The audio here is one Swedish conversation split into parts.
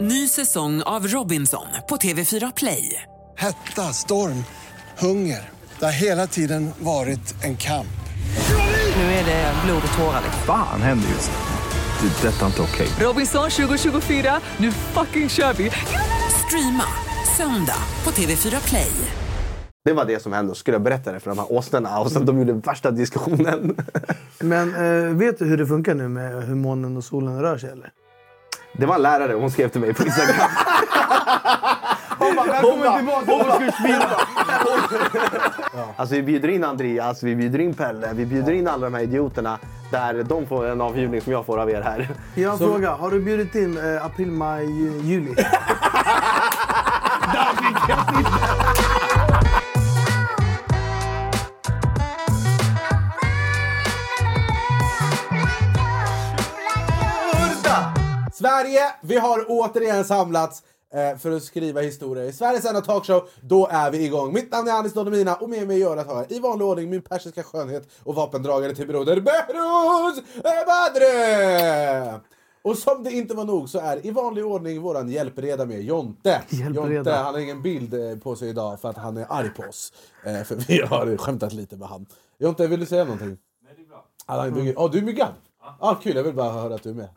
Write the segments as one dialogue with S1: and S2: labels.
S1: Ny säsong av Robinson på TV4 Play.
S2: Hetta, storm, hunger. Det har hela tiden varit en kamp.
S1: Nu är det blod och tårar.
S3: Fan händer just nu. Det. är Detta är inte okej.
S1: Robinson 2024, nu fucking kör vi! Streama söndag på TV4 Play.
S4: Det var det som hände och skulle jag berätta det för de här åsnorna och sen de gjorde värsta diskussionen.
S5: Men eh, vet du hur det funkar nu med hur månen och solen rör sig eller?
S4: Det var en lärare, hon skrev till mig på Instagram. Hon bara,
S5: "Välkommen tillbaka till
S4: Alltså vi bjuder in Andreas, vi bjuder in Pelle, vi bjuder in alla de här idioterna. Där de får en avhyvling som jag får av er här.
S5: Jag har en fråga. Har du bjudit in eh, april, maj, ju- juli?
S6: Urda! Sverige, vi har återigen samlats eh, för att skriva historia i Sveriges enda talkshow. Då är vi igång. Mitt namn är Anis Dodemina och med mig gör att ha i vanlig ordning min persiska skönhet och vapendragare till broder Behrouz Badre! Och som det inte var nog så är i vanlig ordning våran hjälpreda med Jonte.
S5: Hjälpreda.
S6: Jonte, han har ingen bild eh, på sig idag för att han är arg på oss. Eh, för vi har skämtat lite med han. Jonte, vill du säga någonting? Alla är myggan. Ja, du är myggan? Ah, kul, jag vill bara höra att du är med.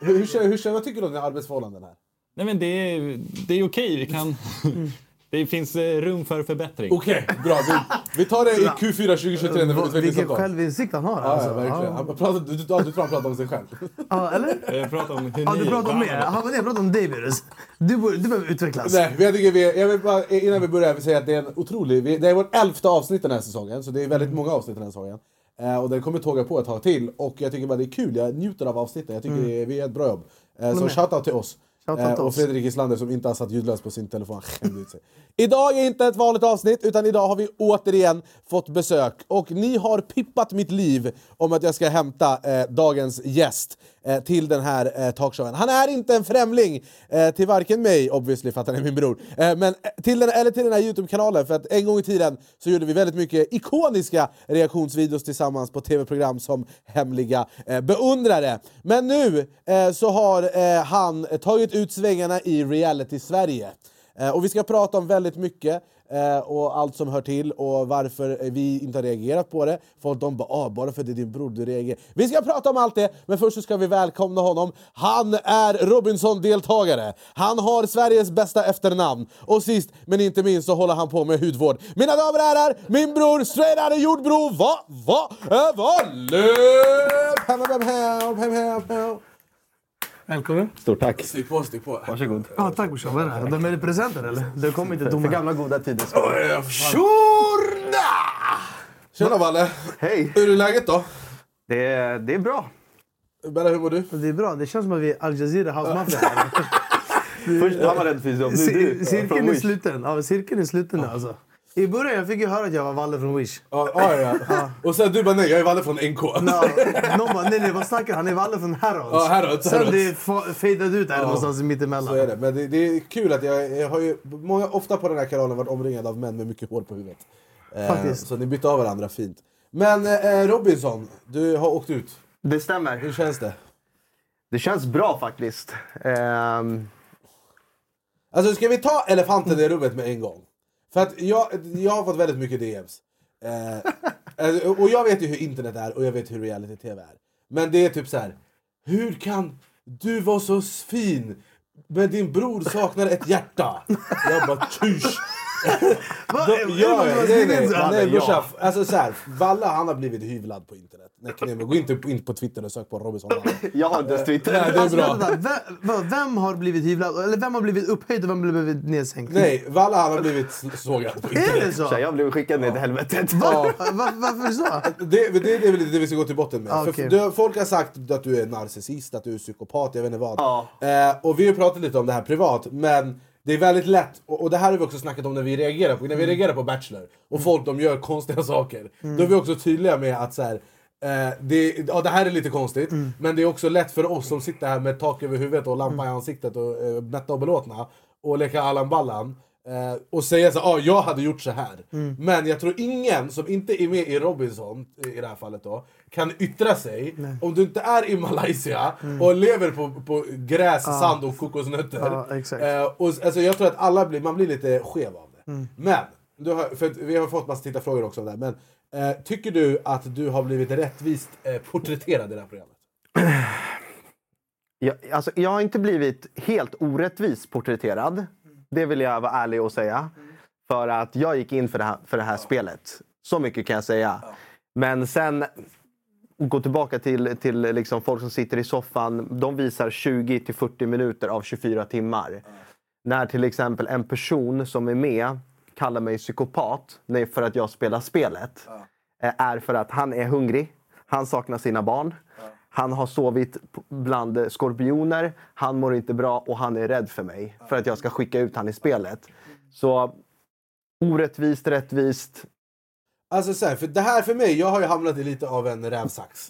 S6: Hur, hur, känner- hur, känner- vad tycker du om dina arbetsförhållanden här?
S7: Nej, men det är, det är okej. Vi kan,
S5: Mm.
S7: det finns eh, rum för förbättring.
S6: Okej, bra. Vi, vi tar det i Q4 2023 när vi
S5: Vilken
S6: utvecklingssamtal.
S5: självinsikt han har
S6: Ja, ja,
S5: alltså.
S6: verkligen. Han pratar, du, du, ja, du tror han pratar om sig själv.
S5: Ja, eller?
S7: Jag pratar om hur
S5: Ja,
S7: ni...
S5: du pratar om mig. Ja, men jag pratar om dig Virus. Du, borde- du behöver utvecklas.
S6: Nej, men jag tycker vi, jag vill bara, eh, innan vi börjar vill jag säga att det är en otrolig... Vi, det är vårt elfte avsnitt den här säsongen, så det är väldigt många avsnitt den här säsongen. Eh, och den kommer tåga på ett tag till. Och jag tycker bara det är kul, jag njuter av avsnitten. Jag tycker det är, vi gör ett bra jobb. Eh, så
S5: Mm. med.
S6: shoutout till oss.
S5: Shoutout till
S6: Eh, och
S5: oss.
S6: Fredrik Islander som inte har satt ljudlös på sin telefon. Han skämde ut sig. Idag är inte ett vanligt avsnitt, utan idag har vi återigen fått besök. Och ni har pippat mitt liv om att jag ska hämta eh, dagens gäst eh, till den här eh, talkshowen. Han är inte en främling eh, till varken mig, obviously för att han är min bror, eh, men eh, till den, eller till den här Youtube-kanalen. För att en gång i tiden så gjorde vi väldigt mycket ikoniska reaktionsvideos tillsammans på tv-program som hemliga eh, beundrare. Men nu eh, så har eh, han tagit ut svängarna i reality-Sverige. Eh, och vi ska prata om väldigt mycket eh, och allt som hör till och varför eh, vi inte har reagerat på det. Folk de bara ah, “bara för det är din bror du reagerar”. Vi ska prata om allt det, men först så ska vi välkomna honom. Han är Robinson-deltagare. Han har Sveriges bästa efternamn. Och sist men inte minst så håller han på med hudvård. Mina damer och herrar, min bror Ströjdare Jordbro, va, va, äh, Wallöf! Hem, hem, hem, hem, hem, hem.
S5: Välkommen.
S4: Stort tack.
S6: Stig på, stig på.
S4: Varsågod.
S5: Ja, tack brorsan. Vad är det här? De är presenter eller? Du kom inte
S4: För
S5: tomma.
S4: gamla goda tider. ska-
S6: Tjena Valle!
S4: Hej!
S6: Hur är läget då?
S4: Det är, det är bra.
S6: Bella, hur mår du?
S5: Det är bra. Det känns som att vi är Al Jazeera House Mafia.
S4: Först var man rädd för jobb, nu är
S5: Cir-
S4: du.
S5: Cirkeln
S4: Från
S5: är
S4: Wish.
S5: sluten. Ja, cirkeln är sluten nu alltså. I början jag fick jag höra att jag var Valle från Wish.
S6: Ja, ja, ja. Och sen du bara nej, jag är Valle från NK.
S5: Ja, någon bara, nej nej vad snackar han? Han är Valle från Harrods.
S6: Ja, Harrods,
S5: Sen
S6: Harrods.
S5: det fa- fadade ut där någonstans mittemellan.
S6: Så är det. Men det, det är kul att jag, jag har ju många, ofta på den här kanalen varit omringad av män med mycket hår på huvudet. Eh,
S5: Faktiskt.
S6: Så ni bytte av varandra fint. Men eh, Robinson, du har åkt ut.
S4: Det stämmer.
S6: Hur känns det?
S4: Det känns bra faktiskt. Ehm,
S6: Alltså ska vi ta elefanten i rummet med en gång? För att jag, jag har fått väldigt mycket DMs. Eh, alltså, och jag vet ju hur internet är och jag vet hur reality-tv är. Men det är typ så här. Hur kan du vara så fin? Men din bror saknar ett hjärta. Jag bara tysch.
S5: Va?
S6: Ja,
S5: Är det
S6: ja,
S5: någon som har
S6: nej,
S5: skrivit
S6: nej,
S5: så här?
S6: nej,
S4: ja.
S6: brorsan. Alltså så här, Valla han har blivit hyvlad på internet. Nej, Knebe, gå inte på- in på Twitter och sök på Robinson Valla.
S4: jag har inte ens
S6: Nej, det
S4: Twitter.
S6: är
S5: Alltså,
S6: bra.
S5: vänta, vem, vad- vem har blivit hyvlad? Eller vem har blivit upphöjd och vem har blivit nedsänkt?
S6: Nej, Valla han har blivit s- sågad på internet.
S5: Är det så?
S4: Så jag blev skickad ner till helvetet.
S5: Va? Va, varför så?
S6: Det, det, det är väl det vi ska gå till botten med.
S5: Ah,
S6: För
S5: okej.
S6: du, folk har sagt att du är narcissist, att du är psykopat, jag vet inte vad.
S4: Ja.
S6: Eh, och vi har ju pratat lite om det här privat, men det är väldigt lätt, och, och det här har vi också snackat om när vi reagerar på, när
S5: Mm.
S6: vi reagerar på Bachelor, och folk de gör konstiga saker. Då är vi också tydliga med att så här, eh, det, ja, det här är lite konstigt,
S5: Mm.
S6: men det är också lätt för oss som
S5: Mm.
S6: sitter här med tak över huvudet och lampa i ansiktet och eh, mätta och belåtna, och leka Allan Ballan. Eh, och säga så ah, jag hade gjort så här.
S5: Mm.
S6: Men jag tror ingen som inte är med i Robinson, eh, i- i det här fallet då, kan yttra sig om du inte är i Malaysia
S5: Mm.
S6: och lever på, på gräs, sand och kokosnötter.
S5: Ja, exakt.
S6: Eh, och, s- alltså, jag tror att alla blir, man blir lite skev av det.
S5: Mm.
S6: Men, du har, för att vi har fått massa tittarfrågor också om det här, men eh, tycker du att du har blivit rättvist eh, porträtterad i det här programmet?
S8: Jag, alltså, jag har inte blivit helt orättvis porträtterad. Det vill jag vara ärlig och säga. För att jag gick in för det här, för det här spelet. Så mycket kan jag säga. Men sen och gå tillbaka till, till liksom folk som sitter i soffan. De visar 20 till 40 minuter av 24 timmar. När till exempel en person som är med kallar mig psykopat nej, för att jag spelar spelet. eh, Är för att han är hungrig. Han saknar sina barn. Han har sovit p- bland eh, skorpioner. Han mår inte bra och han är rädd för mig. För att jag ska skicka ut han i spelet. Så orättvist, rättvist.
S6: Alltså så här, för det här för mig, jag har ju hamnat i lite av en rävsax.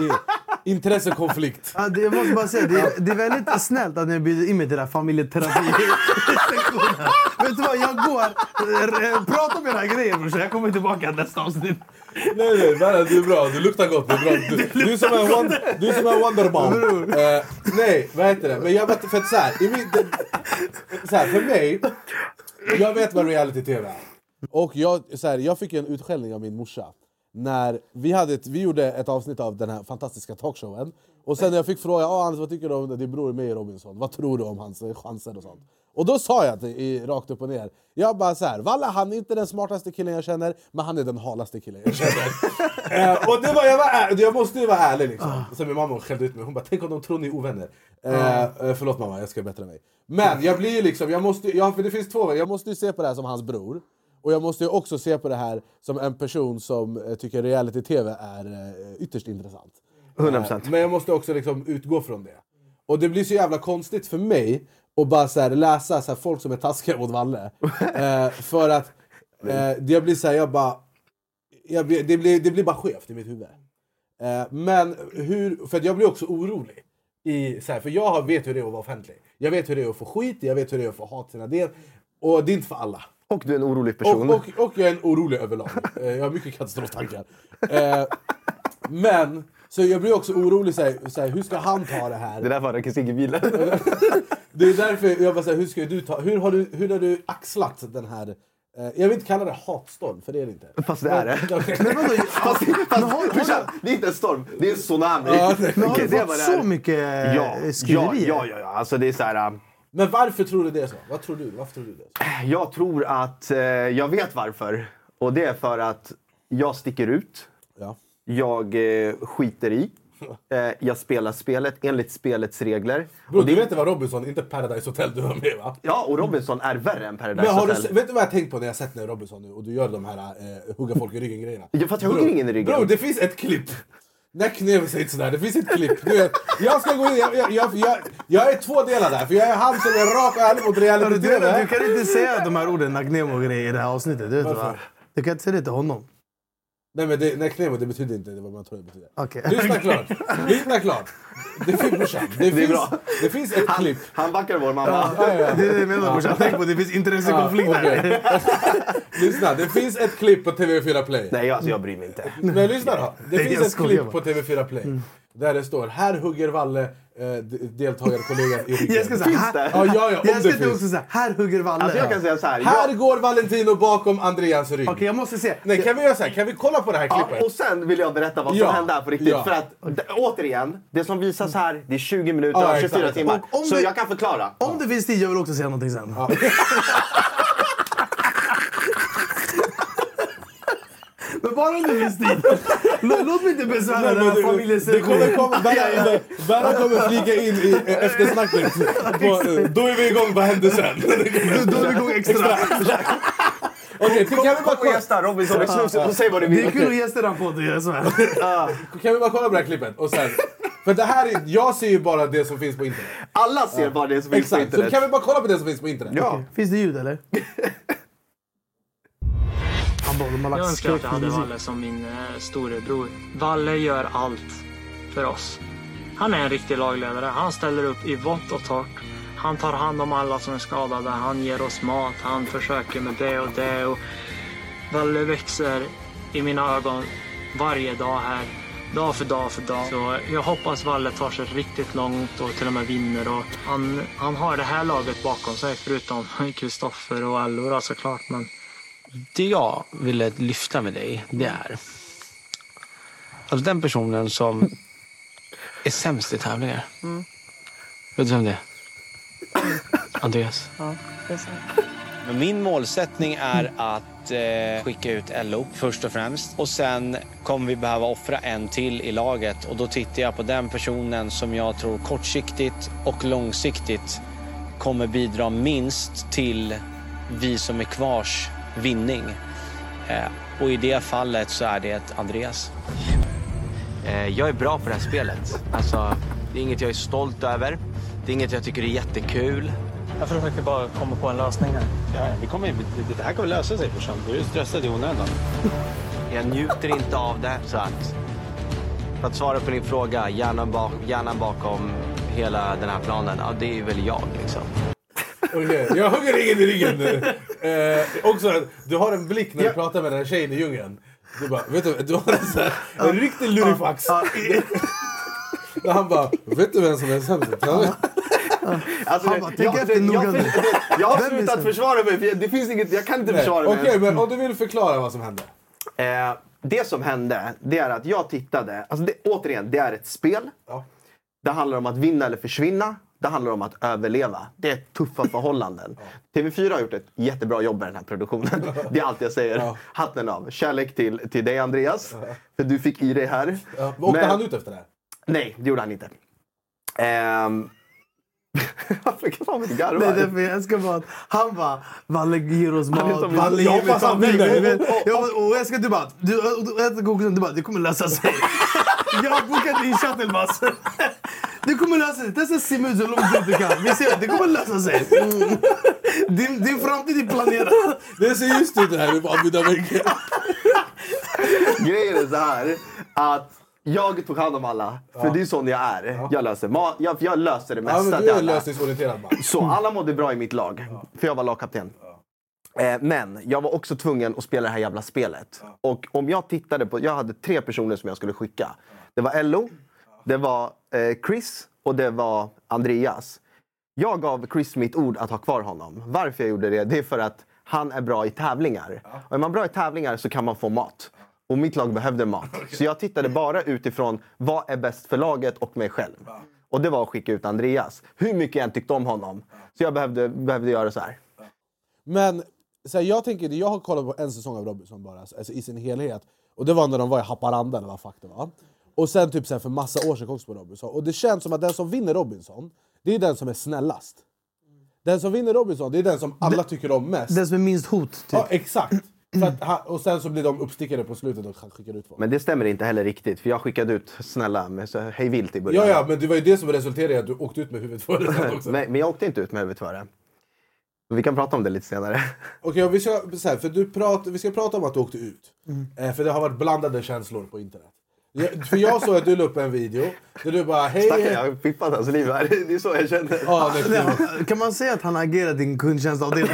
S6: I- Intressekonflikt.
S5: Ja, det, jag måste bara säga, det, är- det är väldigt snällt att ni bjuder in mig till den här familjeterapi-sektionen. Vet du vad, jag går. R- r- Prata om era grejer brorsan, jag kommer tillbaka nästa avsnitt.
S6: Nej, nej, nej, du är bra. Du luktar gott. Du är, bra. Du, du är som en, won, du är som en Wonderbaum. Eh, nej, vad heter det? Men jag vet för att så här, i min, det, så här, för mig, jag vet vad reality-tv är. Och jag, så här, jag fick ju en utskällning av min morsa. När vi, hade ett, vi gjorde ett avsnitt av den här fantastiska talkshowen. Och sen när jag fick fråga ah, Anders, vad tycker du om din bror är med i Robinson. Vad tror du om hans eh, chanser och sånt? Och då sa jag till, i, rakt upp och ner. Jag bara så här, Valla han är inte den smartaste killen jag känner, men han är den halaste killen jag känner. eh, och det var, jag, var är, jag måste ju vara ärlig liksom. Sen min mamma skällde ut mig. Hon bara, tänk om de tror ni är ovänner. Eh, eh, förlåt mamma, jag ska bättra mig. Men jag blir ju liksom, jag måste, jag, för det finns två Jag måste ju se på det här som hans bror. Och jag måste ju också se på det här som en person som eh, tycker reality-tv är eh, ytterst intressant.
S8: 100%.
S6: Eh, Men jag måste också liksom utgå från det. Och det blir så jävla konstigt för mig att bara så här läsa så här folk som är taskiga mot Valle. Eh, för att eh, jag blir så här, jag bara... Jag blir, det, blir, det blir bara skevt i mitt huvud. Eh, men hur, för att jag blir också orolig. I, så här, för jag har- vet hur det är att vara offentlig. Jag vet hur det är att få skit, jag vet hur det är att få hat sina del. Och det är inte för alla.
S8: Och du är en orolig person.
S6: Och, och, och jag är en orolig överlag. Eh, Jag har mycket katastroftankar. Eh, Men, så jag blir också orolig, så här, så här, hur ska han ta det
S8: Det
S6: här?
S8: där var Rökes egen vila.
S6: Det är därför jag bara säger, hur ska du ta, hur har du, hur har du axlat den här, eh, jag vill inte kalla det hatstorm, för det är det inte.
S8: Fast det är det.
S6: Okej.
S8: Fast, fast, brorsan, det är inte en storm, det är en tsunami.
S5: Men har
S8: Okej,
S5: du
S8: det
S5: fått
S8: var det
S5: så
S8: här.
S5: mycket
S6: Eh,
S8: Ja,
S5: ja,
S8: ja,
S5: skriverier?
S8: ja, ja, ja. Alltså, det är så här, äh,
S6: Men varför tror du det är så? Vad tror du? Varför tror du det är så?
S8: jag tror att eh, jag vet varför. Och det är för att jag sticker ut.
S6: Ja.
S8: Jag eh, skiter i. Eh, jag spelar spelet enligt spelets regler.
S6: Bro, du vet inte vad Robinson, inte Paradise Hotel du var med va?
S8: Ja, och Robinson är värre än Paradise
S6: Men har du,
S8: Hotel.
S6: se- vet du vad jag har tänkt på när jag sett när Robinson nu och du gör de här eh, hugga folk i ryggen grejerna?
S8: Ja, fast jag hugger ingen i ryggen.
S6: Bro, det finns ett klipp. När Knevi säger sådär, det finns ett klipp. Du vet, jag ska gå in, jag, jag, jag, jag, jag är två delar där. För jag är han som är rak och ärlig mot
S5: Hörru, Du, vet att du
S6: reality-tv.
S5: kan inte säga de här orden, Nagnemo och grejer, i det här avsnittet. Du, vet
S6: Varför?
S5: va? du kan inte säga det till honom.
S6: Nej men det, när Knevi, det betyder inte det vad man tror det betyder.
S5: Okej.
S6: Lyssna klart. Lyssna klart. Det finns, brorsan, det,
S8: är
S6: finns,
S8: bra.
S6: det finns ett
S8: han,
S6: klipp.
S8: han backar vår mamma.
S6: Ja, ja, ja.
S5: Det är det jag menar brorsan. Tänk på det finns intressekonflikt
S6: Ja,
S5: där.
S6: okej. Lyssna, det finns ett klipp på TV4 Play.
S8: Nej, alltså, jag bryr mig inte.
S6: Men lyssna då. Det
S5: Nej,
S6: finns
S5: jag
S6: ett
S5: skojar
S6: klipp
S5: bara. Mm.
S6: på TV4 Play där det står “Här hugger Valle eh, d- deltagarkollegan i ryggen”.
S5: Jag ska säga,
S8: Finns
S5: här,
S8: det?
S6: Ja, ja, ja, om
S5: jag
S6: det
S5: ska inte
S6: finns.
S5: också säga, här hugger Valle.
S8: Alltså, jag kan säga så här.
S6: Här
S8: Jag,
S6: går Valentino bakom Andreas rygg.
S5: Okej, jag måste se.
S6: Nej, kan vi göra så här? Kan vi kolla på det här
S8: ja,
S6: klippet?
S8: och sen vill jag berätta vad som
S6: Ja,
S8: hände här på riktigt.
S6: ja.
S8: För att, d- återigen, det som visas här, det är 20 minuter
S6: Ja,
S8: av
S6: exakt.
S8: 24 timmar.
S5: Och om
S8: så
S5: vi-
S8: jag kan förklara.
S5: Om det finns tid, jag vill också säga någonting sen. Men bara om det finns tid. Lå- Låt mig inte besvära
S6: Nej,
S5: den
S6: men
S5: här
S6: du- det kommer
S5: familjeserien.
S6: komma, Berra, Berra kommer flika in i eh, eftersnacket. På, eh, då är vi igång, vad hände sen?
S5: Då är vi igång extra.
S6: Okej, kan, vi bara
S8: Kom och
S6: kolla-
S8: gästa Robinson och snuset och säg vad du
S5: Det är
S8: vill.
S5: kul att gästa den här podden, jag svär.
S6: kan vi bara kolla på det här klippet? Och sen, för det här är, jag ser ju bara det som finns på internet.
S8: Alla ser bara det som finns på
S6: Exakt, så
S8: internet.
S6: kan vi bara kolla på det som finns på internet?
S8: Ja.
S5: Finns det ljud eller? Han bara, de har
S4: Jag
S5: lagt
S4: önskar att jag hade
S5: skräckmusik.
S4: Valle som min eh, storebror. Valle gör allt för oss. Han är en riktig lagledare. Han ställer upp i vått och torrt. Han tar hand om alla som är skadade. Han ger oss mat. Han försöker med det och det. Och Valle växer i mina ögon varje dag här. Dag för dag för dag. Så jag hoppas Valle tar sig riktigt långt och till och med vinner. Och han, han har det här laget bakom sig, förutom Kristoffer och Allora såklart. Men
S9: det jag ville lyfta med dig, det är... Alltså den personen som är sämst i tävlingar. Vet du vem det är? Andreas.
S7: Men Min målsättning är att eh, skicka ut LO först och främst. Och sen kommer vi behöva offra en till i laget. Och då tittar jag på den personen som jag tror kortsiktigt och långsiktigt kommer bidra minst till vi som är kvars vinning. Eh, och i det fallet så är det Andreas.
S9: Eh, Jag är bra på det här spelet. Alltså, det är inget jag är stolt över. Det är inget jag tycker är jättekul.
S4: jag försöker bara komma på en lösning här.
S10: vi kommer, det här kommer lösa sig brorsan. Du är stressad i onödan.
S9: Jag njuter inte av det. Så att, för att svara på din fråga, hjärnan, bak, hjärnan bakom hela den här planen, ja, det är väl jag. Liksom.
S6: Okej, jag hugger ingen i ryggen nu. Eh, också, att du har en blick när du pratar med den här tjejen i djungeln. Du bara, vet du, du har en, sån här, en riktig lurifax.
S8: Alltså,
S6: Och han bara, vet du vem som är sämst?
S8: Alltså,
S5: Han bara, tänk efter
S8: det-
S5: noga
S8: jag,
S5: nu.
S8: det- jag har
S5: Vem är
S8: slutat
S5: sämst?
S8: försvara mig. för jag- Det finns inget, jag kan inte försvara mig.
S6: Okej, men om du vill förklara vad som hände.
S8: Eh, det som hände, det är att jag tittade. Alltså det, återigen, det är ett spel.
S6: Ja.
S8: Det handlar om att vinna eller försvinna. Det handlar om att överleva. Det är tuffa förhållanden. TV4 har gjort ett jättebra jobb med den här produktionen. Det är allt jag säger. Hatten av. Kärlek till, till dig Andreas. För du fick i dig här.
S6: Ja, Åkte
S8: Men-
S6: han ut efter det? här?
S8: Nej, det gjorde han inte. Ehm... Varför kan han inte garva?
S5: Nej, det är för jag älskar bara att han bara “Valle ger oss
S8: är
S5: mat,
S8: som-
S5: Valle
S6: Jag
S5: ger mig
S6: hoppas han vinner.
S5: familj”. Jag vet- jag- Och jag ska du bara “Du och- och- och äter kokosnöt”. Du bara “Det kommer lösa sig”. Jag har bokat din shuttlebuss. Det kommer lösa sig. Testa att simma ut så långt ut du kan. Vi ser, det kommer lösa sig. Mm. Din, din framtid är planerad.
S6: Det ser just ut det här på Abu Dhabi.
S8: Grejen är så här att jag tog hand om alla. För det är sån jag är. Jag löser, ma- jag, jag löser det
S6: Ja,
S8: mesta
S6: men
S8: till
S6: du är
S8: alla.
S6: lösningsorienterad man.
S8: Så alla mådde bra i mitt lag. För jag var lagkapten. Eh, Men jag var också tvungen att spela det här jävla spelet. Och om jag tittade på... Jag hade tre personer som jag skulle skicka. Det var Ello, det var eh, Chris och det var Andreas. Jag gav Chris mitt ord att ha kvar honom. Varför jag gjorde det, det är för att han är bra i tävlingar. Och är man bra i tävlingar så kan man få mat. Och mitt lag behövde mat. Så jag tittade bara utifrån vad är bäst för laget och mig själv. Och det var att skicka ut Andreas. Hur mycket jag än tyckte om honom. Så jag behövde, behövde göra så här.
S6: Men så här, jag tänker, jag har kollat på en säsong av Robinson bara, alltså, i sin helhet. Och det var när de var i Haparanda eller vad fuck det var. Och sen typ så här, för massa år sedan kom på Robinson. Och det känns som att den som vinner Robinson, det är den som är snällast. Den som vinner Robinson, det är den som alla tycker om mest.
S5: Den som är minst hot, typ.
S6: Ja, exakt. För att, han- och sen så blir de uppstickare på slutet och han skickar ut folk.
S8: Men det stämmer inte heller riktigt. För jag skickade ut snälla med så här, hej vilt i början.
S6: Ja, ja, men det var ju det som resulterade i att du åkte ut med huvudet förut också.
S8: men, men jag åkte inte ut med huvudet före. Men Vi kan prata om det lite senare.
S6: Okej, och vi, ska, så här, för du prat, vi ska prata om att du åkte ut. Eh, för det har varit blandade känslor på internet. Jag, för jag såg att du la upp en video där du bara hej...
S8: Tackar,
S6: hej.
S8: jag har fippat hans liv här. Det är så jag känner.
S6: Ja, det är kul.
S5: Kan man säga att han agerar din kundtjänstavdelning?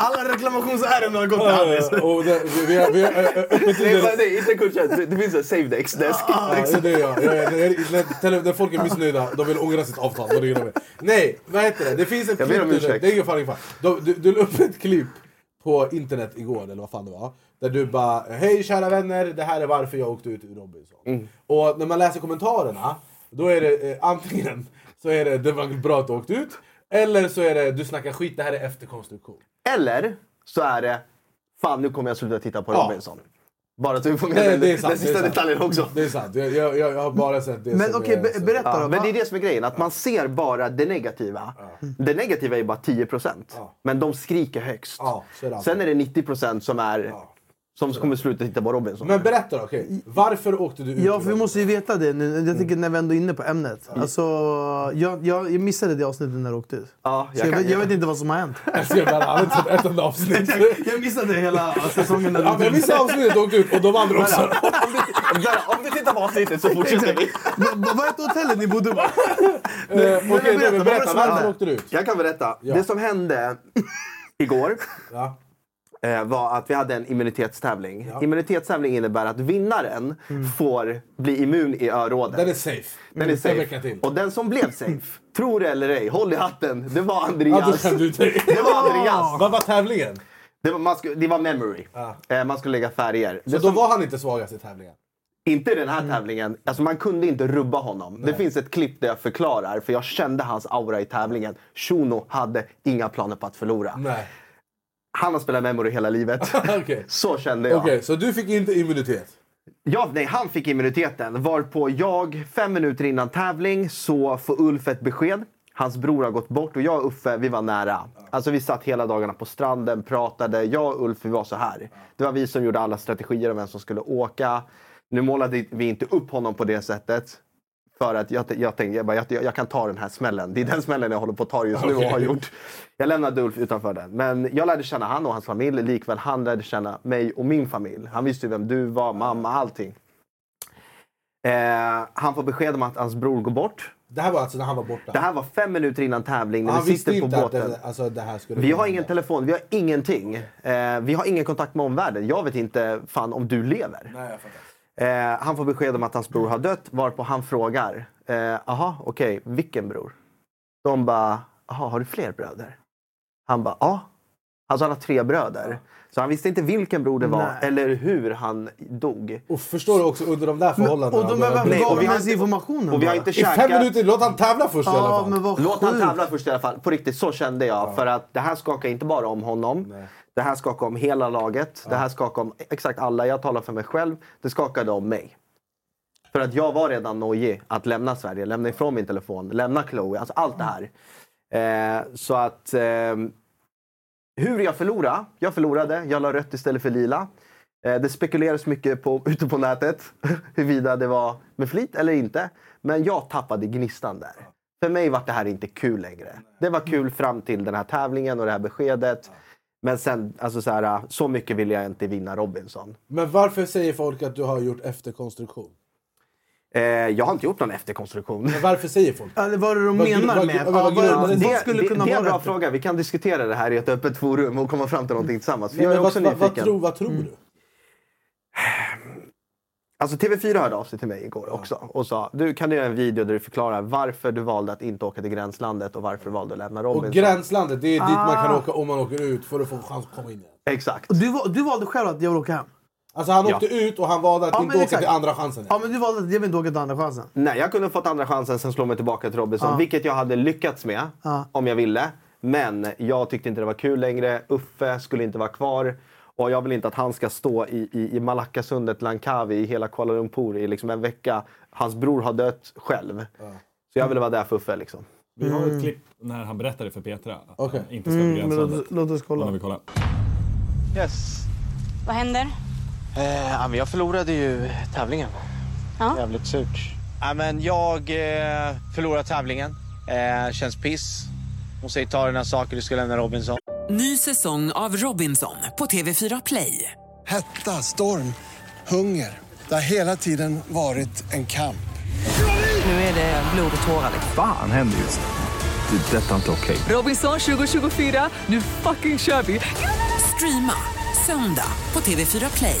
S5: Alla reklamationsärenden har gått till Alice.
S6: Eh, och det, vi, vi, har- vi, har, eh, öppet
S8: Nej,
S6: under-
S8: men nej, inte kundtjänst. Det- Det finns en save desk. desk.
S6: Ja, Ah, det är jag. Jag är- när- när- tele- När folk är missnöjda, de vill ångra sitt avtal. Vad ringer de med? Nej, vad heter det? Det finns ett
S8: Jag ber
S6: klipp.
S8: om
S6: nu där-
S8: ursäkt.
S6: Det är ingen fara, ingen fara. De- Du, du la upp ett klipp på internet igår, eller vad fan det var. Där du bara “Hej kära vänner, det här är varför jag åkte ut ur Robinson”.
S8: Mm.
S6: Och när man läser kommentarerna, då är det eh, antingen så är det “Det var bra att du åkte ut” eller så är det “Du snackar skit, det här är efterkonstruktion”.
S8: Eller så är det, fan nu kommer jag sluta titta på
S6: Ja.
S8: Robinson. Bara så vi får med
S6: Nej,
S8: den,
S6: det är sant,
S8: den
S6: det är
S8: sista
S6: sant. Mm.
S8: detaljen också.
S6: Det är sant, jag, jag, jag jag har bara sett det
S5: Men
S6: som
S5: okej,
S6: är-
S5: be-
S6: som-
S5: berätta då.
S8: Ja, men
S5: vad-
S8: det är det som är grejen, att man ser bara det negativa. Det negativa är bara 10 procent. Men de skriker högst.
S6: Ja, så är det alltid.
S8: Sen är det 90 procent som är Som kommer sluta titta på Robinson.
S6: Men berätta då, okej. varför åkte du ut?
S5: Ja, för vi måste ju veta det nu. Jag tycker när vi ändå är inne på ämnet.
S8: Mm.
S5: Alltså, jag, jag jag missade det avsnittet när du åkte ut.
S8: ja,
S5: Så
S8: jag,
S5: jag,
S8: kan,
S5: vet- jag vet inte vad som har hänt.
S6: Jag ser bara, han har inte sett ett enda avsnitt.
S5: Jag missade hela säsongen när
S6: Ja, men vissa avsnittet åkte ut och de andra också.
S8: Eh, Om du tittar på avsnittet så fortsätter vi.
S5: Vad hette hotellet ni bodde på?
S6: Eh, Okej,
S5: berätta, vad var det
S6: David, berätta.
S5: som
S6: Varför
S5: hände?
S6: åkte du ut?
S8: Jag kan berätta. Det som hände igår
S6: Ja.
S8: eh, var att vi hade en immunitetstävling. Immunitetstävling innebär att vinnaren får bli immun i örådet.
S6: Mm. Den är safe.
S8: Den är
S6: En vecka
S8: safe.
S6: till.
S8: Och den som blev safe, tror det eller ej, håll i hatten, det var
S6: Ja, då
S8: Andreas.
S6: skämde ut dig.
S8: Det var Andreas.
S6: Vad var tävlingen?
S8: Det var, man skulle, det var memory. Eh, man skulle lägga färger.
S6: Så
S8: Det
S6: då Mm.
S8: som,
S6: var han inte svagast i tävlingen?
S8: Inte i den här tävlingen. Alltså man kunde inte rubba honom. Det finns ett klipp där jag förklarar, för jag kände hans aura i tävlingen. Shuno hade inga planer på att förlora.
S6: Nej.
S8: Han har spelat memory hela livet.
S6: Okej.
S8: Så kände jag.
S6: Okej, så du fick inte immunitet?
S8: Ja, nej, han fick immuniteten. Varpå jag, fem minuter innan tävling, så får Ulf ett besked. Hans bror har gått bort och jag och Uffe, vi var nära. Alltså vi satt hela dagarna på stranden, pratade. Jag och Ulf, vi var så här. Det var vi som gjorde alla strategier om vem som skulle åka. Nu målade vi inte upp honom på det sättet. För att jag, jag tänkte, jag, bara, jag, jag kan ta den här smällen. Det är den smällen jag håller på att ta just nu och har gjort. Jag lämnade Ulf utanför den. Men jag lärde känna han och hans familj. Likväl han lärde känna mig och min familj. Han visste ju vem du var, mamma, allting. Eh, han får besked om att hans bror går bort.
S6: Det här var alltså när han var borta?
S8: Det här var fem minuter innan tävling, när
S6: han
S8: vi
S6: visste
S8: sitter på
S6: inte att
S8: båten.
S6: det, alltså, det här skulle
S8: Vi har
S6: hända.
S8: ingen telefon, vi har ingenting. Eh, vi har ingen kontakt med omvärlden. Jag vet inte fan om du lever.
S6: Nej, jag fattar.
S8: Eh, han får besked om att hans bror har dött, varpå han frågar. eh, Jaha, okej, vilken bror? De bara, jaha, har du fler bröder? Han bara, ja. Alltså han har tre bröder. Så han visste inte vilken bror det var
S5: Nej.
S8: eller hur han dog.
S6: Och förstår du också under de där förhållandena?
S5: Och de är
S8: Nej,
S5: väl
S8: och
S5: gav
S8: vi
S5: de
S8: har
S5: ens
S8: inte-
S5: informationen?
S8: Och vi har
S5: bara?
S8: inte
S6: I fem
S8: käkat...
S6: minuter, låt han tävla först i alla
S5: Ja,
S6: fall.
S5: men vad
S8: Låt han
S5: sjukt.
S8: tävla först i alla fall. På riktigt, så kände jag. För att det här skakar inte bara om honom. Det här skakar om hela laget. Det här skakar om exakt alla. Jag talar för mig själv. Det skakade om mig. För att jag var redan nojig att lämna Sverige. Lämna ifrån min telefon. Lämna Chloe. Alltså allt det här. Eh, så att... ehm, hur jag förlorade? Jag förlorade. Jag la rött istället för lila. Eh, det spekuleras mycket på, ute på nätet huruvida det var med flit eller inte. Men jag tappade gnistan där. För mig var det här inte kul längre. Det var kul fram till den här tävlingen och det här beskedet. Men sen, alltså så, här, så mycket vill jag inte vinna Robinson.
S6: Men varför säger folk att du har gjort efterkonstruktion?
S8: Eh, jag har inte gjort någon efterkonstruktion.
S6: Men varför säger folk det?
S5: Eller vad är det de
S6: Vad- vad-
S5: menar med?
S6: vad-
S5: Ja,
S6: vad-
S5: vad-
S6: vad-
S5: vad
S8: Det,
S5: skulle
S8: det,
S5: kunna
S8: det är en
S5: vara
S8: bra
S5: det?
S8: fråga. Vi kan diskutera det här i ett öppet forum och komma fram till någonting tillsammans. För jag är
S6: Men
S8: också
S6: vad, vad, vad
S8: nyfiken.
S6: tror, vad tror
S5: Mm.
S6: du?
S8: Alltså TV4 hörde av sig till mig igår också och sa du kan du göra en video där du förklarar varför du valde att inte åka till gränslandet och varför du valde att lämna Robinson.
S6: Och gränslandet, det är dit man
S5: Ah.
S6: kan åka om man åker ut för att få chans att komma in igen.
S8: Exakt.
S5: Du, val- du valde själv att jag vill åka hem.
S6: Alltså han
S8: Ja.
S6: åkte ut och han valde att
S5: Ja,
S6: inte
S5: men
S6: åka
S5: exakt.
S6: till andra chansen.
S5: Ja, men du valde att jag vill inte åka till Andra chansen.
S8: Nej, jag kunde ha fått andra chansen sen slå mig tillbaka till Robinson,
S5: Ja.
S8: vilket jag hade lyckats med
S5: Ja.
S8: om jag ville. Men jag tyckte inte det var kul längre. Uffe skulle inte vara kvar och jag vill inte att han ska stå i, i, i Malackasundet, Langkawi, i hela Kuala Lumpur i liksom en vecka. Hans bror har dött själv. Så jag ville vara där för Uffe. Liksom.
S7: Vi har ett klipp när han berättade för Petra att
S6: Okej.
S7: han inte ska på
S5: Mm.
S8: Mm.
S5: Men
S7: gränslandet.
S5: låt, låt oss
S7: Låt
S5: kolla.
S7: mig kolla.
S11: Yes.
S12: Vad händer?
S11: Eh, ja, men jag förlorade ju tävlingen.
S12: Ja.
S11: Jävligt surt. Ja, men jag eh, förlorade tävlingen. Eh, känns piss. Hon säger ta dina saker, du ska lämna Robinson.
S1: Ny säsong av Robinson på TV4 Play.
S2: Hetta, storm, hunger. Det har hela tiden varit en kamp.
S1: Nu är det blod och tårar.
S13: Fan händer just nu. Det. är Detta är inte okej.
S1: Robinson 2024, nu fucking kör vi! Streama söndag på TV4 Play.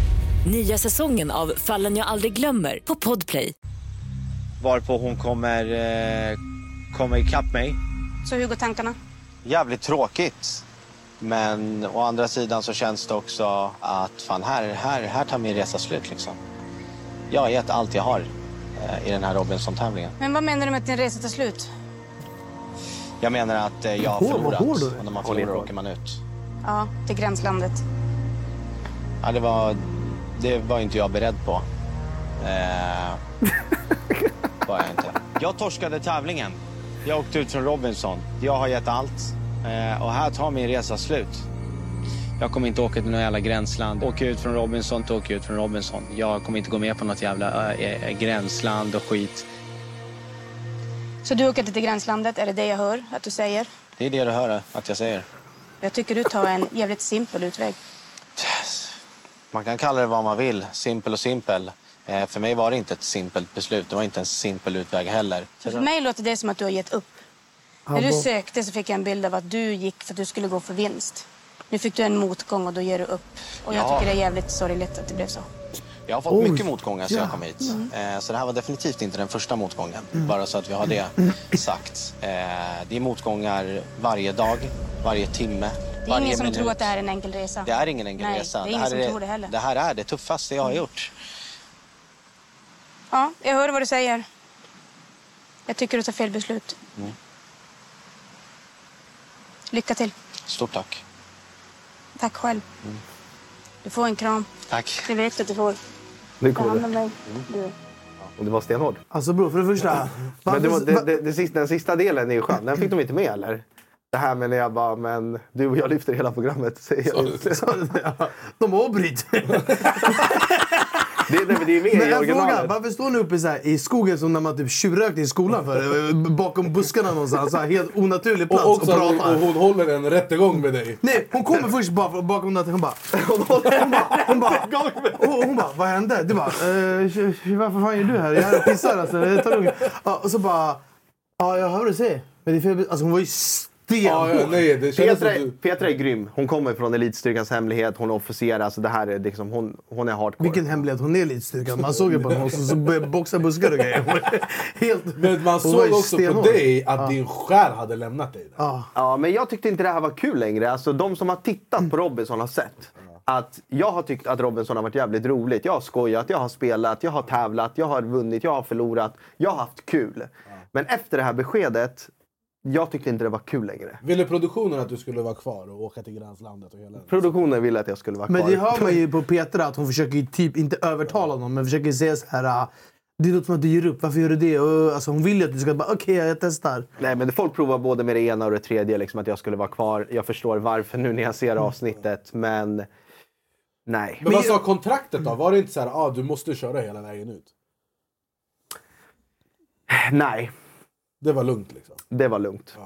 S14: Nya säsongen av Fallen jag aldrig glömmer på Podplay.
S11: Varpå hon kommer eh, komma ikapp mig.
S12: Så hur går tankarna?
S11: Jävligt tråkigt. Men å andra sidan så känns det också att fan här, här, här tar min resa slut liksom.
S8: Jag har gett allt jag har eh, i den här Robinson-tävlingen.
S14: Men vad menar du med att din resa tar slut?
S8: Jag menar att eh, jag har
S14: Vad hård- vad
S8: förlorat.
S14: hård du är.
S8: Och när man förlorar åker man ut.
S14: Ja, till gränslandet.
S8: Ja, det, var, det var inte jag beredd på. Eh, var jag inte. Jag torskade tävlingen. Jag åkte ut från Robinson. Jag har gett allt. Eh, och här tar min resa slut. Jag kommer inte åka till något jävla gränsland. Åker jag ut från Robinson, då åker jag ut från Robinson. Jag kommer inte gå med på något jävla eh, eh, gränsland och skit.
S14: Så du åker inte till gränslandet, är det det jag hör att du säger?
S8: Det är det du hör att jag säger.
S14: Jag tycker du tar en jävligt simpel utväg.
S8: Man kan kalla det vad man vill, simpel och simpel. Eh, för mig var det inte ett simpelt beslut. Det var inte en simpel utväg heller.
S14: För mig låter det som att du har gett upp. När du sökte så fick jag en bild av att du gick för att du skulle gå för vinst. Nu fick du en motgång och då ger du upp. Och jag
S8: Ja.
S14: tycker det är jävligt sorgligt att det blev så.
S8: Jag har fått
S14: Oj.
S8: mycket motgångar sedan jag kom hit. Eh, så det här var definitivt inte den första motgången. Bara så att vi har det sagt. Eh, det är motgångar varje dag, varje timme,
S14: Det är
S8: varje
S14: ingen som
S8: minut.
S14: tror att det här är en enkel resa.
S8: Det är ingen enkel
S14: Nej,
S8: resa.
S14: det är ingen
S8: här
S14: som
S8: är,
S14: tror det heller. Mm.
S8: Det här är det tuffaste jag har gjort.
S14: Ja, jag hör vad du säger. Jag tycker du tar fel beslut.
S8: Mm.
S14: Lycka till.
S8: Stort tack.
S14: Tack själv.
S8: Mm.
S14: Du får en kram.
S8: Tack.
S14: Det vet du att du får.
S4: Nu
S14: Ta
S4: kommer
S14: hand om
S4: det.
S14: dig.
S8: Mm.
S14: Du.
S4: Och det var stenhård.
S5: Alltså bror, för det första.
S4: Men det, var- det, det, det sista, den sista delen är ju skön. Den fick de inte med eller? Det här med när jag bara, men du och jag lyfter hela programmet. Säger jag inte.
S5: De avbryter.
S4: Det, nej, men det är med
S5: Men
S4: i
S5: en fråga,
S4: originalet.
S5: varför står ni uppe så här, i skogen som när man typ tjurrökte i skolan för? Eh, Bakom buskarna någonstans, så här, helt onaturlig plats
S6: Och
S5: och,
S6: också att hon,
S5: pratar.
S6: och hon håller en rättegång med dig.
S5: Nej, hon kommer först bara från bakom natten. Hon bara... Hon bara... Hon bara, och hon bara vad hände? Du bara... Eh, tj- tj- varför fan är du här? Jag är här och pissar alltså. Jag tar lugnt. Ja, och så bara... Ja, jag hör vad du säger. Men det är fel... Alltså hon var ju stenhård.
S4: Petra, Petra är grym. Hon kommer från elitstyrkans hemlighet. Hon är officer. Alltså det här är liksom, hon, hon är hardcore.
S5: Vilken hemlighet. Hon är lite stukad. Man såg ju på henne. Hon så- så började boxa buskar och grejer. Hon var Helt...
S6: Men man
S5: Hon var
S6: såg
S5: ju
S6: också på
S5: stenhård.
S6: dig att
S5: Ja.
S6: din själ hade lämnat dig.
S4: Ja, men jag tyckte inte det här var kul längre. Alltså, de som har tittat på Robinson har sett att jag har tyckt att Robinson har varit jävligt roligt. Jag har skojat, jag har spelat, jag har tävlat, jag har vunnit, jag har förlorat. Jag har haft kul. Men efter det här beskedet, jag tyckte inte det var kul längre.
S6: Ville produktionen att du skulle vara kvar och åka till gränslandet? Och hela den?
S4: Produktionen ville att jag skulle vara kvar.
S5: Men det hör man ju på Petra att hon försöker ju typ inte övertala någon men försöker säga så här. ah, Det låter som att du ger upp. Varför gör du det? Och, Alltså, hon vill ju att du ska bara okej, jag testar.
S4: Nej, men folk provar både med det ena och det tredje, liksom att jag skulle vara kvar. Jag förstår varför nu när jag ser avsnittet, men nej.
S6: Men vad sa kontraktet då? Var det inte så här, ah, du måste köra hela vägen ut?
S4: Nej.
S6: Det var lugnt liksom?
S4: Det var lugnt.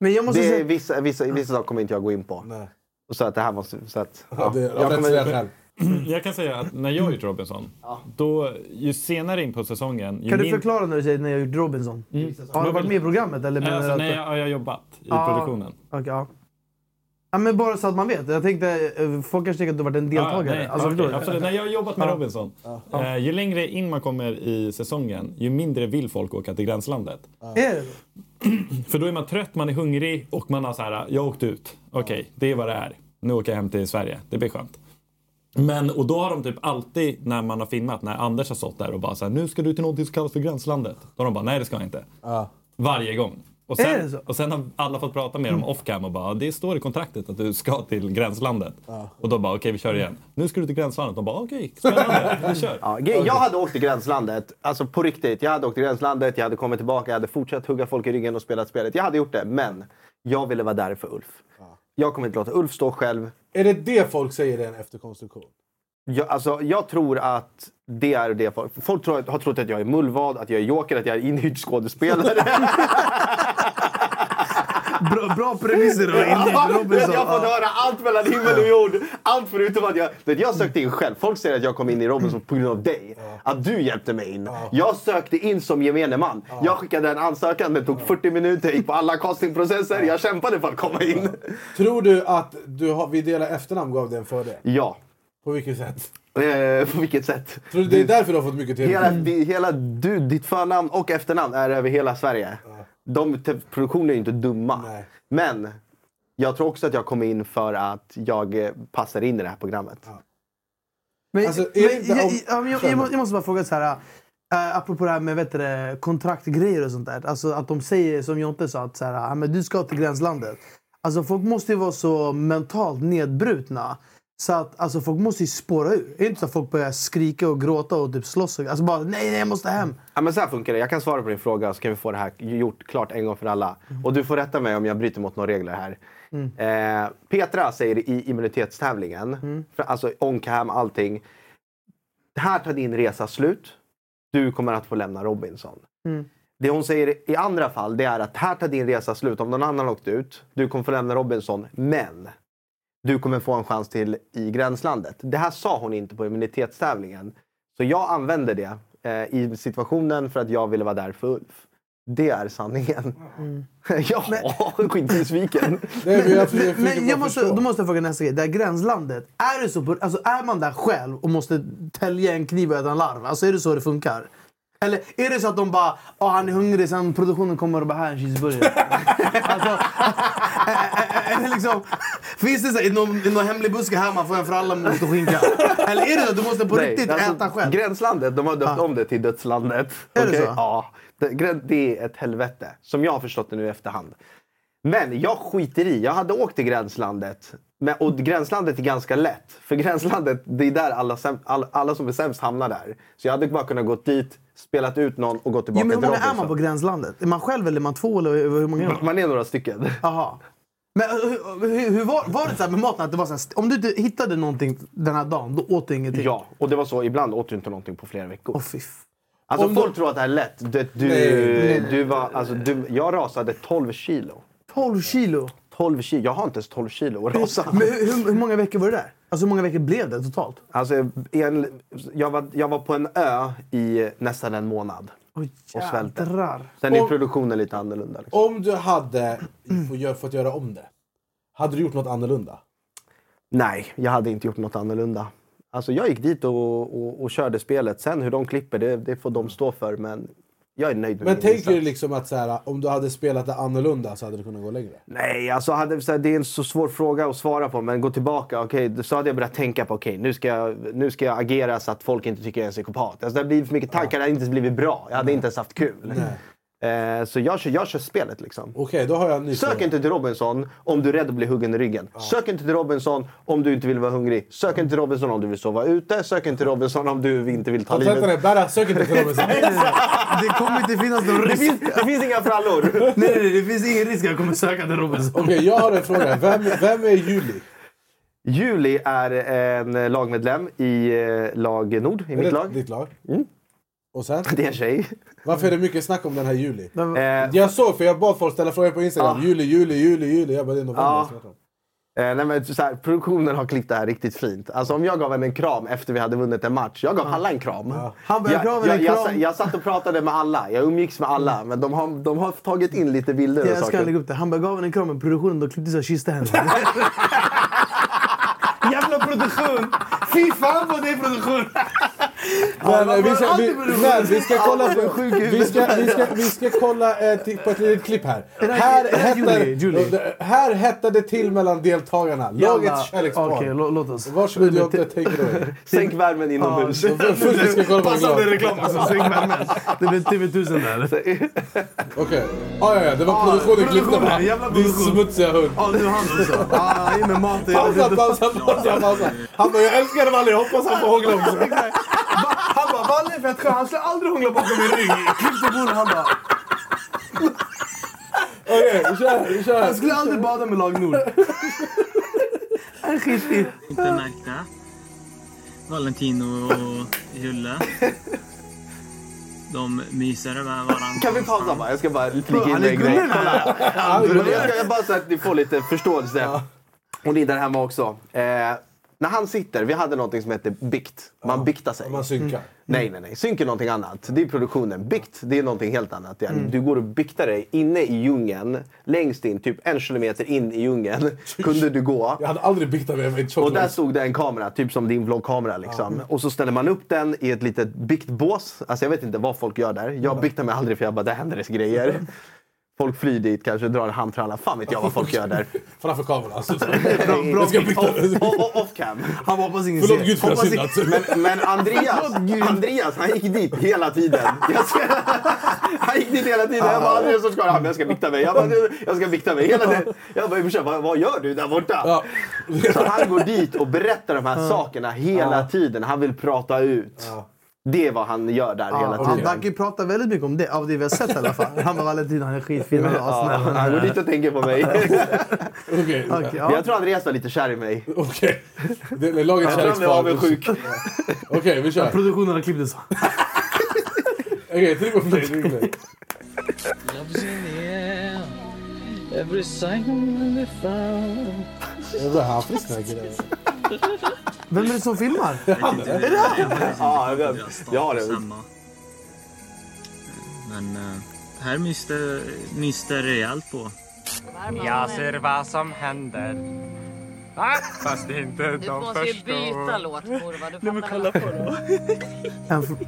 S5: Men jag måste
S4: det, är
S5: säga-
S4: vissa, vissa, vissa saker kommer inte jag gå in på.
S6: Nej.
S4: Och så att det här måste... Så att,
S6: Ja, det- av rättsliga skäl.
S5: Mm.
S7: Jag kan säga att när jag gjort Robinson, då, ju senare in på säsongen... Ju
S5: Kan du
S7: min-
S5: förklara när du säger när jag gjort Robinson? Har du varit med i programmet? Eller menar du
S7: Alltså,
S5: att-
S7: nej, jag jag har jobbat i
S5: Ja.
S7: produktionen.
S5: Okej, ja. ja. men bara så att man vet. Jag tänkte, eh, folk kanske tänker att du varit en
S7: Ja,
S5: deltagare.
S7: nej,
S5: alltså,
S7: okej,
S5: förstår du?
S7: absolut. Nej, jag har jobbat med
S5: Ja.
S7: Robinson.
S5: Ja.
S7: Eh, ju längre in man kommer i säsongen, ju mindre vill folk åka till gränslandet.
S5: Är det?
S7: För då är man trött, man är hungrig och man har så här, jag åkte ut. Okej, det är vad det är. Nu åker jag hem till Sverige. Det blir skönt. Men, och då har de typ alltid när man har filmat, när Anders har stått där och bara så här, nu ska du till någonting som kallas för gränslandet. Då har de bara, nej det ska jag inte. Varje gång. Och
S5: Är det
S7: sen,
S5: så? Mm.
S7: och sen har alla fått prata med dem off cam och bara, det står i kontraktet att du ska till gränslandet.
S4: Ja.
S7: Och då bara, okej vi kör igen.
S5: Mm.
S7: Nu ska du till gränslandet. De bara, okej, spännande, vi kör.
S4: Ja, grejen- jag hade åkt till gränslandet, alltså på riktigt. Jag hade åkt till gränslandet, jag hade kommit tillbaka, jag hade fortsatt hugga folk i ryggen och spelat spelet. Jag hade gjort det, men jag ville vara där för Ulf. Jag kommer inte låta Ulf stå själv.
S6: Är det det folk säger i en efterkonstruktion?
S4: Jag, alltså, jag tror att det är det folk... Folk tror, har trott att jag är mullvad, att jag är joker, att jag är inhyrd skådespelare.
S5: Bra, bra premisser då. Inhyrd Robinson.
S4: Jag har fått
S5: Ja.
S4: höra allt mellan himmel och jord. Allt förutom att jag... Du vet, jag sökte in själv. Folk säger att jag kom in i Robinson på grund av dig. Att du hjälpte mig in. Jag sökte in som gemene man. Jag skickade en ansökan, det tog 40 minuter. Jag gick på alla castingprocesser. Jag kämpade för att komma in.
S6: Tror du att du har, vi delar efternamn gav dig en fördel?
S4: Ja.
S6: På vilket sätt?
S4: Eh, på vilket sätt?
S6: Tror du det är därför du har fått mycket tv
S4: Hela, di- hela du, ditt förnamn och efternamn är över hela Sverige. De te- produktioner är ju inte dumma. Men jag tror också att jag kom in för att jag eh, passar in i det här programmet.
S5: Men,
S6: Alltså, är det
S5: men,
S6: inte
S5: jag,
S6: om-
S5: jag, jag, jag, må- jag måste bara fråga så här. Uh, apropå det här med vet du, det, kontraktgrejer och sånt där. Alltså att de säger som Jonte sa att så här, ah, men du ska till gränslandet. Alltså folk måste ju vara så mentalt nedbrutna. Så att alltså, folk måste ju spåra ur. Det är inte så att folk börjar skrika och gråta och typ slåss. Och, alltså bara nej, nej, jag måste hem.
S4: Ja, men så här funkar det. Jag kan svara på din fråga så kan vi få det här gjort klart en gång för alla. Och du får rätta mig om jag bryter mot några regler här.
S5: Mm.
S4: Eh, Petra säger i immunitetstävlingen, för, alltså on cam, allting. Här tar din resa slut. Du kommer att få lämna Robinson.
S5: Mm.
S4: Det hon säger i andra fall det är att här tar din resa slut. Om någon annan har åkt ut, du kommer få lämna Robinson. Men du kommer få en chans till i gränslandet. Det här sa hon inte på immunitetstävlingen. Så jag använde det eh, i situationen för att jag ville vara där för Ulf. Det är sanningen.
S5: Mm.
S4: ja, skitbesviken.
S5: Men,
S4: Alltså,
S5: men, men jag måste, då måste jag fråga nästa grej. Det här gränslandet, är, det så, på- alltså, är man där själv och måste tälja en kniv och äta en larv? Alltså, är det så det funkar? Eller är det så att de bara oh, han är hungrig, sen produktionen kommer och bara här är en cheeseburgare. alltså, ä- ä- eller liksom, finns det så, här, i någon, i någon hemlig buske här man får en för alla mot och skinka? Eller är det så att du måste på
S4: Nej,
S5: riktigt
S4: alltså,
S5: äta själv? Ah.
S4: Gränslandet, de har döpt om det till dödslandet.
S5: Är det
S4: Okej?
S5: så?
S4: Ja. Det, grän- det är ett helvete, som jag har förstått det nu i efterhand. Men jag skiter i. Jag hade åkt till gränslandet. Men, och gränslandet är ganska lätt. För gränslandet, det är där alla, säm, alla, alla som är sämst hamnar där. Så jag hade bara kunnat gå dit, spelat ut någon och gått
S5: Jo,
S4: tillbaka
S5: men hur
S4: till
S5: många är man på
S4: Robinson.
S5: gränslandet? Är man själv eller är man två? Eller hur hur många är man?
S4: Man är några stycken.
S5: Aha. Men eh, hur, hur, hur var, var det så här med maten? Att det var så här, st- om du inte hittade någonting den här dagen, då åt du ingenting?
S4: Ja, och det var så. Ibland åt du inte någonting på flera veckor. Alltså
S5: Om
S4: folk
S5: du-
S4: tror att det här är lätt. Du, du,
S5: Nej.
S4: du var, alltså, du, jag rasade 12 kilo.
S5: 12 kilo?
S4: 12 kilo. Jag har inte ens 12 kilo att rasa.
S5: Hur, men hur, hur, hur många veckor var det där? Alltså hur många veckor blev det totalt?
S4: Alltså, en, jag, var, jag var på en ö i nästan en månad. och svälte.
S5: jädrar.
S4: Sen är
S6: Och-
S4: produktionen lite annorlunda. Liksom.
S6: Om du hade få gör- fått göra om det, hade du gjort något annorlunda?
S4: Nej, jag hade inte gjort något annorlunda. Alltså, jag gick dit och, och, och körde spelet. Sen hur de klipper, det, det får de stå för. Men jag är nöjd med
S6: Men
S4: min
S6: tänker
S4: insats.
S6: du liksom att så här, om du hade spelat det annorlunda så hade du kunnat gå längre?
S4: Nej, alltså hade, så här, det är en så svår fråga att svara på. Men gå tillbaka. Okej, så hade jag börjat tänka på okej, nu, ska jag, nu ska jag agera så att folk inte tycker jag är en psykopat. Alltså, det har blivit för mycket tankar. Det hade inte ens blivit bra. Jag hade inte ens haft kul. Eh, så jag kör, jag kör spelet liksom.
S6: Okej, då har jag en ny
S4: Sök
S6: fråga.
S4: inte till Robinson om du är rädd att bli huggen i ryggen. Sök inte till Robinson om du inte vill vara hungrig. Sök inte till Robinson om du vill sova ute. Sök inte till Robinson om du inte vill ta
S6: Ta tänderna i
S4: livet.
S6: bära, sök inte till Robinson.
S5: Det kommer inte finnas någon
S4: Det
S5: risk.
S4: finns, det finns inga frallor.
S5: nej, nej, nej, det finns ingen risk att jag kommer söka till Robinson.
S6: Okej, jag har en fråga. Vem, vem är Juli?
S4: Juli är eh, en lagmedlem i eh, lag Nord, i
S6: Är
S4: mitt
S6: det
S4: lag.
S6: Ditt lag?
S4: Mm.
S6: Och sen?
S4: Det är en tjej.
S6: Varför är det mycket snack om den här Juli?
S4: Eh,
S6: Jag såg, för jag bad folk ställa frågor på Instagram.
S4: Ah.
S6: Juli, Juli, Juli, Juli. Jag bara, det är november.
S4: Ja.
S6: jag snackar om.
S4: Eh, nej men så här, produktionen har klippt det här riktigt fint. Alltså om jag gav henne en kram efter vi hade vunnit en match. Jag gav alla en kram.
S5: Han bara,
S4: jag,
S5: "Jag gav henne
S4: jag,
S5: en
S4: jag,
S5: kram." Mm.
S4: sa- jag satt och pratade med alla. Jag umgicks med alla. Men de har, de har tagit in lite bilder och
S5: Jag ska
S4: saker.
S5: lägga upp det. Han bara gav henne en kram men produktionen då klippte så jag kysste henne. Jävla produktion! Fy fan vad det är produktion!
S6: Men, eh, vi, ska, vi, men vi ska kolla,
S5: Alla är
S6: på,
S5: sjuka i
S6: vi ska, vi ska,
S5: huvudet.
S6: vi ska kolla eh, till- på ett litet klipp här.
S5: Är det-
S6: Här,
S5: är det Julie? Julie?
S6: hettar, här hettar det till mellan deltagarna.
S5: Jävla-
S6: Lagets kärlekspar.
S5: Okej, lå- låt oss.
S6: Varsågod Jonte, take it away.
S4: Sänk värmen inomhus.
S6: Ja, för- för- vi ska kolla på
S5: Passande
S6: reklam.
S5: reklam alltså. Sänk värmen. Det blev TV1000 där.
S6: Okej. Ah, ja, ja, det var produktionen klippte
S5: produktionen,
S6: bara.
S5: jävla
S6: Din
S5: produktion.
S6: smutsiga hund.
S5: Ja, nu han också. Ah, in med maten.
S6: Pausa, pausa, pausa, pausa. Han bara, jag älskar dem aldrig. Hoppas han får hångla också.
S5: Han bara, Valle är fett skön. Han skulle aldrig hångla bakom min rygg. Klipp till bordet. Han bara,
S6: Okej, vi kör. Vi kör.
S5: han skulle aldrig bada med Lag Nord. Han är skitig.
S15: Inte märkta. Valentino och Julle. De myser med varandra.
S4: Kan vi pausa bara? Jag ska bara flika
S15: Han
S4: in
S15: är
S4: en grej.
S15: gullig,
S4: Kolla.
S15: va?
S4: Ja, men Jag ska jag bara så att ni får lite förståelse. Och ni där hemma också. Eh, när han sitter, vi hade något som hette bikt. Man biktar sig.
S6: Man synkar.
S4: Nej, nej, nej. Synk är någonting annat. Det är produktionen. Bikt, det är någonting helt annat. Det är-
S15: Mm.
S4: Du går och biktar dig inne i djungeln. Längst in, typ en kilometer in i djungeln, kunde du gå.
S6: Jag hade aldrig biktat mig med en
S4: Och där
S6: choklad.
S4: stod det en kamera, typ som din vloggkamera. Liksom.
S6: Ja.
S4: Och så ställer man upp den i ett litet biktbås. Alltså jag vet inte vad folk gör där. Jag biktar mig aldrig för jag bara, där händer det grejer. Folk flyr dit, kanske drar en handtralla. Fan vet jag vad folk gör där.
S6: Framför kameran. Alltså.
S4: bra, off, off, off cam.
S5: Han var hoppas ingen
S6: Förlåt gud för alltså. att jag
S4: Hoppas
S6: syndat.
S4: inte- Men, men Andreas,
S6: Förlåt, Gud.
S4: Andreas, han gick dit hela tiden. Jag ska, han gick dit hela tiden. Jag bara, Andreas, så ska han. Jag ska vikta mig. Jag, bara, jag ska vikta mig hela tiden. Jag bara, "Brorsan, vad, vad gör du där borta? Så han går dit och berättar de här
S5: Ja.
S4: sakerna hela
S5: Ja.
S4: tiden. Han vill prata ut. Det är vad han gör där hela
S5: Han
S4: tiden.
S5: verkar ju prata väldigt mycket om det, av det vi har sett i alla fall. Han bara “Valentin, han är skitfin, han är
S4: Ja,
S5: assnäll”.
S4: han går dit och tänker på mig.
S5: Okej, ja.
S4: Jag tror Andreas var lite kär i mig.
S6: Okej. Det är lagets
S4: Jag tror han blev
S6: kärleksbarn.
S4: avundsjuk.
S6: Okej, vi kör.
S5: Produktionen har klippt det så.
S6: Okej, tryck på play. tryck på play.
S15: Love's in the air. Every sign we found.
S6: Jag börjar ha frisknäckare.
S5: Vem är det som filmar? Är det han?
S4: Ja, jag, jag har det.
S15: Samma. Men eh, här myste, myste rejält på.
S16: Jag ser vad som händer. Va? Fast det är inte
S17: Du
S16: de
S17: måste ju
S16: första.
S17: byta låt, Korva. Du fattar kolla på
S5: En fr-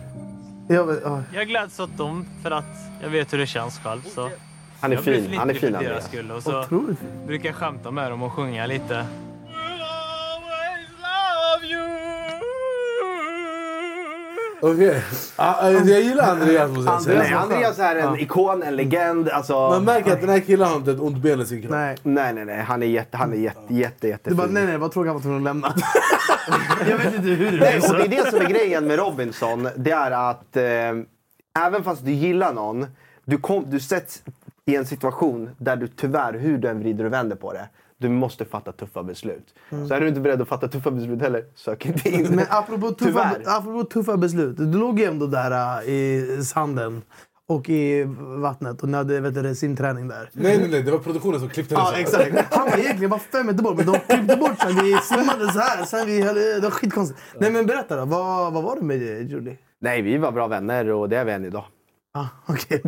S5: Jag vet- ja.
S15: Jag gläds åt dem för att jag vet hur det känns själv. Så.
S4: Han är
S15: jag
S4: fin.
S15: blir
S4: Han är
S15: flitig
S4: fin,
S15: för deras
S4: Andreas.
S15: skull. Och så
S5: Otroligt
S15: brukar jag skämta med dem och sjunga lite.
S6: Okej. Ah, eh, Jag gillar Andreas måste jag säga.
S4: Nej, Andreas är en ikon, en legend. Alltså,
S6: Man märker att den här killen har inte ett ont ben i sin kropp.
S5: Nej.
S4: Nej, nej, nej. Han är jätte, han är jätte, jätte,
S5: Du bara
S4: jättefin.
S5: “Nej, nej, vad tråkigt han var tvungen att lämna”. Jag vet inte hur
S4: Nej, och det är det som är grejen med Robinson. Det är att eh, även fast du gillar någon, du, kom, du sätts i en situation där du tyvärr, hur du än vrider och vänder på det, du måste fatta tuffa beslut. Så är du inte beredd att fatta tuffa beslut heller, sök inte in.
S5: Mm. Men apropå tuffa,
S4: Tyvärr.
S5: apropå tuffa beslut. Du låg ju ändå där äh, i sanden och i vattnet och ni hade vet du, simträning där.
S6: Nej, nej, nej. Det var produktionen som klippte det.
S5: Ja, exakt. Han var egentligen bara fem meter bort, men de klippte bort sen vi simmade så här. Sen vi höll, det var skitkonstigt. Nej, men berätta då. Vad, vad var det med Julie?
S4: Nej, vi var bra vänner och det är vi än idag.
S5: Ah, Okej,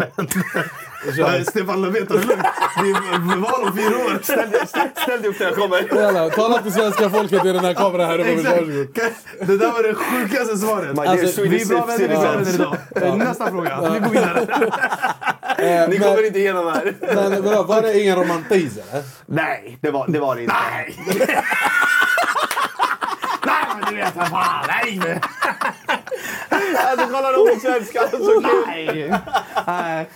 S5: okay, Stefan Löfven, ta det lugnt. Det är val om fyra år.
S4: Ställ, ställ, ställ dig upp när jag kommer.
S6: Jävlar, tala till svenska folket i den här kameran här uppe.
S5: Exakt.
S6: Varsågod.
S5: Det där var det sjukaste svaret.
S4: Alltså,
S6: My dear
S5: vi är
S6: Swedish
S5: bra vänner, vi är bra vänner
S6: citizens.
S5: idag.
S6: Ja.
S5: Nästa fråga. Vi går vidare.
S6: Eh,
S4: Ni
S6: men-
S4: kommer inte igenom här.
S6: Men vadå, var det ingen romantis eller?
S4: Nej, det var det, var det inte. Nej! Nej, men du vet vad fan. Nej! alltså kolla de på svenska. Så kul.
S5: Nej. Nej.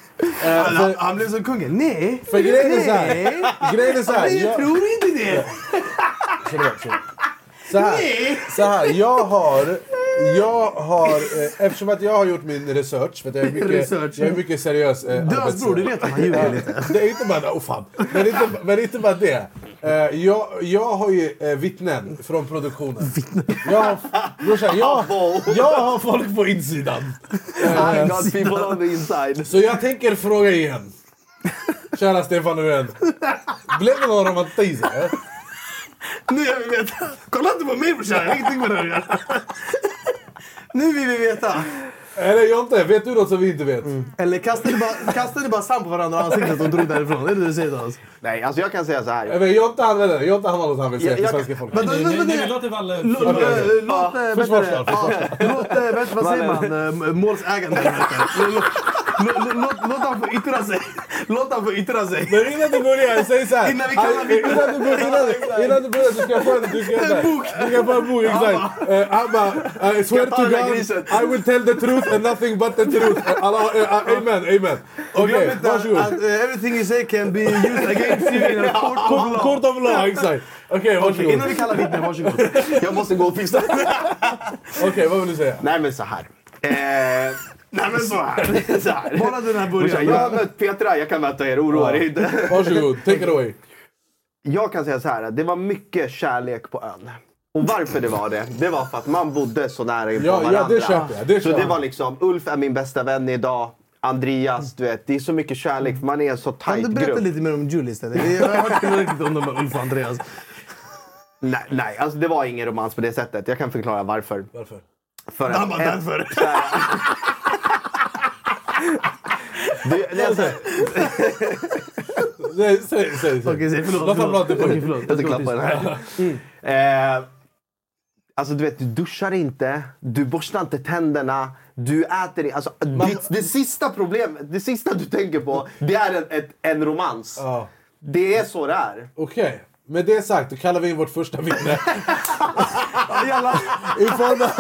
S6: Han,
S5: han, han blev som kungen. Nej.
S6: Eh, För grejen är så här. Grejen är så här,
S5: Nej, jag
S6: jag-
S5: tror inte det.
S6: Förlåt, förlåt. Så här,
S5: Nej.
S6: så här, jag har... Jag har eh, eftersom att jag har gjort min research, för att jag är mycket,
S5: Research.
S6: Jag är mycket seriös. Eh,
S5: Dödsbror,
S6: arbetsgivare.
S5: du vet att han ljuger
S6: Ja,
S5: lite.
S6: Det är inte bara, oh fan. Men det är inte, men det är inte bara det. Eh, jag, jag har ju eh, vittnen från produktionen. Vittnen? Jag, har- brorsan, jag, jag har folk på insidan.
S4: I got people on the inside.
S6: Så jag tänker fråga igen. Kära Stefan Löfven. Blev det någon romantis? eller?
S5: Nu jag vill veta. Kolla inte på mig brorsan. Jag har ingenting med det här att göra. Nu vill vi veta.
S6: Eller Jonte, vet du något som vi inte vet?
S5: Eller kastade ni bara, kastade ni bara sand på varandra i ansiktet och drog därifrån? Är det det du säger till oss?
S4: Nej, alltså jag kan säga så här.
S6: Men Jonte han vänner, Jonte han har något han vill säga
S4: Jag-
S6: till
S4: jag-
S6: svenska folket.
S5: Vänta, vänta, vänta.
S7: Vi låter Valle...
S5: Låt,
S6: Okej, okej.
S5: eh, låt, eh, vad heter det?
S6: försvarstal,
S5: Ja, låt, eh, vänta, vad säger man? Eh, Målsägande. heter det. Låt- låt- låt- Låt han få yttra sig. Låt han få yttra sig.
S6: Men innan du börjar, säg så här.
S5: Innan vi kallar
S6: Han- innan du börjar, innan, innan du börjar så ska jag få en, du ska,
S5: En bok.
S6: Du ska få en bok, exakt. Eh, Han bara, I swear
S5: ta
S6: to
S5: den där grisen.
S6: God, I will tell the truth and nothing but the truth. Eh, alla- eh, eh, Amen, amen. Okej,
S5: Glöm inte att-
S6: varsågod.
S5: att, eh, everything you say can be used against you in a court of
S6: Kort-
S5: law.
S6: Kort of law, exakt. Okej,
S5: Okej,
S6: varsågod.
S5: innan vi kallar vittnen, varsågod.
S4: Jag måste gå och pissa.
S6: Okej, vad vill du säga?
S4: Nej, men så här. Eh, nej, men så här. Så här.
S5: Bara den här
S4: Brorsan,
S5: början.
S4: Jag har mött Petra, jag kan möta er. Oroa er inte.
S6: Varsågod, take it away.
S4: Jag kan säga så här, det var mycket kärlek på ön. Och varför det var det, det var för att man bodde så nära inpå
S6: Ja, ja, det
S4: varandra.
S6: köper jag, det
S4: så
S6: köper
S4: det
S6: jag.
S4: var liksom, Ulf är min bästa vän idag. Andreas, du vet, det är så mycket kärlek
S6: Mm.
S4: för man är en så
S5: Kan
S4: tajt
S5: du berätta
S4: grupp.
S5: lite mer om Julie istället? Jag har hört tillräckligt om de här Ulf och Andreas.
S4: Nej, nej alltså det var ingen romans på det sättet. Jag kan förklara varför.
S6: Varför?
S4: För
S5: Han bara,
S4: ett-
S5: "Därför."
S4: så här- Det- det är så här-
S6: Nej, Säg, säg, säg.
S5: Okej, säg förlåt.
S6: Låt han
S5: förlåt.
S6: prata.
S5: Okej, förlåt.
S4: Jag Mm. ska klappa den här. Eh, alltså du vet, du duschar inte, du borstar inte tänderna, Du äter det. Alltså, det, det sista problemet, det sista du tänker på, det är en, ett, en romans. Det är så det är.
S6: Okej, med det sagt då kallar vi in vårt första vittne. I form av...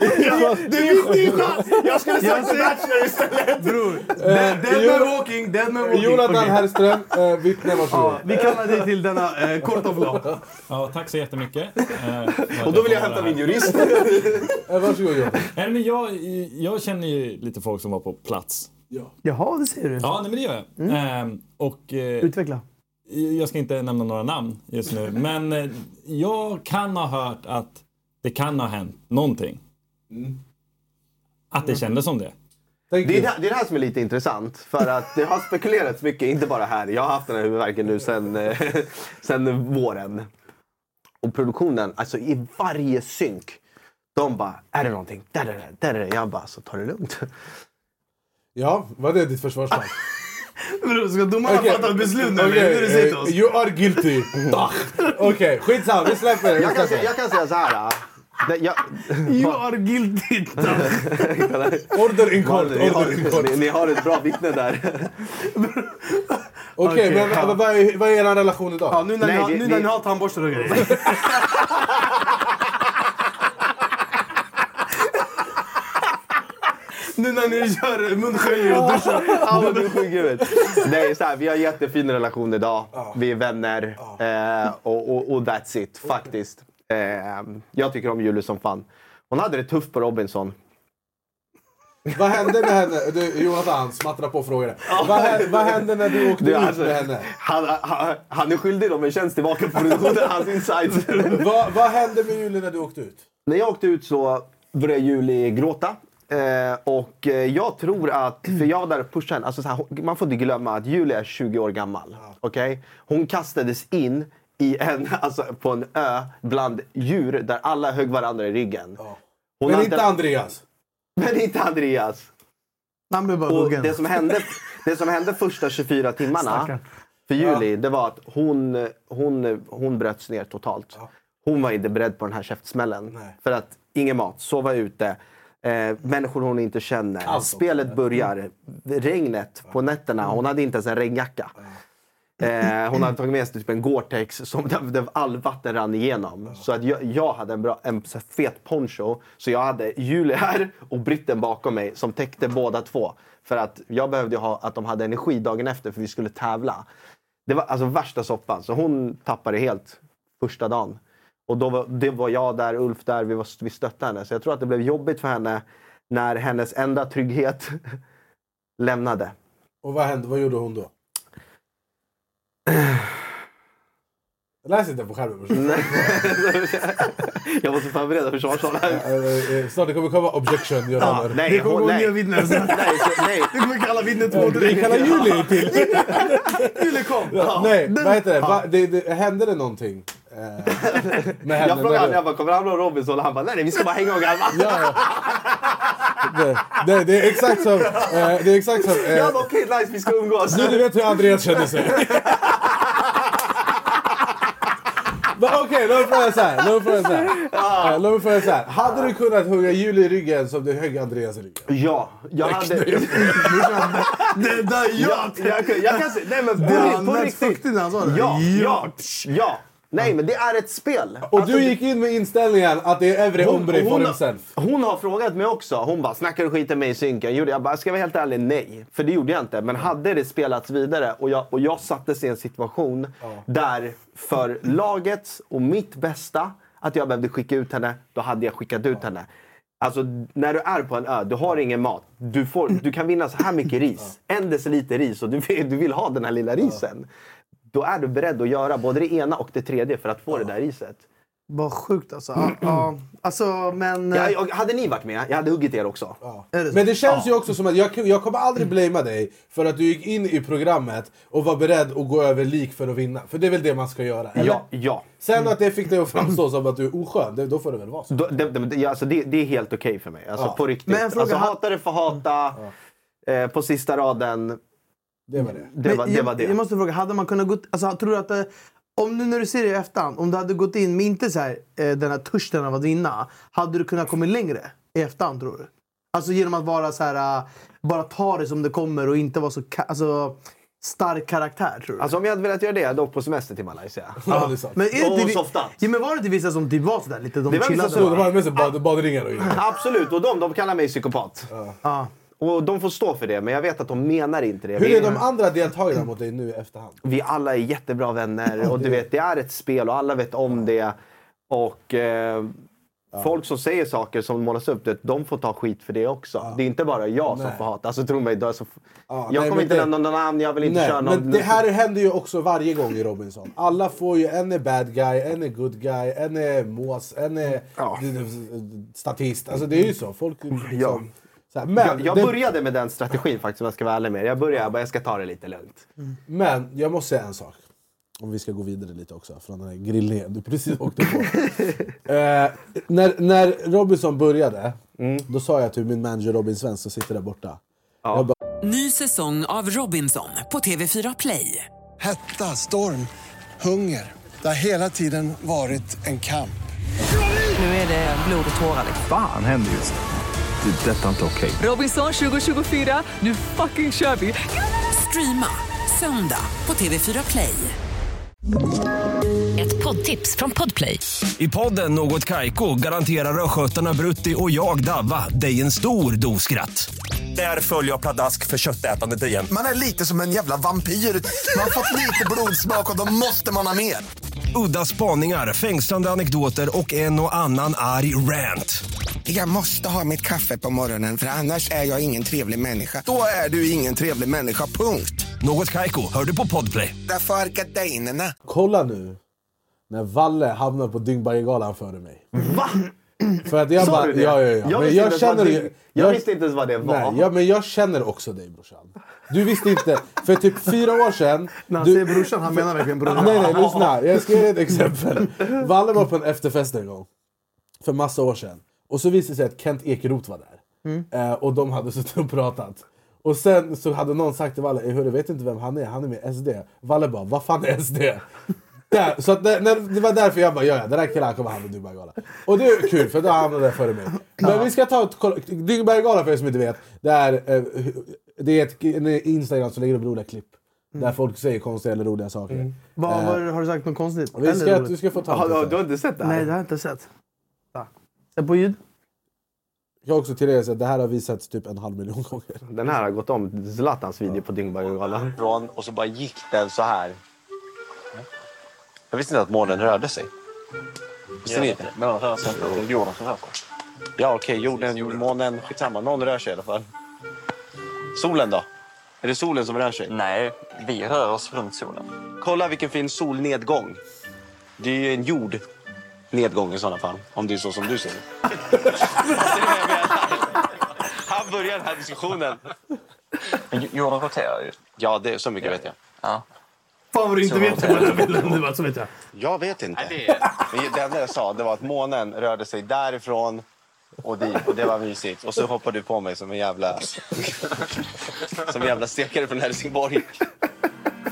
S5: Det är din chans!
S4: Jag skulle
S5: sagt The Bachelor
S4: istället!
S5: Bror, dead, dead
S6: eh, Jo-
S5: man walking, dead man walking.
S6: Jonathan
S5: Okej.
S6: Herrström, eh, vittne varsågod.
S5: Ja, vi kallar dig till denna eh, kort av lag.
S7: Ja, tack så jättemycket. Eh,
S5: Och då vill jag hämta min jurist.
S6: Eh, Varsågod Jonathan.
S7: Nej, men jag, jag känner ju lite folk som var på plats. Ja.
S5: Jaha, det ser du.
S7: Ja, nej, men det gör jag.
S5: Mm.
S7: Ehm, och, eh,
S5: Utveckla.
S7: Jag ska inte nämna några namn just nu, men eh, jag kan ha hört att det kan ha hänt någonting.
S5: Mm.
S7: Att det kändes som det.
S4: Det är, det, det är det här som är lite intressant. För att det har spekulerats mycket, inte bara här. Jag har haft den här huvudvärken nu sen, eh, sen våren. Och produktionen, alltså i varje synk. De bara, är det någonting? Där är det, där är det. Jag bara, så ta det lugnt.
S6: Ja, vad är ditt försvarsfall?
S5: Bror, ska domarna
S6: Okej.
S5: fatta ett beslut nu? eller?
S6: Okej,
S5: Det är det du säger till oss.
S6: eh, You are guilty. Tach. Okej, skitsamma. Vi släpper det.
S4: Jag
S6: vi
S4: kan,
S6: släpper
S4: säga- jag kan säga så här. ah. Det- Jag,
S5: You are guilty.
S6: Order in court,
S4: Ni har,
S6: order in court.
S4: ni, ni har ett bra vittne där.
S6: Okej,
S4: Okej,
S6: men
S4: ja.
S6: men vad är, vad är er relation idag?
S5: Ja, nu när, ni, har, nu när ni har tandborstar och grejer. nu när ni kör munskölj och duschar.
S4: Ja, men du är sjuk i huvudet. Nej, så här, vi har en jättefin relation idag. Vi är vänner. Eh, och, och, och that's it, faktiskt. Eh, jag tycker om Julie som fan. Hon hade det tufft på Robinson.
S6: Vad hände med henne? Du, Jonathan, smattra på och fråga det. Vad, hä- vad hände när du åkte
S4: Du,
S6: ut
S4: alltså,
S6: med henne?
S4: Han, han, han är skyldig dem en tjänst tillbaka på produktionen. hans insides.
S6: vad, vad hände med Julie när du åkte ut?
S4: När jag åkte ut så började Julie gråta. Eh, och eh, jag tror att, för jag var där och pushade henne. Alltså så här, hon- man får inte glömma att Julie är 20 år gammal. Okej? Hon kastades in i en, alltså, på en ö bland djur där alla högg varandra i ryggen. Hon
S6: Men
S4: hade-
S6: inte Andreas.
S4: Men inte Andreas.
S5: Han blev bara
S4: Och
S5: huggen.
S4: det, som hände, det som hände första 24 timmarna
S5: Stackarn.
S4: för Julie, det var att hon, hon, hon bröts ner totalt. Hon var inte beredd på den här käftsmällen. För att ingen mat, sova ute, eh, människor hon inte känner.
S6: Allt.
S4: Spelet börjar, regnet på nätterna. Hon hade inte ens en regnjacka. Eh, hon hade tagit med sig typ en Gore-Tex som där, där all vatten rann igenom. Så att jag, jag hade en, bra, en så här fet poncho. Så jag hade Julie här och britten bakom mig som täckte båda två. För att jag behövde ju ha att de hade energi dagen efter för vi skulle tävla. Det var alltså värsta soppan. Så hon tappade helt första dagen. Och då var, det var jag där, Ulf där, vi, var, vi stöttade henne. Så jag tror att det blev jobbigt för henne när hennes enda trygghet lämnade.
S6: Och vad hände? Vad gjorde hon då? Läs inte på skärmen brorsan.
S4: Jag måste förbereda försvarstalan.
S6: Eh, eh, Snart det kommer komma objection. Göran.
S4: Ja, nej,
S6: Det kommer
S4: hon-
S6: gå
S4: nej.
S6: nya vittnen.
S4: nej, så, nej.
S5: Du kommer kalla vittnet
S6: Eh,
S5: två direkt.
S6: Vi kallar Julie till.
S5: Julie kom!
S6: Ja, Nej, vad heter det? Va, det, det? Hände det någonting? Eh, med henne?
S4: Jag
S6: när
S4: frågade honom,
S6: du-
S4: jag bara, kommer han bli Robinson? Och han bara, nej, nej vi ska bara hänga och garva.
S6: Ja, det, det, det är exakt som... Eh, det är exakt som eh,
S4: Jag bara, okej nice, vi ska umgås.
S6: nu du vet hur Andreas känner sig. Men Okej, låt mig fråga så här. Låt mig fråga så här. Eh, Låt mig fråga så här. Hade du kunnat hugga Julie i ryggen som du högg Andreas i ryggen?
S4: Ja, jag hade...
S5: Det där är
S4: jag, jag, kan- jag kan säga, nej men på,
S5: Ja,
S4: ri- på
S5: men
S4: riktigt.
S5: fuck det, han sa det.
S4: Ja, ja,
S5: Ja.
S4: ja. Nej men det är ett spel.
S6: Och
S4: Alltså,
S6: du gick in med inställningen att det är Evre
S4: Hon-
S6: Ombre for
S4: hon-
S6: himself.
S4: Hon har frågat mig också. Hon bara, snackar du skit om mig i synken? Gjorde Jag bara, ska jag vara helt ärlig, nej. För det gjorde jag inte. Men hade det spelats vidare och jag, och jag sattes i en situation där för lagets och mitt bästa, att jag behövde skicka ut henne, då hade jag skickat ut henne. Alltså när du är på en ö, du har ingen mat. Du, får, du kan vinna så här mycket ris. En deciliter ris och du vill, du vill ha den här lilla risen. Då är du beredd att göra både det ena och det tredje för att få det där riset.
S5: Vad sjukt alltså. Ja, ja. Alltså men...
S4: Jag, jag, hade ni varit med, jag hade huggit er också.
S6: Men det känns ju också som att jag, jag kommer aldrig blamea dig för att du gick in i programmet och var beredd att gå över lik för att vinna. För det är väl det man ska göra? Eller?
S4: Ja, ja.
S6: Sen att det fick dig att framstå som att du är oskön, det, då får det väl vara så.
S4: Då- Det, det, det, alltså det, det är helt okej för mig. Alltså
S6: Ja.
S4: på riktigt.
S6: Men jag frågar-
S4: alltså, hata det för hata.
S6: Mm.
S4: Eh, på sista raden.
S6: Det var det.
S4: Det var det.
S5: jag,
S4: Var det.
S5: jag måste fråga, hade man kunnat gå... Alltså, tror du att det, om nu när du ser det i efterhand, om du hade gått in med inte så här, eh, den här törsten av att vinna, hade du kunnat komma längre i efterhand tror du? Alltså genom att vara så här, äh, bara ta det som det kommer och inte vara så ka- alltså, stark karaktär. Tror jag.
S4: Alltså om jag hade velat göra det, jag hade åkt på semester till Malaysia.
S5: Ja, det är sant. Men är det inte vi-
S4: och softat.
S5: Ja, men var det inte vissa som typ var sådär lite? De
S4: Det var vissa
S5: chillade
S4: som- Det var
S6: mest bad, badringar och
S4: Absolut, och de, de kallar mig psykopat. Och de får stå för det, men jag vet att de menar inte det.
S6: Hur
S4: Vi-
S6: är de andra deltagarna mot dig nu i efterhand?
S4: Vi alla är jättebra vänner och du vet, det är ett spel och alla vet om det. Och eh, folk som säger saker som målas upp, det, de får ta skit för det också. Det är inte bara jag som
S6: Nej.
S4: får hata. Alltså tro mig, då, är så
S6: Ja, nej,
S4: jag kommer
S6: men
S4: inte
S6: det-
S4: nämna någon namn, jag vill inte
S6: Nej,
S4: köra någon...
S6: men det här händer ju också varje gång i Robinson. Alla får ju, en är bad guy, en är good guy, en är mås, en är d- d- statist. Alltså det är ju så. Folk liksom,
S4: Ja.
S6: så här. Men,
S4: jag jag
S6: det-
S4: började med den strategin faktiskt om jag ska vara ärlig med er. Jag började jag bara, jag ska ta det lite lugnt.
S6: men jag måste säga en sak. Om vi ska gå vidare lite också från den här grillningen du precis åkte på. eh, när, när Robinson började,
S4: Mm.
S6: då sa jag till min manager Robin Svensson som sitter där borta. Jag bara,
S1: Ny säsong av Robinson på TV4 Play.
S2: Hetta, storm, hunger. Det har hela tiden varit en kamp.
S1: Nu är det blod och tårar. liksom.
S3: Fan händer just nu. Det. är Detta är inte okej.
S1: Robinson 2024, nu fucking kör vi! Streama söndag på TV4 Play.
S18: Ett poddtips från Podplay.
S19: I podden Något Kaiko garanterar östgötarna Brutti och jag, Davva, dig en stor dos skratt. Där följer jag pladask för köttätandet igen.
S20: Man är lite som en jävla vampyr. Man har fått lite blodsmak och då måste man ha mer.
S19: Udda spaningar, fängslande anekdoter och en och annan arg rant.
S20: Jag måste ha mitt kaffe på morgonen för annars är jag ingen trevlig människa. Då är du ingen trevlig människa, punkt.
S19: Något Kaiko, hör du på podplay.
S20: Därför är gardinerna.
S6: Kolla nu när Valle hamnar på Dyngbaggegalan före mig. För att jag
S4: Sa
S6: bara,
S4: du det?
S6: Ja, ja, ja.
S4: Jag
S6: men
S4: visste
S6: jag,
S4: inte ens vad
S6: känner,
S4: det-
S6: ju-
S4: jag visste inte ens vad det var.
S6: Nej, ja, men jag känner också dig brorsan. Du visste inte. För typ fyra år sedan... När han du... säger
S5: brorsan, han menar verkligen brorsan.
S6: Nej, nej, lyssna. Jag ska ge dig ett exempel. Valle var på en efterfest en gång. För massa år sedan. Och så visade det sig att Kent Ekeroth var där.
S4: Mm.
S6: Eh, och de hade suttit och pratat. Och sen så hade någon sagt till Valle, "Eh, hörru vet du inte vem han är? Han är med i SD. Valle bara, vad fan är SD? Där, så att när, när, det var därför jag bara, ja ja, den där killen han kommer hamna i Dyngbaggegalan. Och det är kul för då hamnade där före mig. Men vi ska ta ett koll. Dyngbaggegalan för er som inte vet, det är, eh, hu- det är ett, en Instagram som lägger upp roliga klipp. Där folk säger konstiga eller roliga saker.
S5: Vad,
S6: Eh,
S5: vad- har du sagt något konstigt?
S6: vi ska-
S5: Eller-
S6: du ska få ta Har- har- det. du har inte sett det här?
S5: Nej, det har jag inte sett. Sätt på ljud.
S6: Jag har också tillägga att det här har visats typ en halv miljon gånger.
S4: Den här har gått om Zlatans video på Dyngbaggegalan.
S8: Och så bara gick den så här. Jag visste inte att månen rörde sig. Visste ni inte? Men alltså, de rör sig inte. Jorden som rör sig. Ja, okej. Jorden, månen, skitsamma. Någon rör sig i alla fall. Solen då? Är det solen som rör sig? Nej, vi rör oss runt solen. Kolla vilken fin solnedgång. Det är ju en jordnedgång i sådana fall. Om det är så som du ser det. Han börjar den här diskussionen. Jorden roterar ju. Ja, det, så mycket vet jag. Ja.
S5: Fan vad du inte
S8: Så-
S5: vet vad jag vill. Det var- Så vet jag.
S8: Jag vet inte. Men Det enda jag sa det var att månen rörde sig därifrån och dit. Och det var mysigt. Och så hoppade du på mig som en jävla, som en jävla stekare från Helsingborg.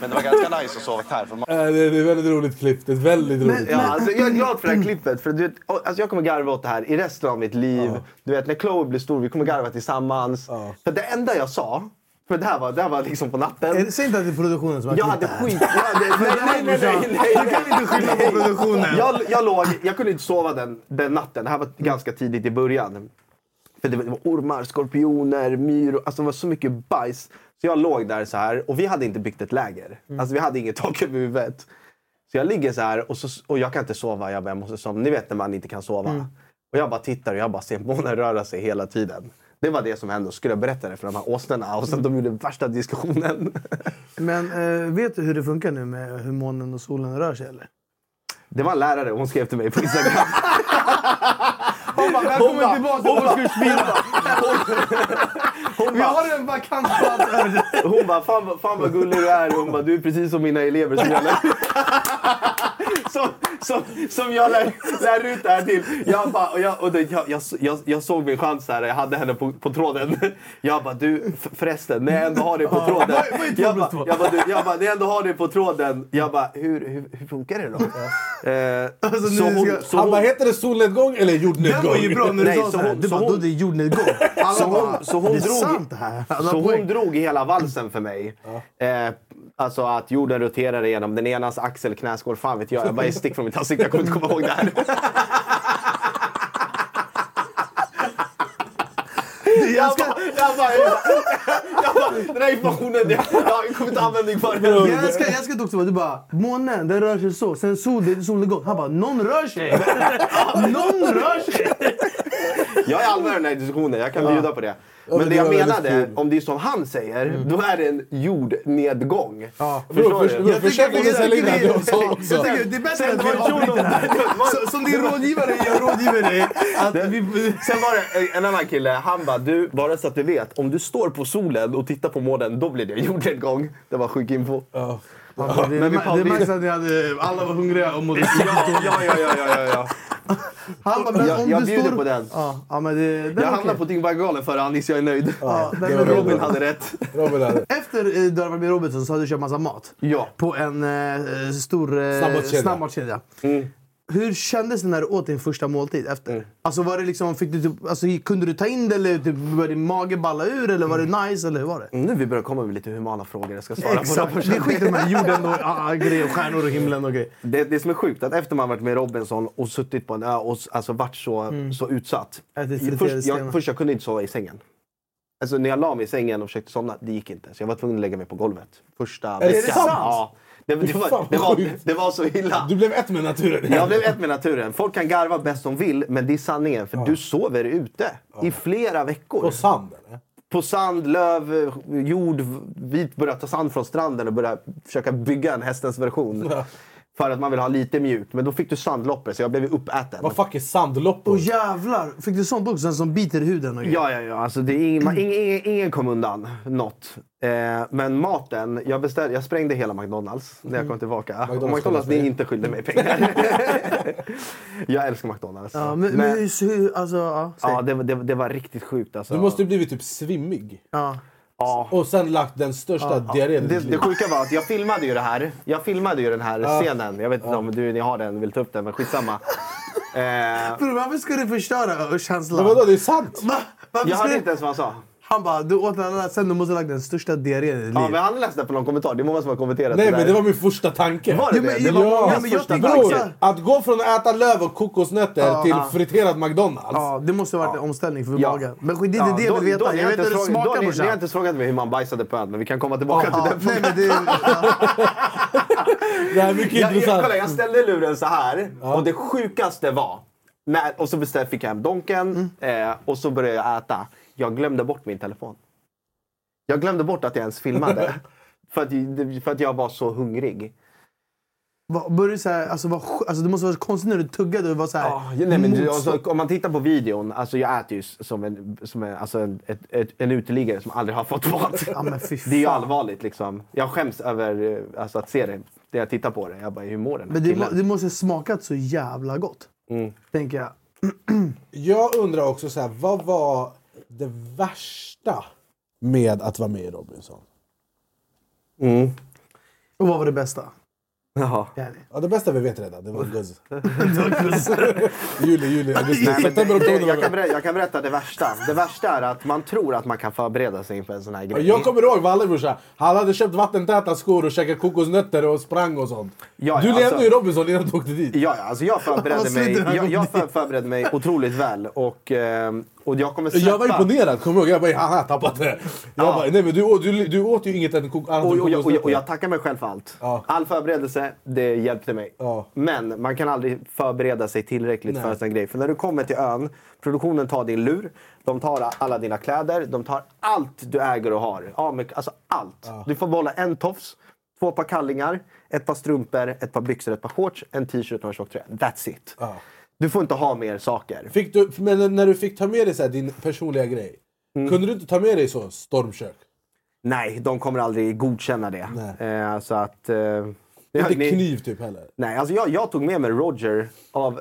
S8: Men det var ganska nice att sova här. För
S6: Eh, det, det är ett väldigt roligt klipp. Det är ett väldigt roligt
S4: Ja,
S6: klipp.
S4: alltså, jag är glad för det här klippet. För du vet, och- alltså, jag kommer garva åt det här i resten av mitt liv. Du vet, när Chloe blir stor, vi kommer garva tillsammans. För det enda jag sa, för det här var, det här var liksom på natten.
S5: Eh, Säg inte att det är produktionen som har
S4: Jag
S5: klippt
S4: hade
S5: det här.
S4: skit... Jag hade, nej, nej, nej, nej, nej,
S5: Du kan inte skylla på produktionen.
S4: Jag, jag, låg, jag kunde inte sova den, den natten. Det här var ganska tidigt i början. För det var- det var ormar, skorpioner, myror. Alltså det var så mycket bajs. Så jag låg där så här och vi hade inte byggt ett läger.
S5: Mm.
S4: Alltså vi hade inget tak över huvudet. Så jag ligger så här och, så, och jag kan inte sova. Jag, bara, jag måste sova. Ni vet när man inte kan sova.
S5: Mm.
S4: Och jag bara tittar och jag bara ser månen röra sig hela tiden. Det var det som hände. Och så skulle jag berätta det för de här åsnorna och sen de gjorde värsta diskussionen.
S5: Men eh, vet du hur det funkar nu med hur månen och solen rör sig eller?
S4: Det var en lärare, hon skrev till mig på Instagram.
S5: Hon bara,
S4: Hon bara,
S5: välkommen tillbaka till
S4: hon bara,
S5: årskurs fyra.
S4: Vi har en vakant Hon bara, fan, vad- fan vad gullig du är. Hon bara, du är precis som mina elever som jag lär- som, som, som jag lär, lär ut det här till. Jag, bara, och jag, och det, jag, jag, jag, jag såg min chans här, jag hade henne på, på tråden. Jag bara, du f- förresten, när jag ändå har dig på tråden. Jag bara, jag bara, du, jag bara, när jag ändå har dig på tråden. Jag bara, hur, hur, hur funkar det då? Eh,
S6: Alltså,
S4: så
S6: nu
S4: hon-
S6: ska-
S4: så
S6: Han bara,
S4: hon-
S6: heter det solnedgång eller jordnedgång?
S4: Den var ju bra när du
S6: Nej,
S4: sa
S6: så
S4: så här.
S6: hon-
S4: Du
S6: så
S4: bara,
S6: hon-
S4: då är det jordnedgång.
S6: Alla
S4: Så
S6: bara,
S4: hon, så hon
S6: "Det är
S4: drog,
S6: sant det här." Alla
S4: Så
S6: poäng.
S4: hon drog i hela valsen för mig. Eh, alltså att jorden roterar genom den enas axel, knäskål, fan vet jag. Jag bara är stick från mitt ansikte, jag kommer inte komma ihåg det här. Jag bara, jag bara, jag bara, jag bara, den här informationen, jag, jag kommer inte användning för den.
S5: Jag älskar, jag älskar dock så, du bara månen den rör sig så, sen sol, det är solnedgång. Han bara någon rör sig! någon rör sig!
S4: Jag är allvar i den här diskussionen, jag kan
S5: Ja.
S4: bjuda på det.
S5: Ja,
S4: Men
S5: men
S4: det
S5: det
S4: jag
S5: var väldigt Mm.
S4: menade,
S5: kul.
S4: om det är som han säger, då är det en jordnedgång. Ja.
S6: Bror, förs- bror, försök inte sälja in det här till oss också.
S5: Jag tycker det är bättre att vi avbryter det här. Så- Som din rådgivare, jag rådgiver dig. Att vi...
S4: Sen var det en annan kille, han bara du, bara så att du vet, om du står på solen och tittar på månen, då blir det jordnedgång. Det var sjuk info. Ja.
S5: Ja, det är
S4: Men vi
S5: ma- det är max
S4: pausar.
S5: att ni hade, alla var hungriga och mådde
S4: Ja, ja, ja, ja, ja, ja.
S5: Han bara, men
S4: Jag-
S5: om
S4: jag
S5: du
S4: bjuder
S5: står...
S4: på den.
S5: Ja, ja, men det, den
S4: Jag
S5: är
S4: hamnade
S5: okej.
S4: på Dyngbaggegalan förra Anis, jag är nöjd.
S5: den var
S4: Robin
S5: bra.
S4: hade rätt.
S5: Efter eh, Dörrar med Robertson så hade du köpt massa mat.
S4: Ja.
S5: På en eh, stor eh,
S4: Snabbmatskedja. Mm.
S5: snabbmatskedja. Hur kändes det när du åt din första måltid efter? Alltså, var det liksom, fick du typ, alltså, kunde du ta in det eller typ, började din mage balla ur? Eller var det nice? Eller hur var det?
S4: Nu vi börjar komma med lite humana frågor. Jag ska svara
S5: Exakt.
S4: Mm. på dem.
S5: Vi skiter med jorden och ah, grejer, stjärnor och himlen och grejer.
S4: Det, det som är sjukt att efter man varit med Robinson och suttit på en ö och s- alltså varit så,
S6: Mm.
S4: så utsatt.
S5: Att det
S4: Jag,
S5: friterades
S4: först,
S5: stenar.
S4: jag, först jag kunde inte sova i sängen. Alltså när jag la mig i sängen och försökte somna, det gick inte. Så jag var tvungen att lägga mig på golvet. Första
S6: Är det sant?
S4: Ja. Det, det,
S6: Fan,
S4: var, det, var,
S6: sjukt.
S4: det var så illa.
S6: Du blev ett med naturen.
S4: Jag blev ett med naturen. Folk kan garva bäst de vill, men det är sanningen. För du sover ute i flera veckor. På
S6: sand? Eller?
S4: På sand, löv, jord. Vi började ta sand från stranden och började försöka bygga en hästens version. För att man vill ha lite mjukt. Men då fick du sandloppor, så jag blev uppäten.
S6: Vad fuck är sandloppor?
S5: Och jävlar! Fick du sånt också? En som biter i huden och grejer?
S4: Ja, ja, ja. Alltså, det är ingen, man, ingen, ingen, ingen kom undan något. Eh, men maten, jag, beställ, jag sprängde hela McDonalds när jag
S6: Mm.
S4: kom tillbaka. och McDonalds, ni är inte skyldiga mig pengar. jag älskar McDonalds.
S5: Ja, men, men, hur, hur, alltså, ja, säg.
S4: ja, det, var- det, var- det var riktigt sjukt alltså.
S6: Du måste ju blivit typ svimmig. Och sen lagt den största
S4: Ja.
S6: diarrén i
S4: det,
S6: ditt liv.
S4: det sjuka var att jag filmade ju det här. Jag filmade ju den här
S6: Ja.
S4: scenen. Jag vet inte om du, ni har den, vill ta upp den, men skitsamma. eh,
S5: Bror, varför ska du förstöra känslan?
S4: Men vadå,
S6: det är sant!
S5: Va? Varför
S4: jag
S5: ska
S4: hörde
S5: du-
S4: inte ens vad han sa.
S5: Han bara, du åt den andra sen du måste ha lagt den största diarrén i ditt liv.
S4: Ja, men han läste det på någon kommentar. Det är många som har kommenterat
S6: Nej
S4: det där.
S6: men det var min första tanke.
S4: Var det
S6: ja,
S4: det?
S6: men,
S4: Det var
S6: ja,
S4: mångas
S6: men jag
S4: första
S6: tänkte
S4: tanke.
S6: också, Att gå från att äta löv och kokosnötter
S5: Ja.
S6: till
S5: Ja.
S6: friterad McDonalds.
S5: Ja, det måste ha varit en omställning för
S6: Ja.
S5: magen. Men skit i det, det jag
S4: då-
S5: vill veta.
S4: då- ni
S5: jag
S4: har
S5: vet inte hur det
S4: frågat- då har
S5: smakar
S4: ni- Ni har
S5: brorsan.
S4: inte frågat mig hur man bajsade på ön, men vi kan komma tillbaka
S5: Ja, ja.
S4: till den frågan. Nej,
S5: men
S6: det här är mycket
S4: jag,
S6: intressant.
S4: Jag, kolla, jag ställde luren så här och det sjukaste var... När, och så beställde, fick jag hem donken eh, och så började jag äta. Jag glömde bort min telefon. Jag glömde bort att jag ens filmade. för, att, för att jag var så hungrig.
S5: Vad- Började du så här, alltså, vad, sj- alltså, det måste vara konstigt när du tuggade och var så här...
S4: Ja, Nej, men du,
S5: motstånd.
S4: alltså, om man tittar på videon, alltså jag äter ju s- som en, som en, alltså en, ett, ett, en uteliggare som aldrig har fått mat.
S5: Ja, men fy
S4: det är ju
S5: fan.
S4: allvarligt. Liksom. Jag skäms över eh, alltså, att se det, det jag tittar på det. Jag bara, hur mår den här
S5: men det, må-
S4: killen?
S5: det måste ha smakat så jävla gott.
S4: Mm.
S5: Tänker jag.
S6: Jag undrar också så här, vad var det värsta med att vara med i Robinson?
S4: Mm.
S5: Och vad var det bästa?
S4: Jaha.
S6: Ja, det bästa vi vet redan, det var Guzz.
S5: Guzz.
S6: juli, juli, augusti,
S4: Nej, men
S6: september,
S4: det- det-
S6: oktober.
S4: jag, kan berätta, jag kan berätta det värsta. Det värsta är att man tror att man kan förbereda sig inför en sån här
S6: Ja,
S4: grej.
S6: Jag kommer ihåg Valle brorsa, han hade köpt vattentäta skor och käkat kokosnötter och sprang och sånt.
S4: Ja,
S6: du
S4: ja,
S6: levde
S4: alltså-
S6: ju Robinson innan du åkte dit.
S4: Ja, ja, alltså jag förberedde
S6: Vad slutar
S4: mig,
S6: han
S4: jag,
S6: gå
S4: jag för, förberedde mig otroligt väl. Och, ehm, och jag kommer släppa...
S6: Jag var imponerad, kommer jag ihåg. Jag bara, han har tappat det. Jag
S4: Ja.
S6: bara, nej men du, åt- du, du åt ju inget annat än kok- annat
S4: Och,
S6: än
S4: och, jag- och, jag- och
S6: kokosnötter.
S4: jag tackar mig själv för allt. All förberedelse, det hjälpte mig. Men man kan aldrig förbereda sig tillräckligt
S6: Nej.
S4: för en sån grej. För när du kommer till ön, produktionen tar din lur, de tar alla dina kläder, de tar allt du äger och har. Ja, men, alltså allt. Du får behålla en tofs, två par kallingar, ett par strumpor, ett par byxor, ett par shorts, en t-shirt och en tjock tröja. That's it. Du får inte ha mer saker.
S6: Fick du, men när du fick ta med dig så här, din personliga grej,
S4: Mm.
S6: kunde du inte ta med dig så stormkök?
S4: Nej, de kommer aldrig godkänna det. Eh, så att... Eh,
S6: Inte
S4: ni-
S6: kniv typ heller.
S4: Nej, alltså jag, jag tog med mig Roger av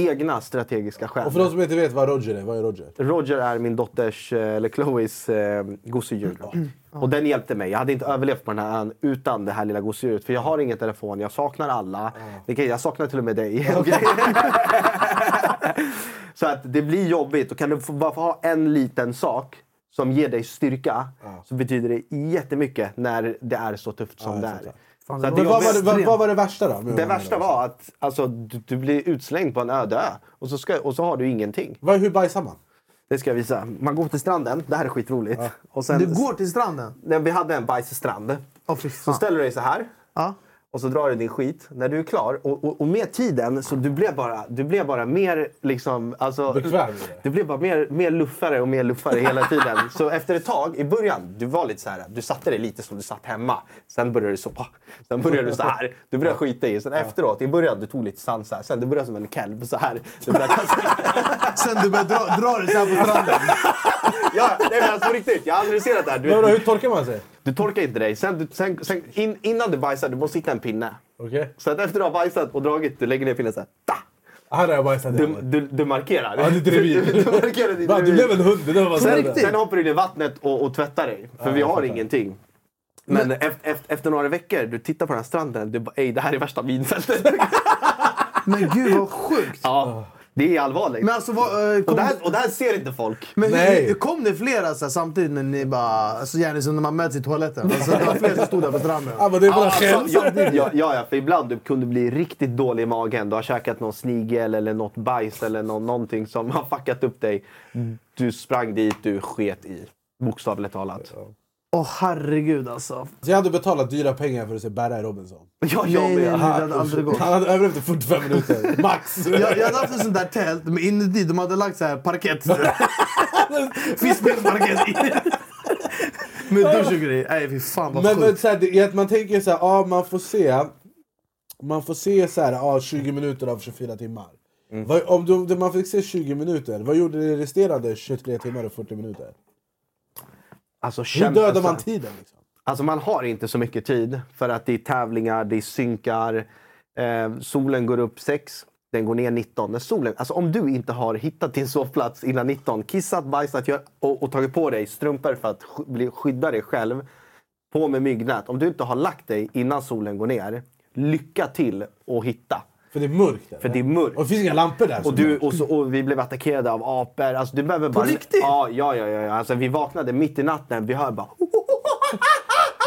S4: egna strategiska skäl.
S6: Och för de som inte vet vad Roger är, vad är Roger?
S4: Roger är min dotters, eh, eller Chloes, eh, gosedjur.
S6: Mm.
S4: Och den hjälpte mig. Jag hade inte överlevt på den här ön utan det här lilla gosedjuret. För jag har ingen telefon, jag saknar alla. Det kan- Jag saknar till och med dig. Så att det blir jobbigt. Och kan du få, bara få ha en liten sak som ger dig styrka så betyder det jättemycket när det är så tufft som det är. Så att det
S6: Men vad, var det,
S4: jobbigt-
S6: vad, vad var det värsta då?
S4: det värsta var att alltså, du, du blir utslängd på en öde ö och så, ska, och så har du ingenting.
S6: Vad, hur bajsar man?
S4: Det ska jag visa. Man går till stranden. Det här är skitroligt. Och
S5: Du går till stranden?
S4: Nej, vi hade en bajsstrand. så ställer du dig så här. Och så drar du din skit. När du är klar, och, och, och med tiden så du blev bara, du blev bara mer liksom... Alltså,
S6: Bekväm.
S4: Du blev bara mer, mer luffare och mer luffare hela tiden. Så efter ett tag, i början, du var lite så här, du satte dig lite som du satt hemma. Sen började du så. Sen började du så här. Du började skita i. Sen efteråt, i början, du tog lite sans här. Sen du började som en kalv så här. Du började
S5: Sen du började dra, dra dig så här på stranden.
S4: ja, nej men alltså på riktigt. Jag har analyserat det här.
S6: Men vadå, hur torkar man sig?
S4: Du torkar inte dig. Sen, du, sen, sen, in, innan du bajsar, du måste hitta en pinne.
S6: Okej.
S4: Så att efter du har bajsat och dragit, du lägger ner pinnen så här. Ta!
S6: Här har jag bajsat.
S4: Du, du, du markerar.
S6: Ja, ditt revir.
S4: Du, du markerar ditt
S6: Va, du
S4: revir.
S6: blev en hund, det där var så
S4: sen,
S6: riktigt.
S4: sen hoppar du in i vattnet och, och tvättar dig. För
S6: Ja,
S4: vi
S6: jag
S4: har
S6: fattar.
S4: ingenting. Men efter, efter, efter några veckor, du tittar på den här stranden. Du bara, ej det här är värsta minfältet.
S5: Men gud vad sjukt!
S6: Ah.
S4: ja, det är allvarligt.
S5: Men alltså, vad, eh, kom-
S4: och, det här, och det här ser inte folk.
S5: Men hur- kom det flera så här, samtidigt när ni bara... Alltså, gärna som när man möts i toaletten. Alltså, det var flera som stod där på stranden.
S6: Ah,
S4: alltså, ja, ja, ja, för ibland du kunde bli riktigt dålig i magen. Du har käkat någon snigel eller något bajs eller nå- någonting som har fuckat upp dig. Du sprang dit, du sket i. Bokstavligt talat.
S5: Åh herregud alltså.
S6: Så jag hade betalat dyra pengar för att se Berra i Robinson.
S4: Ja, jag Nej, med. nej, nej, det hade aldrig gått.
S6: Han hade överlevt i 45 minuter, max.
S5: Jag, jag hade haft ett sånt där tält, men inuti de hade lagt så här parkett. Fiskbensparkett. Med dusch och grejer. Nej fy fan vad
S6: Men, men
S5: sjukt.
S6: så här, det är att man tänker så här, ah, man får se Man får se så här, ah, 20 minuter av 24 timmar.
S4: Mm.
S6: Vad, om du, om man fick se 20 minuter, vad gjorde det resterande 23 timmar och 40 minuter?
S4: Alltså,
S6: Hur
S4: kämpa
S6: dödar
S4: så här.
S6: man tiden? Liksom?
S4: Alltså man har inte så mycket tid för att det är tävlingar, det är synkar. Eh, solen går upp 6, den går ner 19. När solen, alltså om du inte har hittat din sovplats innan 19, kissat, bajsat gör, och, och tagit på dig strumpor för att sk- bli- skydda dig själv. På med myggnät. Om du inte har lagt dig innan solen går ner, lycka till och hitta.
S6: För det är mörkt där.
S4: För det är mörkt.
S6: Och det finns inga lampor där.
S4: Och, du, och, så, och vi blev attackerade av apor. Alltså, du behöver bara... På riktigt? Ja, ja, ja. ja. Alltså, vi vaknade mitt i natten. Vi hör bara...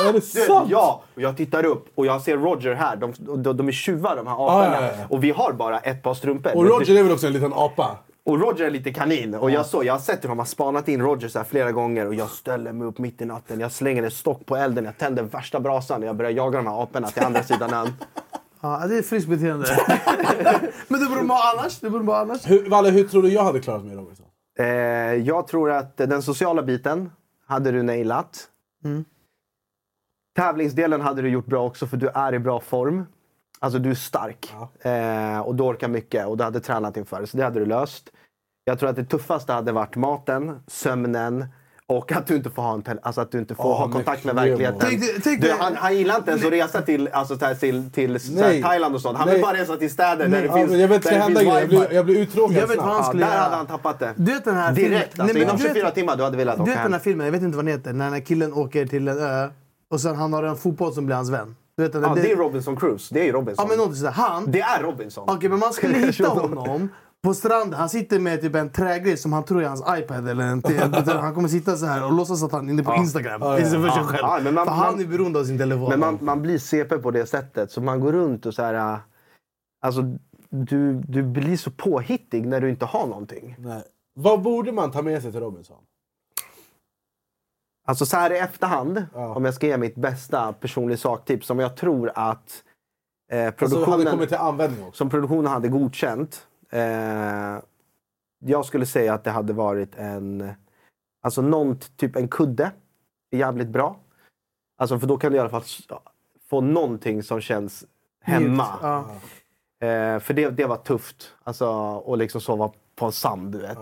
S6: Är det sant?
S4: Ja! Och jag tittar upp och jag ser Roger här. De, de, de är tjuvar de här aporna.
S6: Ah, ja, ja, ja.
S4: Och vi har bara ett par strumpor.
S6: Och Roger är väl också en liten apa?
S4: Och Roger är lite kanin. Och jag, så, jag har sett hur de har spanat in Roger så här flera gånger. Och jag ställer mig upp mitt i natten. Jag slänger en stock på elden. Jag tänder värsta brasan. Och jag börjar jaga de här aporna till andra sidan ön.
S5: Ja, det är friskt beteende. men det borde man ha annars. Det borde man ha annars.
S6: Hur, Valle, hur tror du jag hade klarat mig Robinson?
S4: Eh, jag tror att den sociala biten hade du nailat.
S5: Mm.
S4: Tävlingsdelen hade du gjort bra också för du är i bra form. Alltså du är stark eh, och du orkar mycket och du hade tränat inför. Så det hade du löst. Jag tror att det tuffaste hade varit maten, sömnen och att du inte får ha, en tele- alltså att du inte får
S5: Ja,
S4: ha
S5: men
S4: kontakt med
S5: Clemo.
S4: verkligheten.
S5: Tänk dig- tänk
S4: du,
S5: dig-
S4: han, han gillar inte ens att resa till, alltså, så här, till, till så här,
S6: Nej.
S4: Thailand och sånt. Han
S6: Nej.
S4: vill bara resa till städer där
S6: Nej,
S4: det
S6: ja,
S4: finns
S6: men jag vet,
S4: där
S6: ska
S4: det
S6: hända
S4: finns
S6: grejer. Jag
S4: wifi.
S6: blir- jag blir uttråkad
S5: Jag vet vad han
S4: Ja,
S5: skulle
S4: Där
S5: göra.
S4: hade han tappat det.
S5: Du vet den här filmen-
S4: Direkt.
S5: Nej,
S4: Alltså,
S5: men
S4: inom
S5: du vet-
S4: 24 timmar du hade velat
S5: Du
S4: åka
S5: vet den
S4: hem.
S5: här filmen, jag vet inte vad den heter, när den här killen åker till en ö och sen han har en fotboll som blir hans vän. Du vet den,
S4: Ja, det är Robinson Cruise. Det är ju Robinson.
S5: Ja, men någonting sådär. Han...
S4: Det är Robinson.
S5: Okej, men man skulle hitta honom på stranden. Han sitter med typ en trägrej som han tror är hans iPad eller en te- Han kommer sitta så här och låtsas att han är inne på
S4: Ja.
S5: Instagram.
S4: Ja, ja,
S5: Istället för
S4: ja.
S5: sig själv.
S4: Ja, men man-
S5: för han
S4: man-
S5: är beroende av sin telefon.
S4: Men man, man blir CP på det sättet. Så man går runt och så här... äh, Alltså, du, du blir så påhittig när du inte har någonting.
S6: Nej. Vad borde man ta med sig till Robinson?
S4: Alltså så här i efterhand, om jag ska ge mitt bästa personliga saktips som jag tror att eh,
S6: Alltså, hade
S4: produktionen...
S6: kommit till användning också?
S4: som produktionen hade godkänt. Eh, jag skulle säga att det hade varit en, alltså någon, t- typ en kudde. är Jävligt bra. Alltså för då kan du i alla fall s- få någonting som känns hemma.
S5: Mjukt, ja.
S4: Eh, för det, det var tufft. Alltså att liksom sova på en sand, du vet.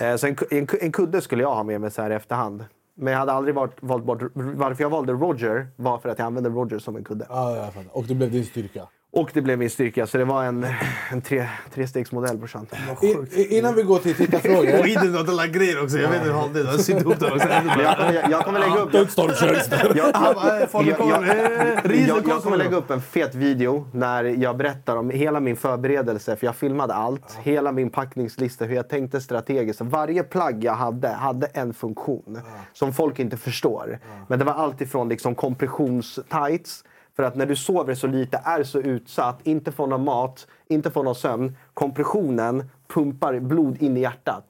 S4: Eh, så en, ku- en, ku- en kudde skulle jag ha med mig så här i efterhand. Men jag hade aldrig valt, valt bort... Varför jag valde Roger var för att jag använde Roger som en kudde.
S6: Ja, jag fattar. Och det blev din styrka.
S4: Och det blev min styrka, så det var en, en tre, trestegsmodell brorsan.
S6: I, innan vi går till tittarfrågor.
S5: Och Idun hade lagt grejer också. Jag vet inte hur han det. Han sydde ihop det också.
S4: Men jag kommer- jag- jag kommer lägga upp-
S5: Ta ut stormköks där.
S4: Jag-
S5: Han bara, "Eh, falukorv,
S4: jag-
S5: eh, ris och
S4: jag, jag
S5: korv."
S4: kommer lägga upp en fet video när jag berättar om hela min förberedelse. För jag filmade allt. Hela min packningslista, hur jag tänkte strategiskt. Varje plagg jag hade, hade en funktion. Som folk inte förstår. Men det var allt ifrån liksom kompressionstights. För att när du sover så lite, är så utsatt, inte får någon mat, inte får någon sömn. Kompressionen pumpar blod in i hjärtat.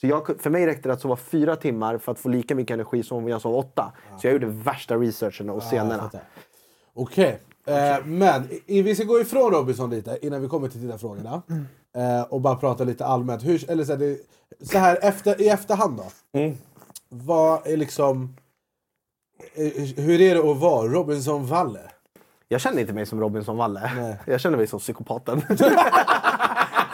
S4: Så jag, kun- för mig räckte det att sova fyra timmar för att få lika mycket energi som om jag sov åtta. Så jag gjorde värsta researchen och
S6: Ja, jag
S4: scenerna.
S6: fattar. Okej, eh, men i, vi ska gå ifrån Robinson lite innan vi kommer till tittarfrågorna. Eh, och bara prata lite allmänt. Hur, eller så här, det, så här efter, i efterhand då. Vad är liksom... eh, Hur är det att vara Robinson Valle?
S4: Jag känner inte mig som Robinson Valle. Jag känner mig som psykopaten.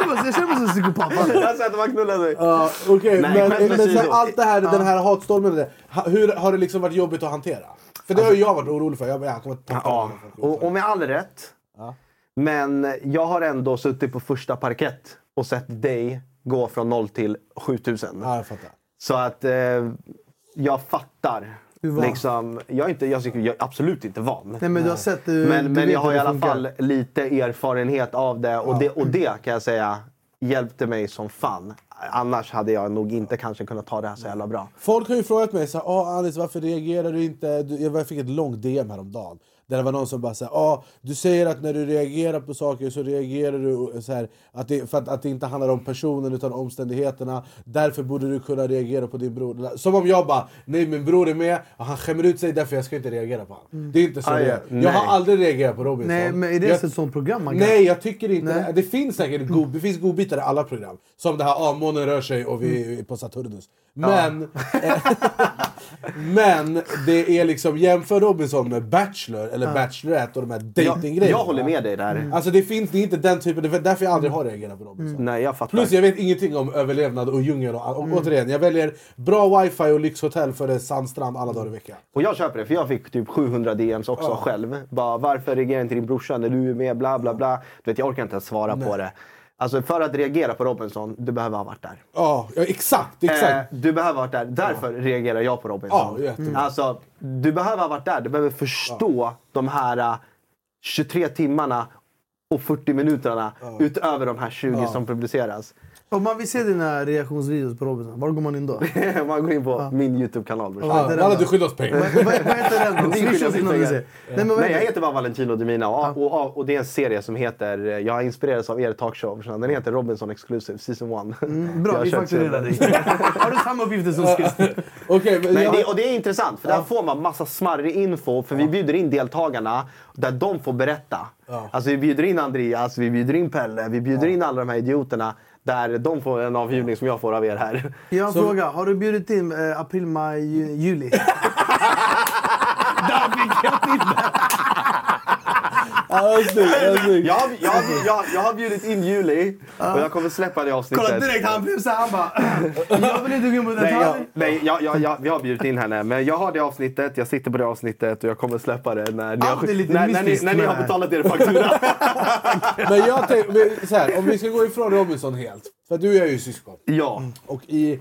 S5: Jag känner mig som en psykopat.
S4: jag sa att man knullar mig.
S6: Ja, Okej,
S4: Nej,
S6: men,
S4: skämt
S6: men så här,
S4: åsido.
S6: allt det här,
S4: Ja.
S6: den här hatstormen. och det, ha- Hur har det liksom varit jobbigt att hantera? För det har ju jag varit orolig för. Jag, bara, jag kommer att tappa
S4: Ja, Alltså- och, och med all rätt. Men jag har ändå suttit på första parkett och sett dig gå från noll till 7000.
S6: Ja, jag fattar.
S4: Så att eh, jag fattar.
S5: Du är van.
S4: Liksom, jag, är inte, jag, tycker- jag är absolut inte van.
S5: Nej, men du har sett, du-
S4: men
S5: du
S4: men
S5: vet
S4: jag har
S5: hur
S4: i
S5: det
S4: alla
S5: funkar.
S4: fall lite erfarenhet av det och, det. och det kan jag säga hjälpte mig som fan. Annars hade jag nog inte kanske kunnat ta det här så jävla bra.
S6: Folk har ju frågat mig så här, ah, Alice varför reagerar du inte? Du- Jag fick ett långt DM häromdagen. Där det var någon som bara sa ah, du säger att när du reagerar på saker så reagerar du och så här, att det, för att, att det inte handlar om personen utan omständigheterna. Därför borde du kunna reagera på din bror. Som om jag bara, nej min bror är med och han skämmer ut sig därför jag ska inte reagera på honom. Det är inte så
S5: Aj,
S6: det
S5: Mm. Ah, ja.
S6: är. Jag har
S5: Nej.
S6: aldrig reagerat på Robinson.
S5: Nej, men är det
S6: jag,
S5: ett sånt program? man kan-
S6: Nej, jag tycker inte
S5: Nej.
S6: det. Det finns säkert god, det finns godbitar i alla program. Som det här ah, månen rör sig och
S5: Mm.
S6: vi är på Saturnus. Men, eh, men det är liksom jämför Robinson med Bachelor eller
S4: Ja.
S6: Bachelorette och de här
S4: Jag,
S6: dejtinggrejerna.
S4: jag håller med dig där.
S6: Alltså det finns det är inte den typen, det är därför jag aldrig har reagerat på Robinson.
S5: Mm.
S4: Nej, jag fattar.
S6: Plus jag vet ingenting om överlevnad och djungel och, all- och
S4: Mm.
S6: återigen, jag väljer bra wifi och lyxhotell före sandstrand alla dagar i veckan.
S4: Och jag köper det, för jag fick typ 700 DMs också
S6: Ja.
S4: själv. Bara, varför reagerar inte din brorsa när du är med? Bla, bla, bla. Du vet, jag orkar inte ens svara
S6: Nej.
S4: på det. Alltså, för att reagera på Robinson, du behöver ha varit där.
S6: Ja, ja, exakt, exakt.
S4: Eh, du behöver ha varit där. Därför reagerar jag på Robinson.
S6: Ja, jättebra.
S4: Mm. alltså, du behöver ha varit där. Du behöver förstå de här eh, 23 timmarna och 40 minuterna utöver de här 20
S5: Ja.
S4: som publiceras.
S5: Om man vill se dina reaktionsvideos på Robinson, var går man in då?
S4: Man går in på min Youtube-kanal. brorsan.
S5: Ja, det är den Walla, då. du
S6: skyller oss pengar.
S5: Vad- vad- vad heter den då?
S4: Ni skyller oss
S5: Swish oss innan vi
S4: pengar.
S5: ser.
S4: Eh,
S5: Nej, men vad
S4: Nej,
S5: heter-
S4: jag heter bara Valentino Demina och, och, och, och det är en serie som heter... eh, Jag har inspirerats av er talkshow. brorsan. Den heter Robinson Exclusive Season 1.
S5: Mm, bra, vi fakturerar dig.
S4: har
S5: du samma uppgifter som sist?
S6: Okej, men
S4: Nej,
S6: jag-
S4: det, och det är intressant, för där får man massa smarrig info. För vi bjuder in deltagarna där de får berätta.
S6: Ja.
S4: Alltså, vi bjuder in Andreas, vi bjuder in Pelle, vi bjuder in alla de här idioterna. Där de får en avbjudning som jag får av er här.
S5: Jag har en
S4: Så-
S5: fråga. Har du bjudit in eh, april, maj, ju- juli?
S4: jag, har- jag, har- jag, jag har bjudit in Juli och jag kommer släppa det avsnittet.
S5: Kolla direkt, han blev såhär. Han bara... Jag vill inte gå in på
S4: Nej, jag,
S5: detalj.
S4: nej jag, jag, jag, vi har bjudit in henne. Men jag har det avsnittet, jag sitter på det avsnittet och jag kommer släppa det när ni,
S5: Allt är lite
S4: har, när, när ni,
S5: mystiskt
S4: när ni
S5: med
S4: har
S5: det här.
S4: betalat er faktura.
S6: Men jag tänkte, så här, om vi ska gå ifrån Robinson helt. För du och jag är ju syskon.
S4: Ja.
S6: Och i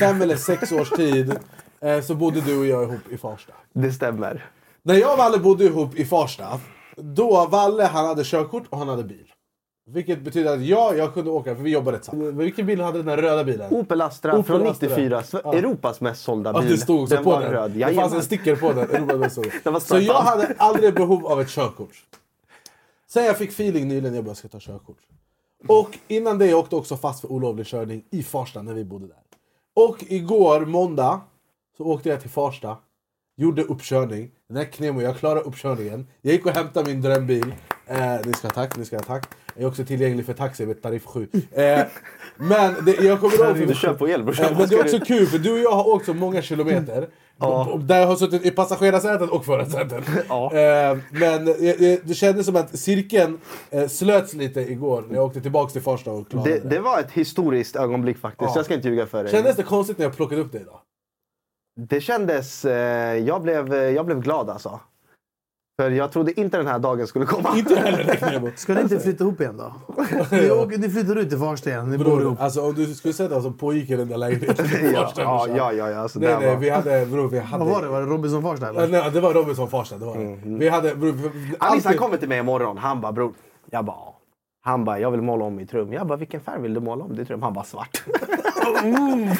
S6: fem eller sex års tid eh, så bodde du och jag ihop i Farsta.
S4: Det stämmer.
S6: När jag och Valle bodde ihop i Farsta, då Valle han hade körkort och han hade bil. Vilket betyder att jag, jag kunde åka, för vi jobbade tillsammans. Vilken bil hade den där röda bilen?
S4: Opel Astra
S6: Opel
S4: från
S6: Astra.
S4: 94. Sve-
S6: Ja.
S4: Europas mest sålda
S6: Att
S4: bil.
S6: det stod så
S4: den
S6: på
S4: var
S6: den.
S4: röd.
S6: det fanns
S4: Jajamän.
S6: en sticker på den. Europa Best Song.
S4: Den var
S6: så jag
S4: stötande.
S6: hade aldrig behov av ett körkort. Sen jag fick feeling nyligen, jag bara ska ta körkort. Och innan det jag åkte också fast för olovlig körning i Farsta när vi bodde där. Och igår måndag så åkte jag till Farsta, gjorde uppkörning. Den här Knemo, jag klarade uppkörningen. Jag gick och hämtade min drömbil. Eh, ni ska ha tack, ni ska ha tack. Jag är också tillgänglig för taxi med tariff 7. Eh, men det, jag kommer ihåg...
S4: Du kör på el, brorsan.
S6: Eh, Men det är också kul för du och jag har åkt så många kilometer. B- b- Där jag har suttit i passagerarsätet och förarsätet. Eh, Men eh, eh, det kändes som att cirkeln eh, slöts lite igår när jag åkte tillbaka till Farsta och klarade
S4: Det, det var ett historiskt ögonblick faktiskt.
S6: Ja.
S4: Jag ska inte ljuga för dig.
S6: Kändes det konstigt när jag plockade upp dig idag?
S4: Det kändes... Eh, jag, blev, jag blev glad alltså. För jag trodde inte den här dagen skulle komma.
S6: Inte heller räknade jag
S5: Ska ni inte flytta ihop igen då? Ni, åker, ni flyttar ut till Farsta igen. Ni bor ihop.
S6: Alltså om du skulle sett vad som pågick i den där lägenheten.
S5: Ja, ja, ja, ja, alltså,
S6: nej,
S5: där
S6: nej,
S5: var-
S6: vi hade, bror, vi hade...
S5: Vad var det? Mhm. Var det Robinson Farsta eller?
S6: Ja, nej, det var Robinson Farsta, det var det. Vi hade... Bror, vi-
S4: Anis han
S6: alltid-
S4: kommer till mig imorgon. Han bara “bror”. Jag bara "Ja." Han bara “jag vill måla om mitt rum”. Jag bara “vilken färg vill du måla om ditt rum?” Han bara “svart”.
S6: Oh,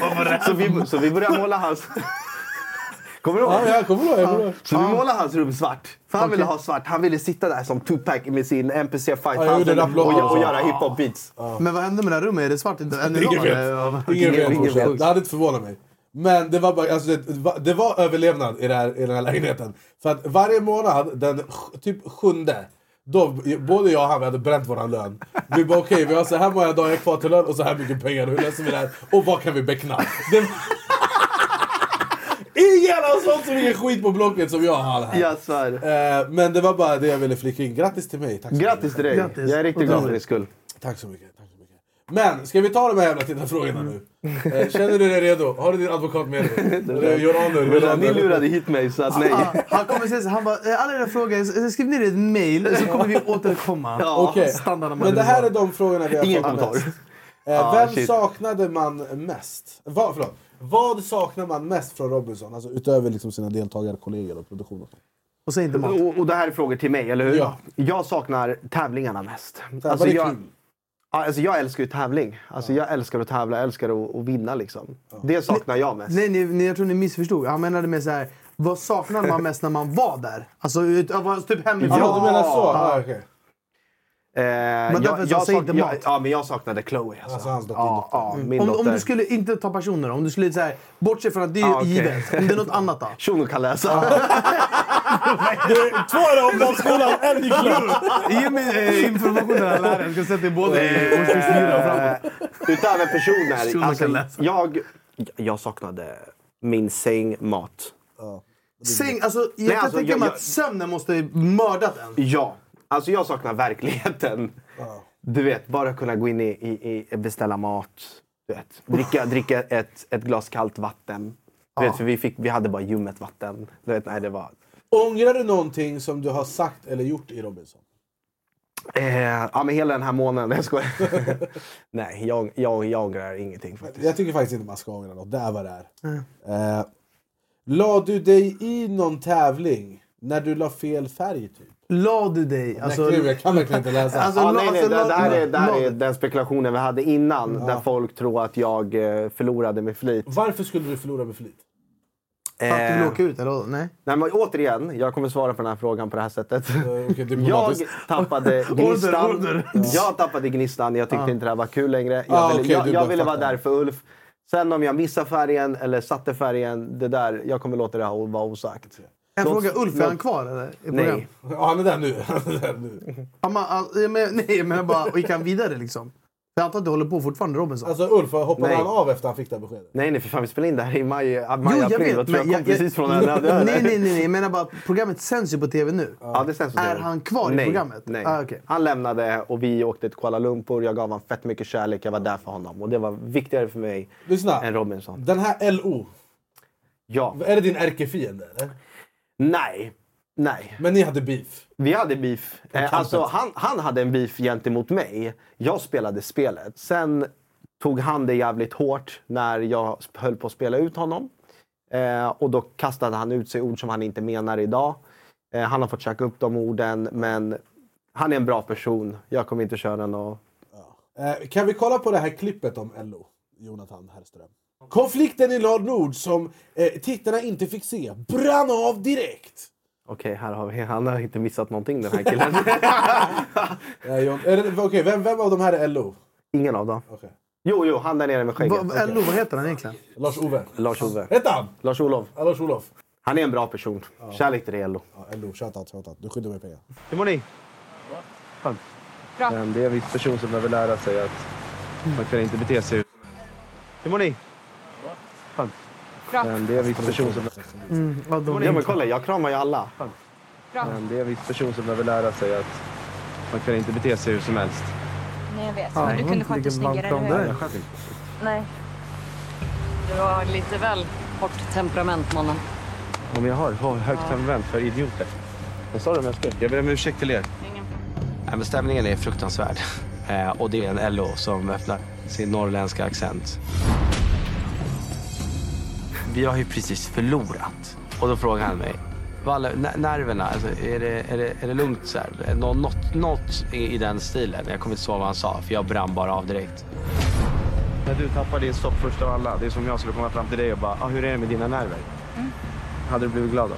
S4: så, vi, så vi började måla hans... Kommer du ihåg?
S6: Ja, jag kommer ihåg, jag kommer ihåg.
S4: Så vi målade hans rum svart. För han
S6: Okej.
S4: ville ha svart. Han ville sitta där som Tupac med sin MPC
S5: Ja,
S4: 5000
S5: jag gjorde en
S4: och,
S5: applåd
S4: gö-
S5: alltså.
S4: och göra hiphop beats.
S5: Men vad hände med det här rummet? Är det svart inte? Än
S6: Ingen
S5: idag,
S6: vet.
S5: eller? Ja.
S6: Ingen vet. brorsan. Det hade inte förvånat mig. Men det var, bara, alltså, det, var- det var överlevnad i, det här, i den här lägenheten. För att varje månad, den sj- typ sjunde, då, både jag och han vi hade bränt våran lön. Vi bara okej, vi har så här många dagar kvar till lön och så här mycket pengar. Hur löser vi det här? Och vad kan vi beckna? Det... Ingen har sånt så mycket skit på Blocket som jag har här.
S4: Jag svär.
S6: Eh, men det var bara det jag ville flika in. Grattis till mig. Tack så
S4: Grattis
S6: mycket.
S4: till dig. Grattis. Jag är riktigt glad för din skull.
S6: Tack så mycket. Tack så mycket. Men ska vi ta de här jävla tittarfrågorna nu?
S5: Mm.
S6: Eh, Känner du dig redo? Har du din advokat med dig? Eller Gör honor,
S4: Men
S6: gör honor.
S4: Ni lurade hit mig så att nej.
S5: Ah, Han kommer säga så här, han bara "Eh, alla era frågor, så- skriv ner ett mail så kommer vi återkomma.
S6: Okej.
S5: Standard
S6: Eh, Men det här är de frågorna vi har
S5: Ingen
S6: fått
S5: kommentar.
S6: mest. Eh,
S5: Ah,
S6: vem
S5: shit.
S6: saknade man mest? Vad, förlåt. Vad saknar man mest från Robinson? Alltså utöver liksom sina deltagare, kollegor och produktion. Och sånt.
S5: Och, säg inte mat.
S4: och, och det här är frågor till mig, eller hur?
S6: Ja.
S4: Jag saknar tävlingarna mest. Alltså,
S6: var det
S4: jag,
S6: kul?
S4: Ja, alltså jag älskar ju tävling. Alltså Jag älskar att tävla, jag älskar att, att vinna. Liksom. Det saknar jag mest.
S5: Nej, ni, ni, jag tror ni missförstod. Han menade med så här, vad saknar man mest när man var där? Alltså ut, av- av- typ hemifrån.
S4: Ja, du menar så.
S5: Ja.
S6: Ah,
S4: Ja, Eh,
S5: Men därför så säg
S4: sak-
S5: inte mat. Mm.
S4: jag, ja, men jag saknade Chloe. Alltså.
S6: hans dotter.
S4: Ja, ja, min
S5: om,
S4: dotter.
S5: om du skulle inte ta personer, om du skulle så här, bortse från att det är
S4: Ah, okej.
S5: givet. Om det är något annat då?
S4: Shuno kan läsa.
S6: Två är det omdagsskolan, en i
S5: Ge mig eh, informationen här läraren. Jag ska sätta i båda i årskurs fyra Eh, och framåt.
S4: Eh, Utöver personer.
S5: Shuno kan
S4: Alltså, jag, jag saknade min säng, mat.
S5: Ah. Säng, alltså, jag
S4: Nej,
S5: kan
S4: alltså,
S5: tänka
S4: jag-
S5: mig
S4: jag-
S5: att sömnen måste ha mördat en.
S4: Ja. Alltså jag saknar verkligheten. Du vet, bara kunna gå in i, i, i beställa mat. Du vet. Dricka, dricka ett, ett glas kallt vatten. Du vet, för vi, fick, vi hade bara ljummet vatten. Du vet, nej, det var...
S6: Ångrar du någonting som du har sagt eller gjort i Robinson?
S4: Eh, ja, men hela den här månaden. Jag skojar. nej, jag, jag, jag ångrar ingenting faktiskt.
S6: Jag tycker faktiskt inte man ska ångra något. Det är vad det är. Eh, la du dig i någon tävling när du la fel färg? Typ?
S5: La du dig?
S4: alltså-
S6: Nej, gud, jag kan verkligen inte läsa.
S4: ja, nej, nej, det, det här är, det här är den spekulationen vi hade innan där folk tror att jag eh, förlorade med flit.
S6: Varför skulle du förlora med flit?
S4: Eh,
S5: Att du vill åka ut eller? vadå? Nej.
S4: Nej, men återigen, jag kommer svara på den här frågan på det här sättet.
S5: Eh,
S4: jag
S5: diplomatiskt.
S4: tappade
S5: Order,
S4: gnistan.
S5: order.
S4: Jag tappade gnistan. Jag tyckte
S5: Ah.
S4: inte det här var kul längre. Jag
S5: Ah,
S4: ville,
S5: okej,
S4: jag,
S5: du
S4: jag
S5: bara
S4: ville vara
S5: fattar.
S4: där för Ulf. Sen om jag missar färgen eller satte färgen, det där, jag kommer låta det här vara osagt.
S5: En
S4: Låt-
S5: fråga, Ulf, är han
S4: låt-
S5: kvar eller? I
S4: Nej.
S6: Ja, han är där nu. Han är där nu.
S5: Han, bara, all- ja, men, nej, men jag bara, och gick han vidare liksom? För jag antar att du håller på fortfarande Robinson?
S6: Alltså Ulf, hoppade
S4: Nej.
S6: han av efter han fick det här beskedet?
S4: Nej, nej för fan, vi spelade in det här i maj, maj
S5: Jo,
S4: april. Jag, tror jag kom precis från den här
S5: nej, nej, nej, nej. Jag menar bara, programmet sänds ju på tv nu.
S4: Ja, det sänds på
S5: Är
S4: TV.
S5: han kvar i
S4: Nej,
S5: programmet?
S4: Nej.
S5: Ah, okej.
S4: Han lämnade och vi åkte till Kuala Lumpur. Jag gav honom fett mycket kärlek. Jag var där för honom. Och det var viktigare för mig
S6: Lyssna.
S4: än Robinson.
S6: Den här LO,
S4: Ja.
S6: är det din ärkefiende? Eller?
S4: Nej. Nej.
S6: Men ni hade beef?
S4: Vi hade beef. Eh, Alltså, han, han hade en beef gentemot mig. Jag spelade spelet. Sen tog han det jävligt hårt när jag höll på att spela ut honom. Eh, och då kastade han ut sig ord som han inte menar idag. Eh, han har fått käka upp de orden, men han är en bra person. Jag kommer inte köra något
S6: Eh, kan vi kolla på det här klippet om LO? Jonathan Herrström. Konflikten i Lard Nord som eh, tittarna inte fick se brann av direkt!
S4: Okej, här har vi. Han har inte missat någonting den här killen.
S6: Eh, John, är det, okej, vem, vem av de här är LO?
S4: Ingen av dem. Jo, jo, han där nere med skägget.
S6: Va- va- LO, vad
S5: heter han egentligen?
S6: Lars-Ove.
S4: Lars-Ove.
S6: Hette han?
S4: Lars-Olof.
S6: Ja, Lars-Olof.
S4: Han är en bra person. Kärlek till dig, LO.
S6: Ja, LO, shoutout, shoutout. Du skyddar mig pengar.
S4: Hur mår ni? Ehm,
S17: Bra.
S4: Det är en viss person som behöver lära sig att man kan inte bete sig. Hur mår ni? Ehm,
S17: Bra.
S4: Det är en viss person som...
S5: Mm, vad dåligt.
S4: Ja, men kolla, jag kramar ju alla.
S17: Bra.
S4: Ehm, Det är en viss person som behöver lära sig att man kan inte bete sig hur som helst.
S17: Nej, jag vet. Men du kunde sköta det snyggare, eller hur? Nej. Du var lite väl
S18: hårt temperament, mannen.
S8: Om jag har högt temperament för idioter. Vad sa du om jag skulle? Jag ber om ursäkt till er. Nej, men stämningen är fruktansvärd. Eh, och det är en LO som öppnar sin norrländska accent. Vi har ju precis förlorat. Och då frågar han mig. Valle, ner- nerverna, alltså, är, det, är, det, är det lugnt? Så här? Nå, något, något i i den stilen. Jag kommer inte ihåg vad han sa, för jag brann bara av direkt. När du tappar din stopp först av alla, det är som jag skulle komma fram till dig och bara, ah, hur är det med dina nerver? Hade du blivit glad då?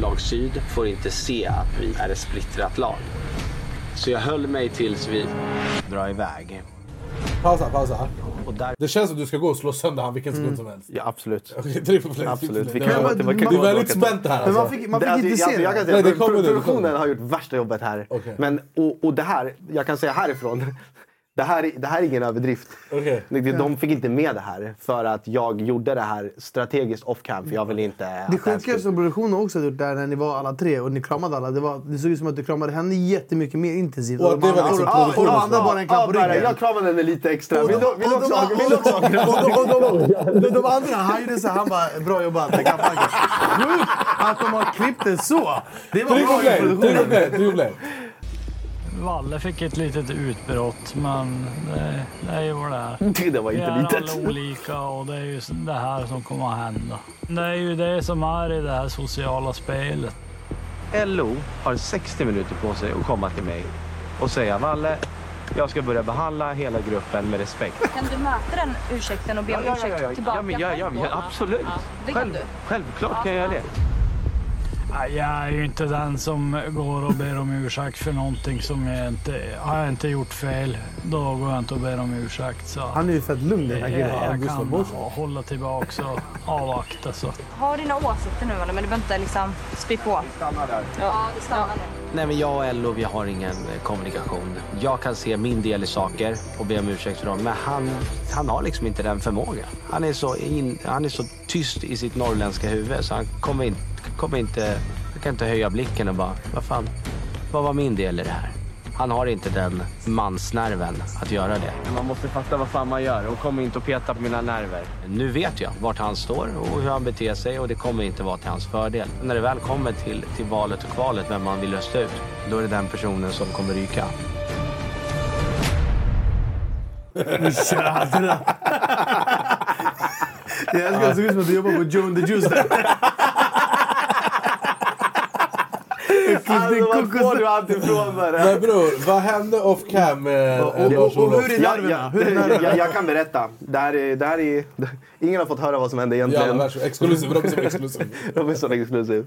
S8: Lag Syd får inte se att vi är ett splittrat lag. Så jag höll mig tills vi drar iväg.
S6: Pausa, pausa.
S8: Och där...
S6: Det känns som att du ska gå och slå sönder han vilken sekund som helst.
S8: Ja, absolut.
S6: Absolut.
S4: Vi kan gå till- man kan
S6: du
S4: gå
S6: är väldigt
S4: tillbaka
S6: spänt
S4: till-
S6: här.
S4: Men
S6: Alltså.
S4: man fick, man fick inte se det. Alltså,
S6: Nej, det
S4: jag
S6: kommer
S4: kan säga,
S6: nu, det
S4: produktionen
S6: kommer.
S4: har gjort värsta jobbet här. Men, och, och det här, jag kan säga härifrån. Det här, är- det här är ingen överdrift.
S6: Okej.
S4: Det- det- De fick inte med det här för att jag gjorde det här strategiskt off cam för jag vill inte... att
S5: Det
S4: här
S5: sjuka som produktionen också hade gjort där när ni var alla tre och ni kramade alla, det, var, det såg ut som att du kramade henne jättemycket mer intensivt.
S4: Och
S5: de andra- Ja, och de andra bara en kram på ryggen.
S4: Jag kramade henne lite extra.
S5: Och de-
S4: Vill du-
S5: och
S4: vill du
S5: de-
S4: också ha-
S5: och
S4: vill
S5: de-
S4: du också ha kram?
S5: och de- och de- De andra, han gjorde så här, han bara “bra jobbat”. Det kan fucking- Sjukt att de har klippt det så! Det var
S6: Tryck på
S5: bra
S6: play,
S5: i
S6: tryck på play,
S5: produktionen.
S6: tryck på play.
S15: Valle fick ett litet utbrott, men det, det är ju vad det
S4: är. Det var
S15: Vi
S4: inte
S15: är
S4: litet.
S15: alla olika och det är ju det här som kommer att hända. Det är ju det som är i det här sociala spelet.
S8: LO har 60 minuter på sig att komma till mig och säga Valle, jag ska börja behandla hela gruppen med respekt.
S17: Kan du möta den ursäkten och be om ursäkt Typ, tillbaka?
S8: ja, men, ja, ja, men, ja, absolut.
S17: Det kan
S8: Själv,
S17: du.
S8: självklart kan jag göra det.
S15: Nej, Jag är ju inte den som går och ber om ursäkt för någonting som jag inte... Har jag inte gjort fel, då går jag inte och ber om ursäkt. Så.
S5: Han är ju fett lugn den här
S15: jag,
S5: killen.
S15: jag
S5: August
S15: kan
S5: Laborsson.
S15: hålla tillbaka och avvakta. Så.
S17: Ha dina åsikter nu, Valle, men du behöver inte liksom spy på. Stanna där. Ja, det stannar nu.
S8: Nej, men jag och LO, vi har ingen eh, kommunikation. Jag kan se min del i saker och be om ursäkt för dem, men han, han har liksom inte den förmågan. Han är så, in, han är så tyst i sitt norrländska huvud så han kommer, in, kommer inte... Han kan inte höja blicken och bara, vad fan, vad var min del i det här? Han har inte den mansnerven att göra det. Man måste fatta vad fan man gör och kommer inte att peta på mina nerver. Nu vet jag vart han står och hur han beter sig och det kommer inte vara till hans fördel. När det väl kommer till, till valet och kvalet, vem man vill rösta ut, då är det den personen som kommer ryka.
S4: Alltså,
S5: Tjadra! Jag älskar att det såg ut som att du jobbar på Joe and the Juice där.
S4: Alltså, vad får du allt ifrån där?
S6: Men bror, vad hände off cam? Eh, Lars Olof?
S4: Jag- jag- Jag, jag kan berätta. Det här är, det här är, ingen har fått höra vad som hände
S6: Ja,
S4: egentligen.
S6: men varsågod. Exklusiv, Robinson exklusiv.
S4: Robinson exklusiv.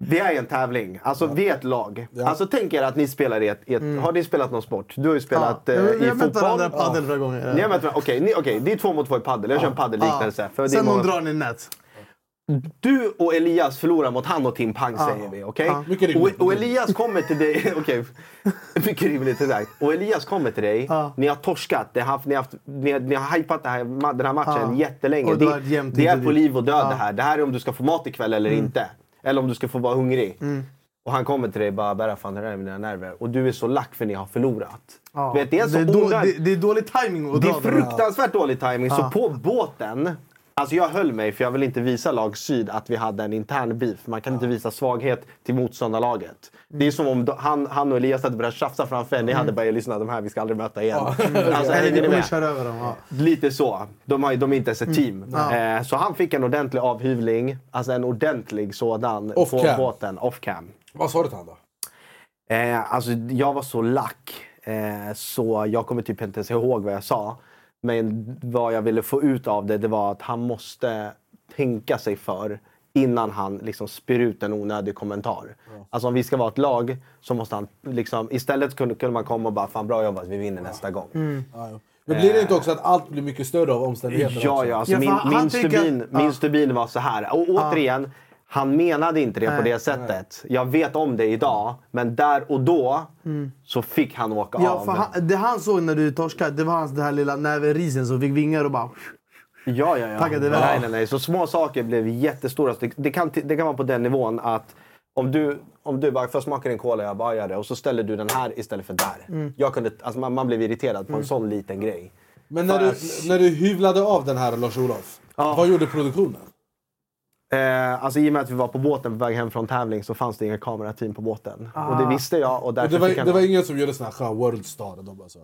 S4: Vi är i en tävling. Alltså vi är ett lag. Alltså tänk er att ni spelar i ett... I ett Har ni spelat någon sport? Du har ju spelat
S5: Mm. Ja.
S4: eh,
S5: Jag- jag
S4: i
S5: mötte
S4: fotboll.
S5: varandra i padel förra gången.
S4: Ni har mött varandra. Okej, ni- okej, det är två mot två i padel. Jag kör en padelliknelse. för det är
S5: Sen
S4: många-
S5: någon drar ni nät.
S4: Du och Elias förlorar mot han och Tim Pang
S5: Ja.
S4: säger vi. okej?
S5: Ja. Mycket rimligt.
S4: Och, och Elias kommer till dig... Okej. Mycket rimligt, exakt. Och Elias kommer till dig. Ni har torskat. Ni har, haft, ni har, haft, ni har, ni har hypat det här, ma- den här matchen
S5: Ja.
S4: jättelänge.
S5: Och det har
S4: det,
S5: varit jämnt
S4: det är
S5: hit
S4: på
S5: och
S4: liv och död
S5: Ja.
S4: det här. Det här är om du ska få mat ikväll eller
S5: Mm.
S4: inte. Eller om du ska få vara hungrig. Och han kommer till dig och bara “Berra, fan det där är mina nerver” och du är så lack för ni har förlorat.
S5: Ja.
S4: Du vet, det är så
S5: det, är då, det,
S4: onödigt-
S5: det är dålig timing att
S4: det
S5: dra
S4: är
S5: den här.
S4: fruktansvärt dålig timing. Så
S5: Ja.
S4: på båten... Alltså jag höll mig för jag vill inte visa lag syd att vi hade en intern beef. Man kan inte visa svaghet till motståndarlaget. Det är som om då- han, han och Elias hade börjat tjafsa framför en. Ni
S5: Mm.
S4: hade bara “lyssna, de här vi ska aldrig möta igen”. Alltså,
S5: Eller vi
S4: hänger ni
S5: kommer
S4: med?
S5: köra Mm. över dem. Ja.
S4: Lite så. De, har, de är inte ens ett team.
S5: Mm. Ja.
S4: Eh, så han fick en ordentlig avhyvling. Alltså en ordentlig sådan.
S6: Off
S4: på
S6: cam.
S4: båten. Off cam.
S6: Vad sa du till honom då?
S4: Eh, alltså, jag var så lack eh, så jag kommer typ inte ens ihåg vad jag sa. Men vad jag ville få ut av det, det var att han måste tänka sig för innan han liksom spyr ut en onödig kommentar. Alltså om vi ska vara ett lag så måste han liksom... Istället kunde, kunde man komma och bara “Fan bra jobbat, vi vinner nästa gång”.
S6: Ja, jo. Men blir det inte också att allt blir mycket större av omständigheterna?
S4: Eh, Ja,
S6: också?
S4: ja. Alltså, min min, stubin, min stubin var så här. Och
S6: Ja.
S4: återigen, han menade inte det
S6: Nej,
S4: på det
S6: nej.
S4: sättet. Jag vet om det idag, men där och då så fick han åka
S5: Ja,
S4: av.
S5: för han, det han såg när du torskade, det var hans det här lilla näverisen som fick vingar och bara...
S4: Ja, ja, ja.
S5: Tackade väl.
S4: nej, nej, nej. Så små saker blev jättestora. Det, det, kan, det kan vara på den nivån att om du, om du bara “får jag smaka din cola?” jag bara “ja, gör det” och så ställer du den här istället för där.
S6: Mm.
S4: Jag kunde, alltså, man, man blev irriterad på en sån liten grej.
S6: Men när du, när du hyvlade av den här Lars-Olof, Vad gjorde produktionen?
S4: Eh, alltså, I och med att vi var på båten på väg hem från tävling så fanns det inga kamerateam på båten. Och det visste jag. Och
S6: Och
S4: därför
S6: det, var,
S4: fick jag
S6: det var ingen som gjorde sån här skön worldstar? alltså. och De bara så.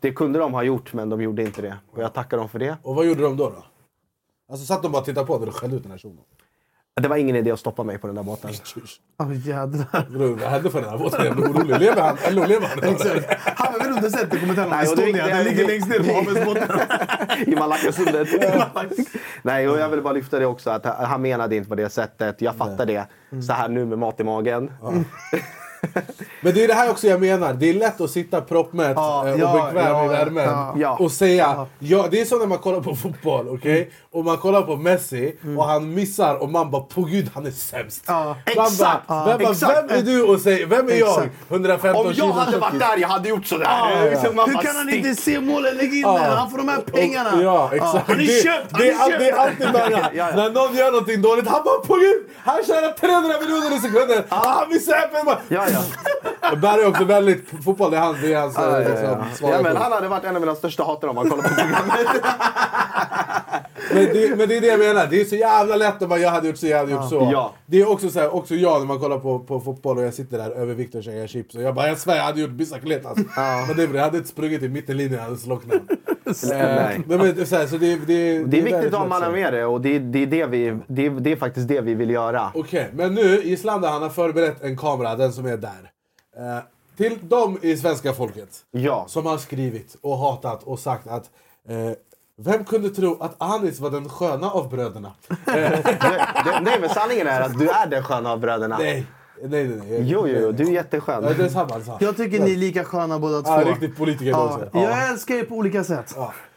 S4: det kunde de ha gjort, men de gjorde inte det. Och jag tackar dem för det.
S6: Och vad gjorde de då? då? Alltså satt de bara och tittade på när du skällde ut den här shunon?
S4: Det var ingen idé att stoppa mig på den där båten.
S5: Åh jädrar.
S6: Vad hände för den här båten? Jag blir orolig. Lever han? Eller lever han?
S5: Exakt. Han har väl inte sett det kommentaren om
S4: Nej, och det
S5: Estonia.
S4: viktiga
S5: Den
S4: är-
S5: ligger längst ner på
S4: det-
S5: havets botten.
S4: I Malackasundet. Nej, och jag vill bara lyfta det också. Att han menade inte på det sättet. Jag fattar det. Så här nu med mat i magen.
S6: Men det är det här också jag menar. Det är lätt att sitta proppmätt
S4: Ja,
S6: eh, och
S4: ja,
S6: bekväm
S4: ja,
S6: i värmen
S4: ja.
S6: och säga... Ja. det är som när man kollar på fotboll, okej?
S5: Mm.
S6: Och man kollar på Messi och han missar och man bara på gud han är sämst. man
S5: exakt,
S6: Bara,
S5: ja,
S6: vem, bara,
S5: exakt.
S6: vem är du och säger vem är jag?
S5: Exakt.
S6: 115
S5: Om jag
S6: kilo
S5: hade
S6: tjockis.
S5: varit där, jag hade gjort sådär. Liksom, man
S6: Hur
S5: bara,
S6: kan han
S5: stick.
S6: inte se målen? Lägg in
S5: Ja.
S6: den! Han får de här
S5: Och-
S6: pengarna!
S5: ja, exakt.
S6: Han är
S5: Det-
S6: köpt!
S5: det är
S6: han
S5: all-
S6: är
S5: det är alltid många.
S6: När någon gör någonting dåligt, han bara på gud! Han tjänar 300 miljoner i sekunden! Han missar en bara...
S4: Ja, ja.
S6: Berg är också väldigt... Fotboll, det är hans, det är hans
S4: Ja, ja,
S6: liksom,
S4: ja.
S6: svaga
S4: Ja, men
S6: punkt.
S4: han hade varit en av mina största hatare om han kollade på programmet.
S6: Men det, men det är det jag menar, det är så jävla lätt att bara jag hade gjort så, jag hade gjort
S4: Ja.
S6: så.
S4: Ja.
S6: Det är också så här, också jag när man kollar på, på fotboll och jag sitter där överviktig och käkar chips och jag bara jag svär jag hade gjort bicicleta alltså. Men det, är bra, jag hade inte sprungit i mittenlinjen, jag hade slocknat. Eh,
S4: Nej.
S6: men, men, det är så här, så det, det,
S4: Det är
S6: väldigt
S4: viktigt att ha
S6: lätt så.
S4: mannen med det. Och det är, det, är det, vi, det, är, det är faktiskt det vi vill göra.
S6: Okej, men nu Islanda han har förberett en kamera, den som är där. Eh, till dem i svenska folket som har skrivit och hatat och sagt att eh, vem kunde tro att Anis var den sköna av bröderna?
S4: Det- Nej, men sanningen är att du är den sköna av bröderna.
S6: Nej, nej, nej. nej.
S4: Jo, jo, jo, du är jätteskön.
S6: Ja, det är samma, samma.
S5: Jag tycker ni är lika sköna båda två.
S6: Ja, riktigt politiker
S5: Ja,
S6: också.
S5: Jag älskar er på olika sätt.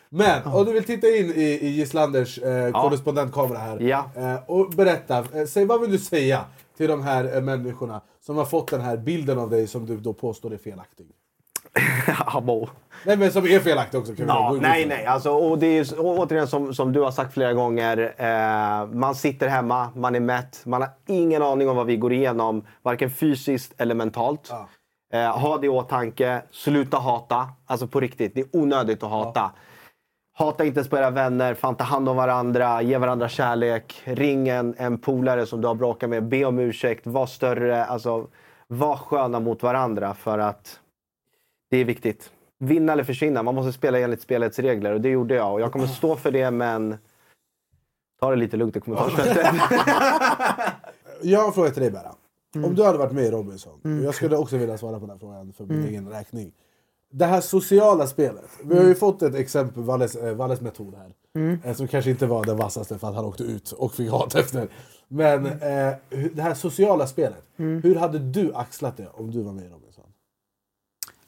S6: Men om du vill titta in i, i Gislanders eh, korrespondentkamera här eh, och berätta. Eh, säg vad vill du säga till de här eh, människorna som har fått den här bilden av dig som du då påstår är felaktig?
S4: Abo.
S6: Nej men som är felaktig också. Kan vi
S4: Ja,
S6: gå ut
S4: nej,
S6: ifrån.
S4: nej. Alltså, och det är ju, och återigen som, som du har sagt flera gånger. Eh, man sitter hemma, man är mätt. Man har ingen aning om vad vi går igenom, varken fysiskt eller mentalt. Eh, ha det i åtanke. Sluta hata. Alltså på riktigt, det är onödigt att hata. Hata inte ens på era vänner. Fan, ta hand om varandra. Ge varandra kärlek. Ring en, en polare som du har bråkat med. Be om ursäkt. Var större. Alltså, var sköna mot varandra för att det är viktigt. Vinna eller försvinna. Man måste spela enligt spelets regler och det gjorde jag. Och jag kommer stå för det, men ta det lite lugnt. Det kommer fortsätta.
S6: Jag har en fråga till dig Berra.
S5: Mm.
S6: Om du hade varit med i Robinson, och jag skulle också vilja svara på den här frågan för min
S5: Mm.
S6: egen räkning. Det här sociala spelet. Vi har
S5: Mm.
S6: ju fått ett exempel, Valles, eh, Valles metod här. Eh, Som kanske inte var den vassaste för att han åkte ut och fick hat efter. Men
S5: Mm.
S6: eh, hu- det här sociala spelet. Hur hade du axlat det om du var med i Robinson?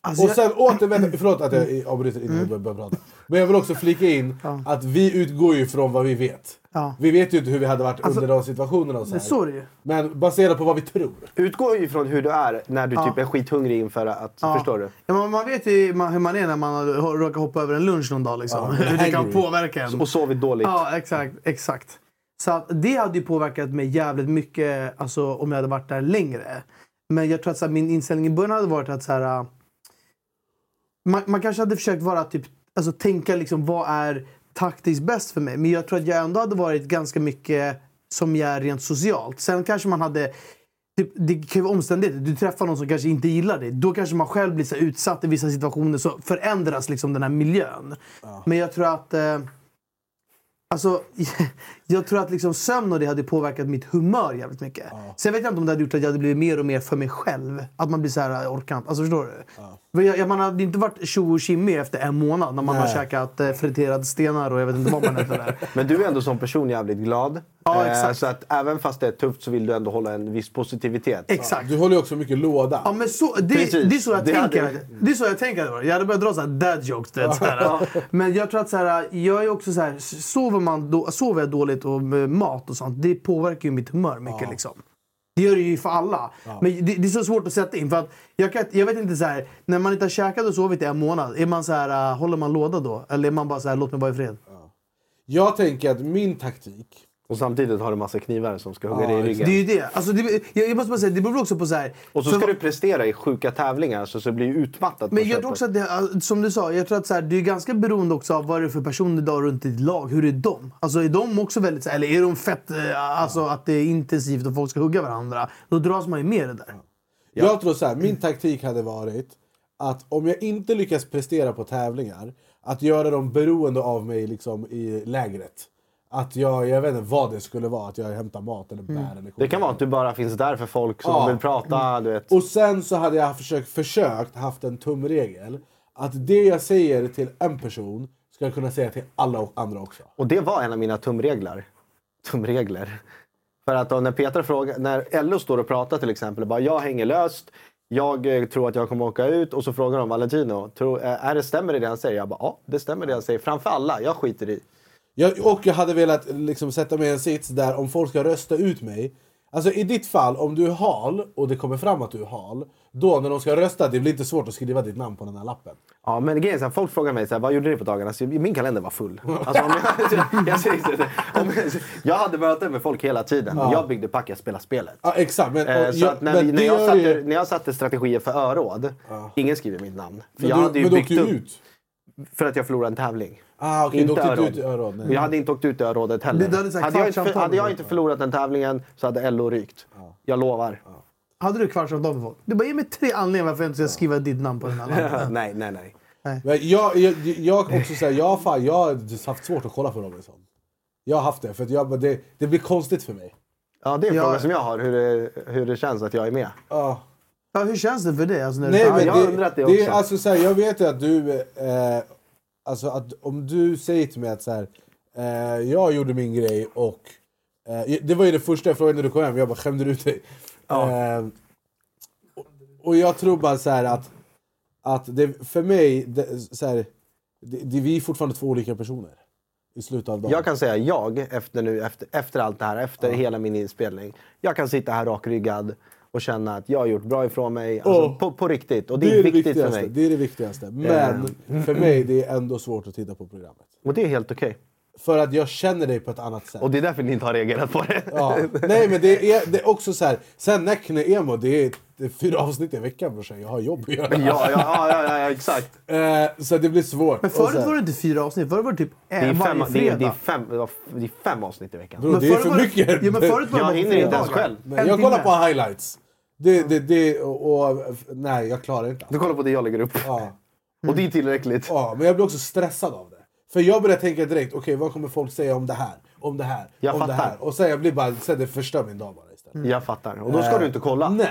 S5: Alltså,
S6: och
S5: jag- Mm.
S6: sen återvänder... Förlåt att jag i- avbryter innan du börjar prata. Men jag vill också flika in att vi utgår ju från vad vi vet.
S5: Ja.
S6: Vi vet ju inte hur vi hade varit under de situationerna. Och så
S5: Alltså- men så
S6: här.
S5: är det ju.
S6: Men baserat på vad vi tror.
S4: Utgå ju från hur du är när du
S5: Ja.
S4: typ är skithungrig inför att...
S5: Ja.
S4: Förstår du?
S5: Ja, man, man vet ju ma- hur man är när man har- har- råkar hoppa över en lunch någon dag. Liksom.
S4: Ja,
S5: hur det kan
S4: hangry.
S5: påverka en.
S4: Och sovit dåligt.
S5: Ja, exakt. exakt. Så att det hade ju påverkat mig jävligt mycket alltså, om jag hade varit där längre. Men jag tror att så här, min inställning i början hade varit att så här, äh, man, man kanske hade försökt vara typ, alltså, tänka liksom, vad är taktiskt bäst för mig. Men jag tror att jag ändå hade varit ganska mycket som jag är rent socialt. Sen kanske man hade Typ, det kräver omständigheter. Du träffar någon som kanske inte gillar dig. Då kanske man själv blir så här utsatt i vissa situationer. Så förändras liksom den här miljön. Men jag tror att... Eh, alltså, jag tror att liksom sömn och det hade påverkat mitt humör jävligt mycket. Sen vet jag inte om det hade gjort att jag hade blivit mer och mer för mig själv. Att man blir så här, jag orkar inte. Alltså förstår du? Men Jag, jag, man hade inte varit tjo och tjimme efter en månad när man har
S4: Nej.
S5: käkat eh, friterade stenar och jag vet inte vad man äter där.
S4: Men du är ändå som person jävligt glad.
S5: Ja,
S4: Eh,
S5: exakt.
S4: Så att även fast det är tufft så vill du ändå hålla en viss positivitet.
S5: Exakt.
S6: Du håller ju också mycket låda.
S5: Ja, men så, det,
S4: Precis.
S5: det är så jag
S4: Det
S5: tänker.
S4: hade-
S5: Det är så jag tänker. Edvard. Jag hade börjat dra så här dad jokes. Du vet, så
S4: Ja.
S5: här. Men jag tror att så här, jag är också så här, sover, man då, sover jag dåligt och med mat och sånt, det påverkar ju mitt humör mycket.
S6: Ja.
S5: Liksom. Det gör det ju för alla. Men det, det är så svårt att sätta in. För att jag, kan, jag vet inte så här, när man inte har käkat och sovit i en månad, är man så här, äh, håller man låda då? Eller är man bara så här, låt mig vara i fred?
S6: Jag tänker att min taktik
S4: Och samtidigt har du massa knivar som ska hugga dig i
S5: det
S4: ryggen.
S5: är ju det. Alltså, det jag, jag måste bara säga, det beror också på så här...
S4: Och så
S5: för-
S4: ska du prestera i sjuka tävlingar så, så blir du utmattad. på
S5: Men jag
S4: köpet.
S5: tror också att det, eh, som du sa, jag tror att så här, det är ganska beroende också av vad det är för personer du har runt ditt lag. Hur är de? Alltså är de också väldigt så här, eller är de fett, eh, alltså att det är intensivt och folk ska hugga varandra? Då dras man ju med i det där.
S6: Jag tror så här, min taktik hade varit att om jag inte lyckas prestera på tävlingar, att göra dem beroende av mig liksom i lägret. Att jag, jag vet inte vad det skulle vara, att jag hämtar mat
S5: Mm.
S6: eller bär eller
S4: Det kan vara att du bara finns där för folk som
S6: Ja.
S4: vill prata. Du vet.
S6: Och sen så hade jag försökt, försökt haft en tumregel att det jag säger till en person ska jag kunna säga till alla och andra också.
S4: Och det var en av mina tumregler. Tumregler. För att då när Peter frågar, när Ello står och pratar till exempel, bara jag hänger löst, jag eh, tror att jag kommer åka ut och så frågar de Valentino, tror, eh, är det stämmer det det han säger? Jag bara ja, det stämmer det han säger. Framför alla, jag skiter i.
S6: Jag, och jag hade velat liksom sätta mig i en sits där om folk ska rösta ut mig. Alltså i ditt fall, om du är hal och det kommer fram att du är hal. Då när de ska rösta, det blir inte svårt att skriva ditt namn på den här lappen.
S4: Ja, men grejen är så här, folk frågar mig så här, vad gjorde ni på dagarna? Så min kalender var full. Alltså, om jag, jag, säger så här, om jag, jag hade möten med folk hela tiden.
S6: Ja.
S4: Jag byggde pack, jag spelade spelet.
S6: Ja, exakt. Men,
S4: Eh,
S6: och
S4: så
S6: jag-
S4: att när,
S6: men
S4: vi, när,
S6: det
S4: jag
S6: gör
S4: satte,
S6: ju-
S4: när jag satte strategier för öråd, ingen skriver mitt namn. För
S6: Men
S4: jag
S6: du-
S4: hade ju
S6: men du
S4: byggt
S6: åkte ju
S4: upp-
S6: ut.
S4: För att jag förlorade en tävling.
S6: Ah, okej, du
S4: Inte
S6: åkte inte
S4: öråd.
S6: ut i öråd, nej.
S4: Jag hade inte åkt ut i örådet heller.
S5: Det- det hade sagt
S4: hade, jag inte,
S5: kvartsamtal.
S4: hade jag inte förlorat den tävlingen så hade LO rykt. Jag lovar.
S5: Hade du kvartssamtal med folk? Du bara, ge mig tre anledningar varför jag inte ska skriva ditt namn på den här lappen.
S4: nej, nej, nej.
S6: Men jag, jag, jag kan också säga, jag, fan, jag har haft svårt att kolla på Robinson. Jag har haft det, för att jag, det, det blir konstigt för mig.
S4: Ja, det är en
S6: Ja.
S4: fråga som jag har, hur det, hur det känns att jag är med.
S6: Ja.
S5: Ja, hur känns det för dig? Alltså, när
S6: Nej,
S5: du...
S6: men
S5: Ja,
S6: det,
S5: jag undrar att
S6: det,
S5: det
S6: är
S5: också.
S6: alltså så här, jag vet ju att du... Eh, alltså att om du säger till mig att så här, eh, jag gjorde min grej och... Eh, det var ju det första jag frågade när du kom hem, jag bara skämde du ut dig? Eh, och, och jag tror bara så här att... att det, för mig, det, så här, det, det, vi är fortfarande två olika personer i slutet av dagen.
S4: Jag kan säga jag, efter, nu, efter, efter allt det här, efter hela min inspelning. Jag kan sitta här rakryggad och känna att jag har gjort bra ifrån mig. Alltså,
S6: Åh.
S4: på, på riktigt. Och det, är viktigt för
S6: viktigaste,
S4: mig.
S6: Det är det viktigaste. Men
S4: Eh.
S6: för mig det är ändå svårt att titta på programmet.
S4: Och det är helt okej.
S6: För att jag känner dig på ett annat sätt.
S4: Och det är därför ni inte har reagerat på det.
S6: Ja. Nej men det är, det är också så här. sen Näckne Emo, det är, det är fyra avsnitt i veckan brorsan. Jag har jobb att göra.
S4: Ja, ja, ja, ja, ja, exakt.
S6: Eh, så det blir svårt.
S5: Men
S6: Och så
S5: förut
S6: här-
S5: var det inte fyra avsnitt, förut var det typ
S4: Det är,
S5: en
S4: fem,
S5: varje
S4: det, är, det, är
S5: fredag.
S4: fem, det var- det är fem avsnitt i veckan.
S6: Bro, det är för mycket.
S5: Ja, men förut var det
S4: jag
S5: bara
S4: hinner inte ens
S5: fredagar.
S4: själv.
S6: Nej, jag kollar på highlights. Det, det, det, och, och, nej, jag klarar inte.
S4: Du kollar på det jag lägger upp?
S6: Ja.
S4: Och det är tillräckligt.
S6: Ja, men jag blir också stressad av det. För jag börjar tänka direkt, okej vad kommer folk säga om det här? Om det här?
S4: Jag
S6: om det
S4: fattar.
S6: här? Och sen jag blir bara, sen det förstör min dag bara.
S4: Jag fattar. Och då ska
S6: Eh,
S4: du inte kolla.
S6: Nej.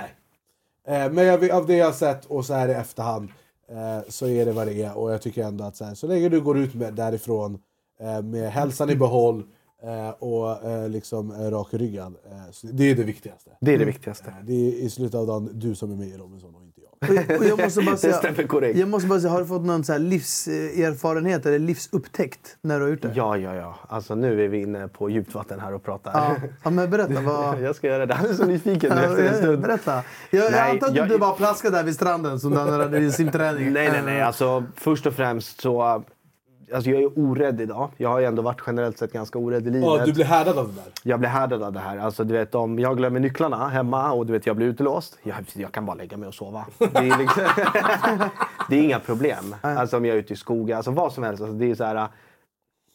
S6: Eh, men jag, av det jag har sett och så här i efterhand eh, så är det vad det är. Och jag tycker ändå att så, här, så länge du går ut med, därifrån eh, med hälsan i behåll eh, och eh, liksom eh, rak i ryggen. Eh, så det är det viktigaste.
S4: Det är det viktigaste.
S6: Eh, det är i slutet av dagen du som är med i Robinson och inte jag.
S5: Och jag måste bara
S6: Det
S5: säga,
S6: stämmer korrekt.
S5: Jag måste bara säga, har du fått någon så här livserfarenhet eller livsupptäckt när du har gjort det?
S4: Ja, ja, ja. Alltså nu är vi inne på djupt vatten här och pratar.
S5: Ja, ja men berätta. Vad...
S4: Jag ska göra det. Han är så nyfiken nu efter en stund.
S5: Berätta. Jag, jag
S4: Nej,
S5: antar att du
S4: jag-
S5: inte bara plaskade där vid stranden som du hade i simträningen.
S4: Nej, nej,
S6: Eh.
S4: nej. Alltså, först och främst så... Alltså, jag är orädd idag. Jag har ju ändå varit generellt sett ganska orädd i livet.
S6: Ja, du blir härdad av det där.
S4: Jag blir härdad av det här. Alltså, du vet, om jag glömmer nycklarna hemma och du vet, jag blir utelåst. Jag, jag kan bara lägga mig och sova. Det är, liksom, det är inga problem. Alltså, om jag är ute i skogen, alltså, vad som helst. Alltså, det är så här,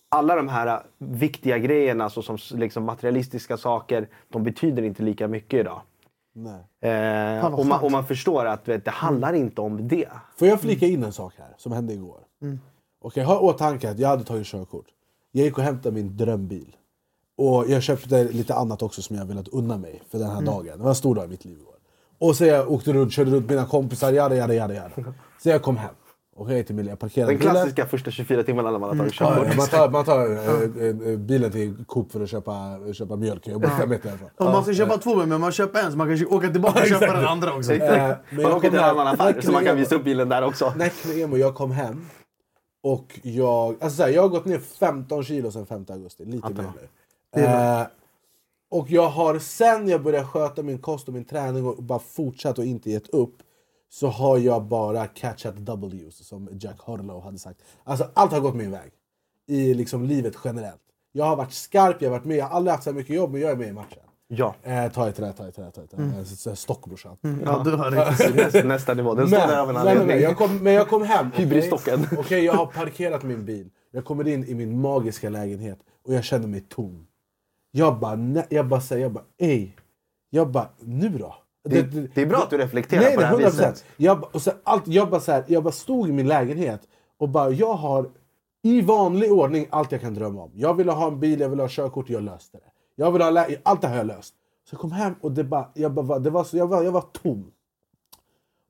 S4: alla de här viktiga grejerna, alltså, som liksom, materialistiska saker, de betyder inte lika mycket idag.
S6: Nej.
S4: Eh,
S6: Fan, vad
S4: och, man,
S6: skönt. Mm.
S4: och man förstår att du vet, det handlar inte om det.
S6: Får jag flika in en sak här som hände igår? Och jag har i åtanke att jag hade tagit körkort. Jag gick och hämtade min drömbil. Och jag köpte lite annat också som jag velat unna mig för den här
S18: Mm.
S6: dagen. Det var en stor dag i mitt liv igår. Och så jag åkte runt, körde runt med mina kompisar, jada jada jada. jada. Så jag kom hem. Okej, till min, jag parkerade
S4: Den klassiska första 24 timmarna när man har tagit
S6: Ja,
S4: körkort.
S6: man tar, man tar eh, eh, bilen till Coop för att köpa, köpa mjölk. Jag bor
S5: Ja.
S6: fem meter härifrån.
S5: Om man ska köpa två bilar, men man köper en så man kan åka tillbaka och köpa den andra också.
S6: Exakt.
S4: Man åker till en annan affär så man kan visa upp bilen där också.
S6: Näckne Emo, jag kom hem och jag... Alltså så här, jag har gått ner 15 kilo sedan 5 augusti. Lite mer nu.
S5: Det är
S6: Eh, och jag har sen jag började sköta min kost och min träning och bara fortsatt och inte gett upp så har jag bara catchat W's som Jack Harlow hade sagt. Alltså allt har gått min väg i liksom livet generellt. Jag har varit skarp, jag har varit med, jag har aldrig haft så här mycket jobb, men jag är med i matchen.
S4: Ja.
S6: Eh, ta i trä, ta i trä, ta i trä. Mm. Stockbrorsan.
S4: Mm, ja, du har riktigt nästa- nästa nivå. Den står där av en
S6: nej, nej, nej.
S4: anledning.
S6: Jag kom, men jag kom hem. okej?
S4: Hybrisstocken.
S6: Okej, jag har parkerat min bil. Jag kommer in i min magiska lägenhet och jag känner mig tom. Jag bara, nej, jag bara säger, jag bara, ej. Jag bara, nu då?
S4: Det, det är bra att du reflekterar
S6: nej,
S4: på det här
S6: nej, 100%.
S4: viset.
S6: Jag, ba- och så, allt, jag, bara så här, jag bara stod i min lägenhet och bara, jag har i vanlig ordning allt jag kan drömma om. Jag ville ha en bil, jag ville ha körkort, jag löste det. Jag ville ha lä- allt det här har jag löst. Så jag kom hem och det bara, jag, bara, var- det var, så, jag, var, jag var tom.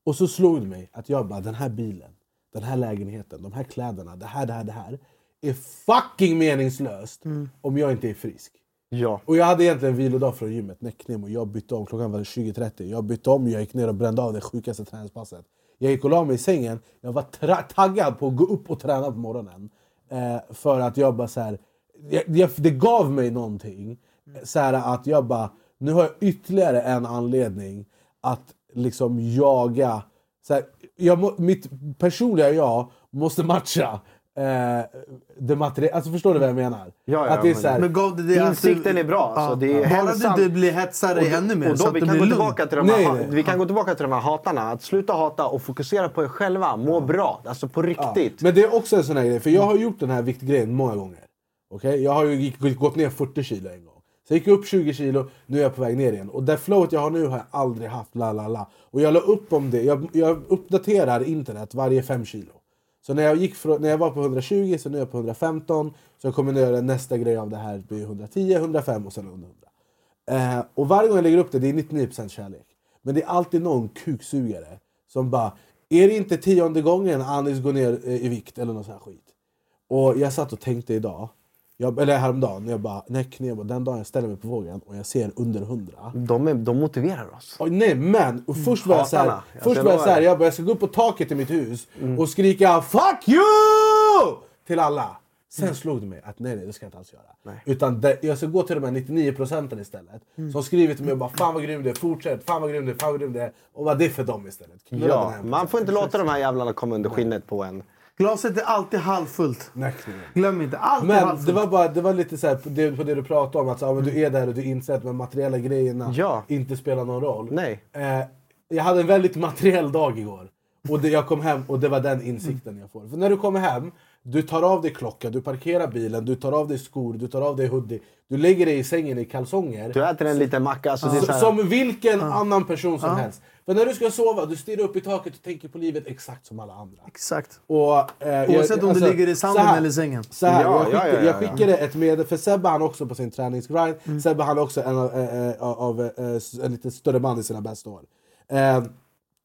S6: Och så slog det mig att jag bara, den här bilen, den här lägenheten, de här kläderna, det här, det här, det här är fucking meningslöst om jag inte är frisk.
S4: Ja.
S6: Och jag hade egentligen vilodag från gymmet, näcknim, och jag bytte om. Klockan var 20.30. Jag bytte om, jag gick ner och brände av det sjukaste träningspasset. Jag gick och la mig i sängen. Jag var tra- taggad på att gå upp och träna på morgonen. Eh, för att jag bara så här, jag, jag, Det gav mig någonting.
S4: Mm.
S6: Så här att jag bara, nu har jag ytterligare en anledning att liksom jaga. Så här, jag, må- mitt personliga jag måste matcha. Eh, det materiella, alltså förstår du vad jag menar?
S4: Ja, ja,
S6: att det är
S4: men-
S6: så här,
S4: Men gav det det att du- Insikten är bra, så det är
S5: Bara
S4: hälsan-
S5: du inte blir hetsare
S4: Och då-
S5: ännu mer
S4: och
S5: så
S4: då,
S5: att
S4: vi,
S5: du
S4: kan
S5: blir
S4: gå
S5: lugn.
S4: tillbaka till de här, ha- vi kan gå tillbaka till de här hatarna. Att sluta hata och fokusera på er själva. Må bra. Alltså på riktigt.
S6: Men det är också en sån här grej, för jag har gjort den här viktgrejen många gånger. Okej? Jag har ju gick, gått ner 40 kilo en gång. Sen gick jag upp 20 kilo, nu är jag på väg ner igen. Och det flowet jag har nu har jag aldrig haft, la la la. Och jag la upp om det, jag, jag uppdaterar internet varje 5 kilo. Så när jag, gick från, när jag var på 120 så nu är jag på 115. Så jag kommer nu göra nästa grej av det här, det blir 110, 105 och sen 100. Eh, och varje gång jag lägger upp det, det är 99% kärlek. Men det är alltid någon kuksugare som bara “Är det inte tionde gången Anis går ner eh, i vikt?” eller någon sån här skit. Och jag satt och tänkte idag, jag, eller häromdagen, jag bara “Nej, knebo, den dagen jag ställer mig på vågen och jag ser under 100”
S4: De, är, de motiverar oss.
S6: Och nej men! Och först var jag så här,
S4: Mm, Hatarna. Jag
S6: först var jag,
S4: lovar
S6: så här,
S4: det.
S6: jag, bara, jag ska gå upp på taket i mitt hus
S4: Mm.
S6: och skrika “Fuck you!” till alla. Sen
S4: Mm.
S6: slog det mig att nej, nej det ska jag inte alls göra. Utan det, jag ska gå till de här 99 procenten istället.
S4: Mm.
S6: Som skriver till mig och bara “Fan vad grym du är, fortsätt, fan vad grym du är, fan vad grym du är”. Och vad det är för dem istället. Knulla den
S4: Ja,
S6: här.
S4: man får inte låta de här jävlarna komma under skinnet på en.
S5: Glaset är alltid halvfullt. Glöm inte, alltid
S6: Men
S5: halvfullt.
S6: det var, bara, det var lite så här, på, det, på det du pratade om, att så, ja, men
S4: Mm.
S6: du är där och du inser att de materiella grejerna inte spelar någon roll.
S4: Nej.
S6: Eh, jag hade en väldigt materiell dag igår. Och det, jag kom hem och det var
S4: Mm.
S6: den insikten jag får. För när du kommer hem, du tar av dig klocka, du parkerar bilen, du tar av dig skor, du tar av dig hoodie. Du lägger dig i sängen i kalsonger.
S4: Du äter en liten macka. Alltså det är
S6: S-
S4: så här,
S6: Som vilken annan person som
S4: Ja.
S6: helst. För när du ska sova, du stirrar upp i taket och tänker på livet exakt som alla andra. Exakt. Och, eh, jag-
S5: Oavsett om du ligger i sanden
S6: så här-
S5: eller i sängen.
S6: Så här,
S5: Ja,
S6: jag, skickar,
S5: ja, ja, ja,
S6: jag
S5: ja.
S6: skickade ett meddelande, för Sebbe han är också på sin träningsgrind.
S5: Mm.
S6: Sebbe han är också en av, eh, eh, av eh, s- en lite större man i sina bästa år. Eh,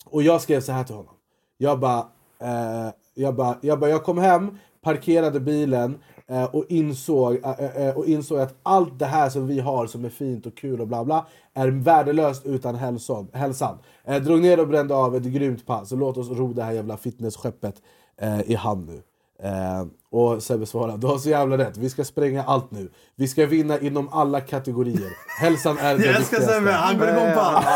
S6: och jag skrev så här till honom. Jag bara, eh, jag bara, jag bara, jag kom hem, parkerade bilen eh, och, insåg, eh, eh, eh, och insåg att allt det här som vi har som är fint och kul och bla bla är värdelöst utan hälsan. hälsan. Eh, drog ner och brände av ett grymt pass och låt oss ro det här jävla fitnessskeppet eh, i hamn nu. Eh, och Sebbe svarade, du har så jävla rätt. Vi ska spränga allt nu. Vi ska vinna inom alla kategorier. Hälsan är det
S5: Jag älskar Sebbe, han går igång på allt.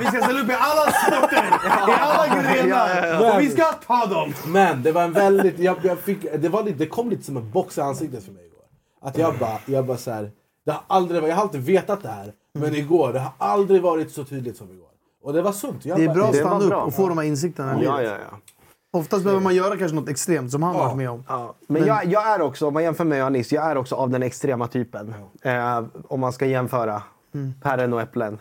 S5: Vi ska ställa upp i alla sporter, i alla grenar. Och vi ska... ta dem!
S6: Men det var en väldigt... Jag, jag fick, det, var lite, det kom lite som en box i ansiktet för mig igår. Att jag bara, jag bara så här, det har aldrig, varit- Jag har alltid vetat det här,
S5: Mm.
S6: men igår, det har aldrig varit så tydligt som igår. Och det var sunt. Jag
S5: Det är
S6: bara-
S5: bra att stanna upp och få de här insikterna i livet. Oftast behöver man göra kanske något extremt som han varit med om.
S4: Men, jag, jag är också, om man jämför mig och Anis, jag är också av den extrema typen. Eh, om man ska jämföra päron och äpplen.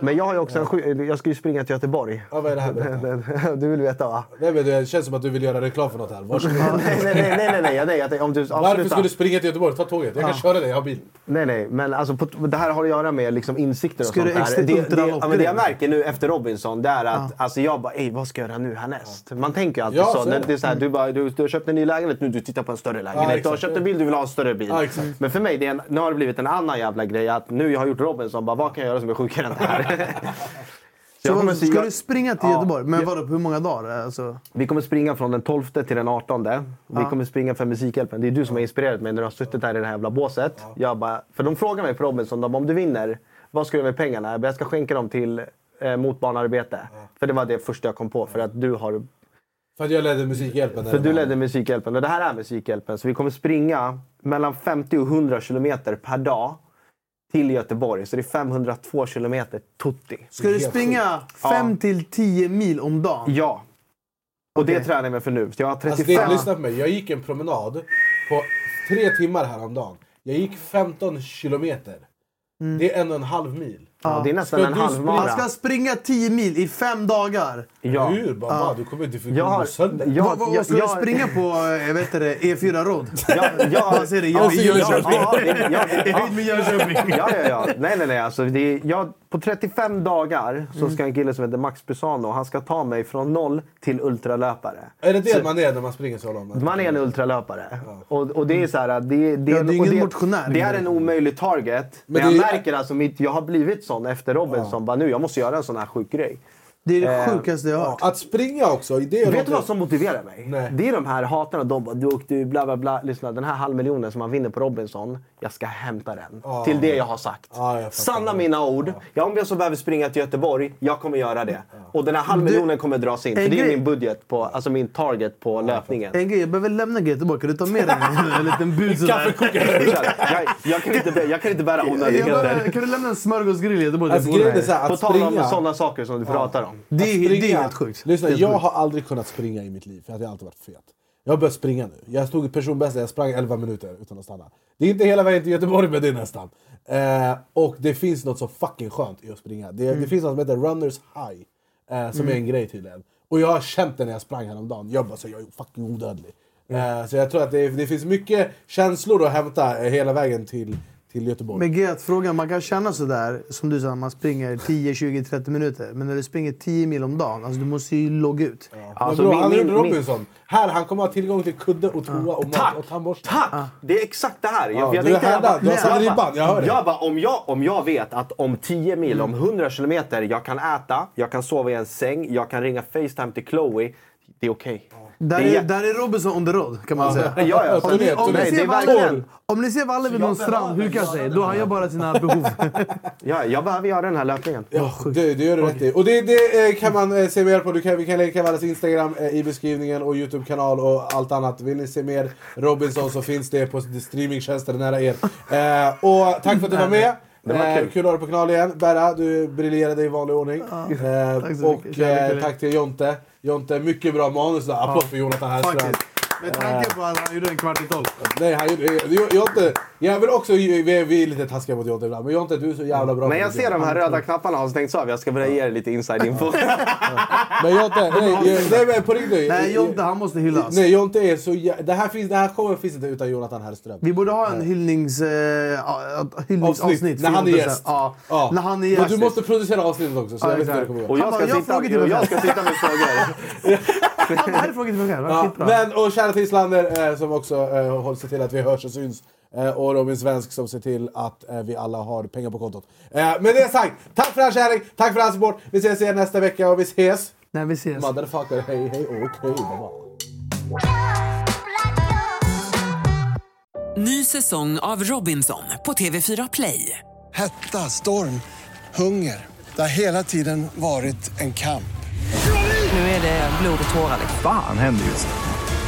S4: Men jag har ju också en sju, Jag ska ju springa till Göteborg.
S6: Ja, vad är det här? Berätta.
S4: Du vill veta va?
S6: Nej, men det känns som att du vill göra reklam för något här.
S5: Mm.
S6: Varsågod.
S4: nej, nej, nej, nej, nej, nej. Jag- nej jag, tänkte- om du
S6: Varför
S4: avslutar.
S6: ska du springa till Göteborg? Ta tåget. Jag kan
S4: Ja.
S6: köra dig, jag har bil.
S4: Nej, nej. Men alltså, på, det här har att göra med liksom, insikter och
S6: Ska du
S4: sånt
S6: extra-
S4: där. Det, det,
S6: ultralopp-
S4: ja, men det jag märker nu efter Robinson, det är att alltså, jag bara “Ey, vad ska jag göra nu härnäst?” Man tänker ju alltid
S6: Ja,
S4: så.
S6: så är
S4: Det,
S6: det.
S4: det är så här, du, bara, du, du har köpt en ny lägenhet nu, du tittar på en större lägenhet. du har
S6: exakt.
S4: köpt en bil, du vill ha en större bil.
S6: Ja, exakt.
S4: Men för mig, det är en, nu har det blivit en annan jävla grej. Att nu jag har gjort Robinson, bara, vad kan jag göra som är sjukare än det här? Så jag kommer
S5: Så
S4: att-
S5: ska
S4: jag-
S5: du springa till
S4: Ja.
S5: Göteborg? Men
S4: Jag-
S5: vadå, på hur många dagar? Alltså,
S4: Vi kommer springa från den 12 till den 18. Vi
S5: Ja.
S4: kommer springa för Musikhjälpen. Det är du som har inspirerat mig när du har suttit här i det här jävla båset. Jag bara, för de frågar mig på Robinson, de bara, om du vinner, vad ska du göra med pengarna? Jag bara, Jag ska skänka dem till eh, motbarnarbete. För det var det första jag kom på. För att du har...
S6: För att jag ledde Musikhjälpen.
S4: För du ledde Musikhjälpen. Och det här är Musikhjälpen. Så vi kommer springa mellan 50 och 100 kilometer per dag till Göteborg. Så det är 502 kilometer tutti.
S5: Ska du springa 5 till 10 mil om dagen?
S4: Ja. Och det tränar jag mig för nu. Så Jag har 35...
S6: Alltså det, lyssna på mig, jag gick en promenad på tre timmar häromdagen. Jag gick 15 kilometer.
S5: Mm.
S6: Det är en och en halv mil. Ska du
S5: Han ska springa 10 mil i fem dagar.
S6: Ja. Hur? Bara, Du kommer inte få
S5: Jag har-
S6: gå sönder.
S5: jag- Vad- vad- jag- ska du jag- springa eh,
S6: på vet det,
S5: E
S6: E4-rodd?
S4: Ja, alltså,
S5: Han säger det, jag är i Jönköping.
S4: Ja, det- ja,
S5: Jag är med Jönköping.
S4: Ja, ja, ja. Nej, nej, nej. Alltså, det är, jag, på 35 dagar så ska en kille som heter Max Busano, han ska ta mig från noll till ultralöpare.
S6: Är det det
S4: så,
S6: man är när man springer så långt?
S4: man är en ultralöpare. Och, och det är så här, det, det,
S6: Ja, det är
S4: och
S6: ingen
S4: det,
S6: motionär.
S4: det är en omöjlig target. Men,
S6: Men
S4: jag
S6: det är-
S4: märker alltså, mitt, jag har blivit sån efter Robinson. Bara, nu, jag måste göra en sån här sjuk grej.
S5: Det är
S4: Eh,
S5: det sjukaste jag har hört.
S6: Att springa också. Det
S5: är
S4: Vet
S5: något-
S4: du vad som motiverar mig? Det är de här hatarna. De bara, du åkte ju bla bla bla. Lyssna, den här halvmiljonen som man vinner på Robinson, jag ska hämta den.
S6: Ja.
S4: Till det jag har sagt.
S6: Ja, jag fattar.
S4: Sanna mina ord. Ja, om jag så behöver springa till Göteborg, jag kommer göra det. Och den här halvmiljonen kommer dras in. För
S5: en
S4: det är
S5: grej-
S4: min budget, på, alltså min target på löpningen.
S5: En grej, jag behöver lämna Göteborg. Kan du ta med dig en, en liten bud sådär?
S4: jag, jag, kan inte, bä- jag kan inte bära
S5: Jag behöver-
S4: onödigheter.
S5: Kan du lämna en smörgåsgrill i Göteborg?
S6: Alltså,
S5: Jag bor
S6: grejen är
S5: här.
S6: så här,
S4: På
S6: att
S4: tal om
S6: springa-
S4: sådana saker som du pratar om.
S5: Det är-
S6: Att springa-
S5: det är helt sjukt.
S6: Lyssna,
S5: Helt
S6: jag
S5: sjukt.
S6: har aldrig kunnat springa i mitt liv, för att jag har alltid varit fet. Jag har börjat springa nu. Jag stod i personbästa, jag sprang 11 minuter utan att stanna. Det är inte hela vägen till Göteborg, men det är nästan. Eh, och det finns något så fucking skönt i att springa. Det, det finns något som heter runners high, eh, som
S5: Mm.
S6: är en grej tydligen. Och jag har känt det när jag sprang häromdagen. Jag bara, så jag är fucking odödlig.
S5: Mm.
S6: Eh, så jag tror att det, det finns mycket känslor att hämta eh, hela vägen till, till Göteborg.
S5: Men grejen är att frågan, man kan känna sådär, som du sa, man springer 10, 20, 30 minuter. Men när du springer 10 mil om dagen, alltså du måste ju logga ut.
S6: Alltså, bro, han gjorde Robinson. Här, han kommer ha tillgång till kudde och toa och mat och tandborste.
S4: Tack! Det är exakt det här.
S6: Ja,
S4: Jag, jag
S6: du är
S4: tänkte- jag
S6: härdad. Du har
S4: jag
S6: satt ribban, jag hör det. Mm.
S4: jag bara, om jag, om jag vet att om 10 mil, om 100 kilometer, jag kan äta, jag kan sova i en säng, jag kan ringa Facetime till Chloe. Det är okej.
S5: Där
S4: Det är
S5: är,
S4: jätte-
S5: där är Robinson on the road kan man
S4: Ja.
S5: säga.
S4: Ja,
S5: om,
S4: ja,
S5: ni,
S4: absolut.
S5: om,
S4: Nej,
S5: ni
S4: det är
S5: ser Valle,
S4: verkligen-
S5: om ni ser Valle vid någon strand huka sig, då har jag bara sina behov.
S4: Ja, jag behöver göra den här löpningen.
S6: Ja, det, det gör du rätt i. Och det, det eh, kan man eh, se mer på. Du kan, vi kan länka Valles Instagram eh, i beskrivningen och Youtube-kanal och allt annat. Vill ni se mer Robinson så finns det på streamingtjänster nära er. Eh, och tack för att du var med.
S5: Det var
S6: Eh,
S5: kul.
S6: kul att ha dig på kanal igen. Berra, du briljerade i vanlig ordning. Eh,
S5: Tack så mycket.
S6: och eh,
S5: Kärlek.
S6: tack till Jonte. Jonte, mycket bra manus. där. Applåd för Jonathan Hellström.
S5: Faktiskt. Med tanke på att han gjorde en kvart i tolv.
S6: Nej, han gjorde... jag- Jonte, jag vill också... Vi är, vi är lite taskiga mot Jonte ibland, men Jonte du är så jävla bra.
S4: Men
S6: på
S4: jag
S6: det.
S4: ser de här röda knapparna har stängts av. Jag ska börja ge er lite inside-info.
S6: Men Jonte, nej, nej, nej men på riktigt.
S5: Nej, Jonte han måste hyllas.
S6: Nej, Jonte är så jä... det, här finns, det här showen finns inte utan Jonathan Hellström.
S5: Vi borde ha en hyllnings, eh, ja, hyllningsavsnitt.
S6: Avsnitt,
S5: för
S6: när han är
S5: Jonte sen.
S6: gäst.
S5: Ja. När han är
S6: Men
S5: gäst.
S6: du måste producera avsnittet också, så
S5: Ja,
S6: jag vet inte
S5: exakt.
S6: hur det kommer gå.
S5: Och jag Han ska bara, jag sitta- frågar till mig jag själv. ska sitta
S4: med frågor.
S5: Det här är frågan till mig själv.
S6: Ja,
S5: Skitbra.
S6: men och kära Tislander eh, som också eh, håll- ser till att vi hörs och syns. Eh, och Robin Svensk som ser till att eh, vi alla har pengar på kontot. Eh, med det sagt, tack för all kärlek, tack för all support. Vi ses igen nästa vecka och vi ses.
S5: När vi ses.
S6: Motherfucker, hej hej och okej. baba.
S1: Ny säsong av Robinson på TV4 Play.
S2: Hetta, storm, hunger. Det har hela tiden varit en kamp.
S1: Nu är det blod och tårar.
S3: Fan händer just det.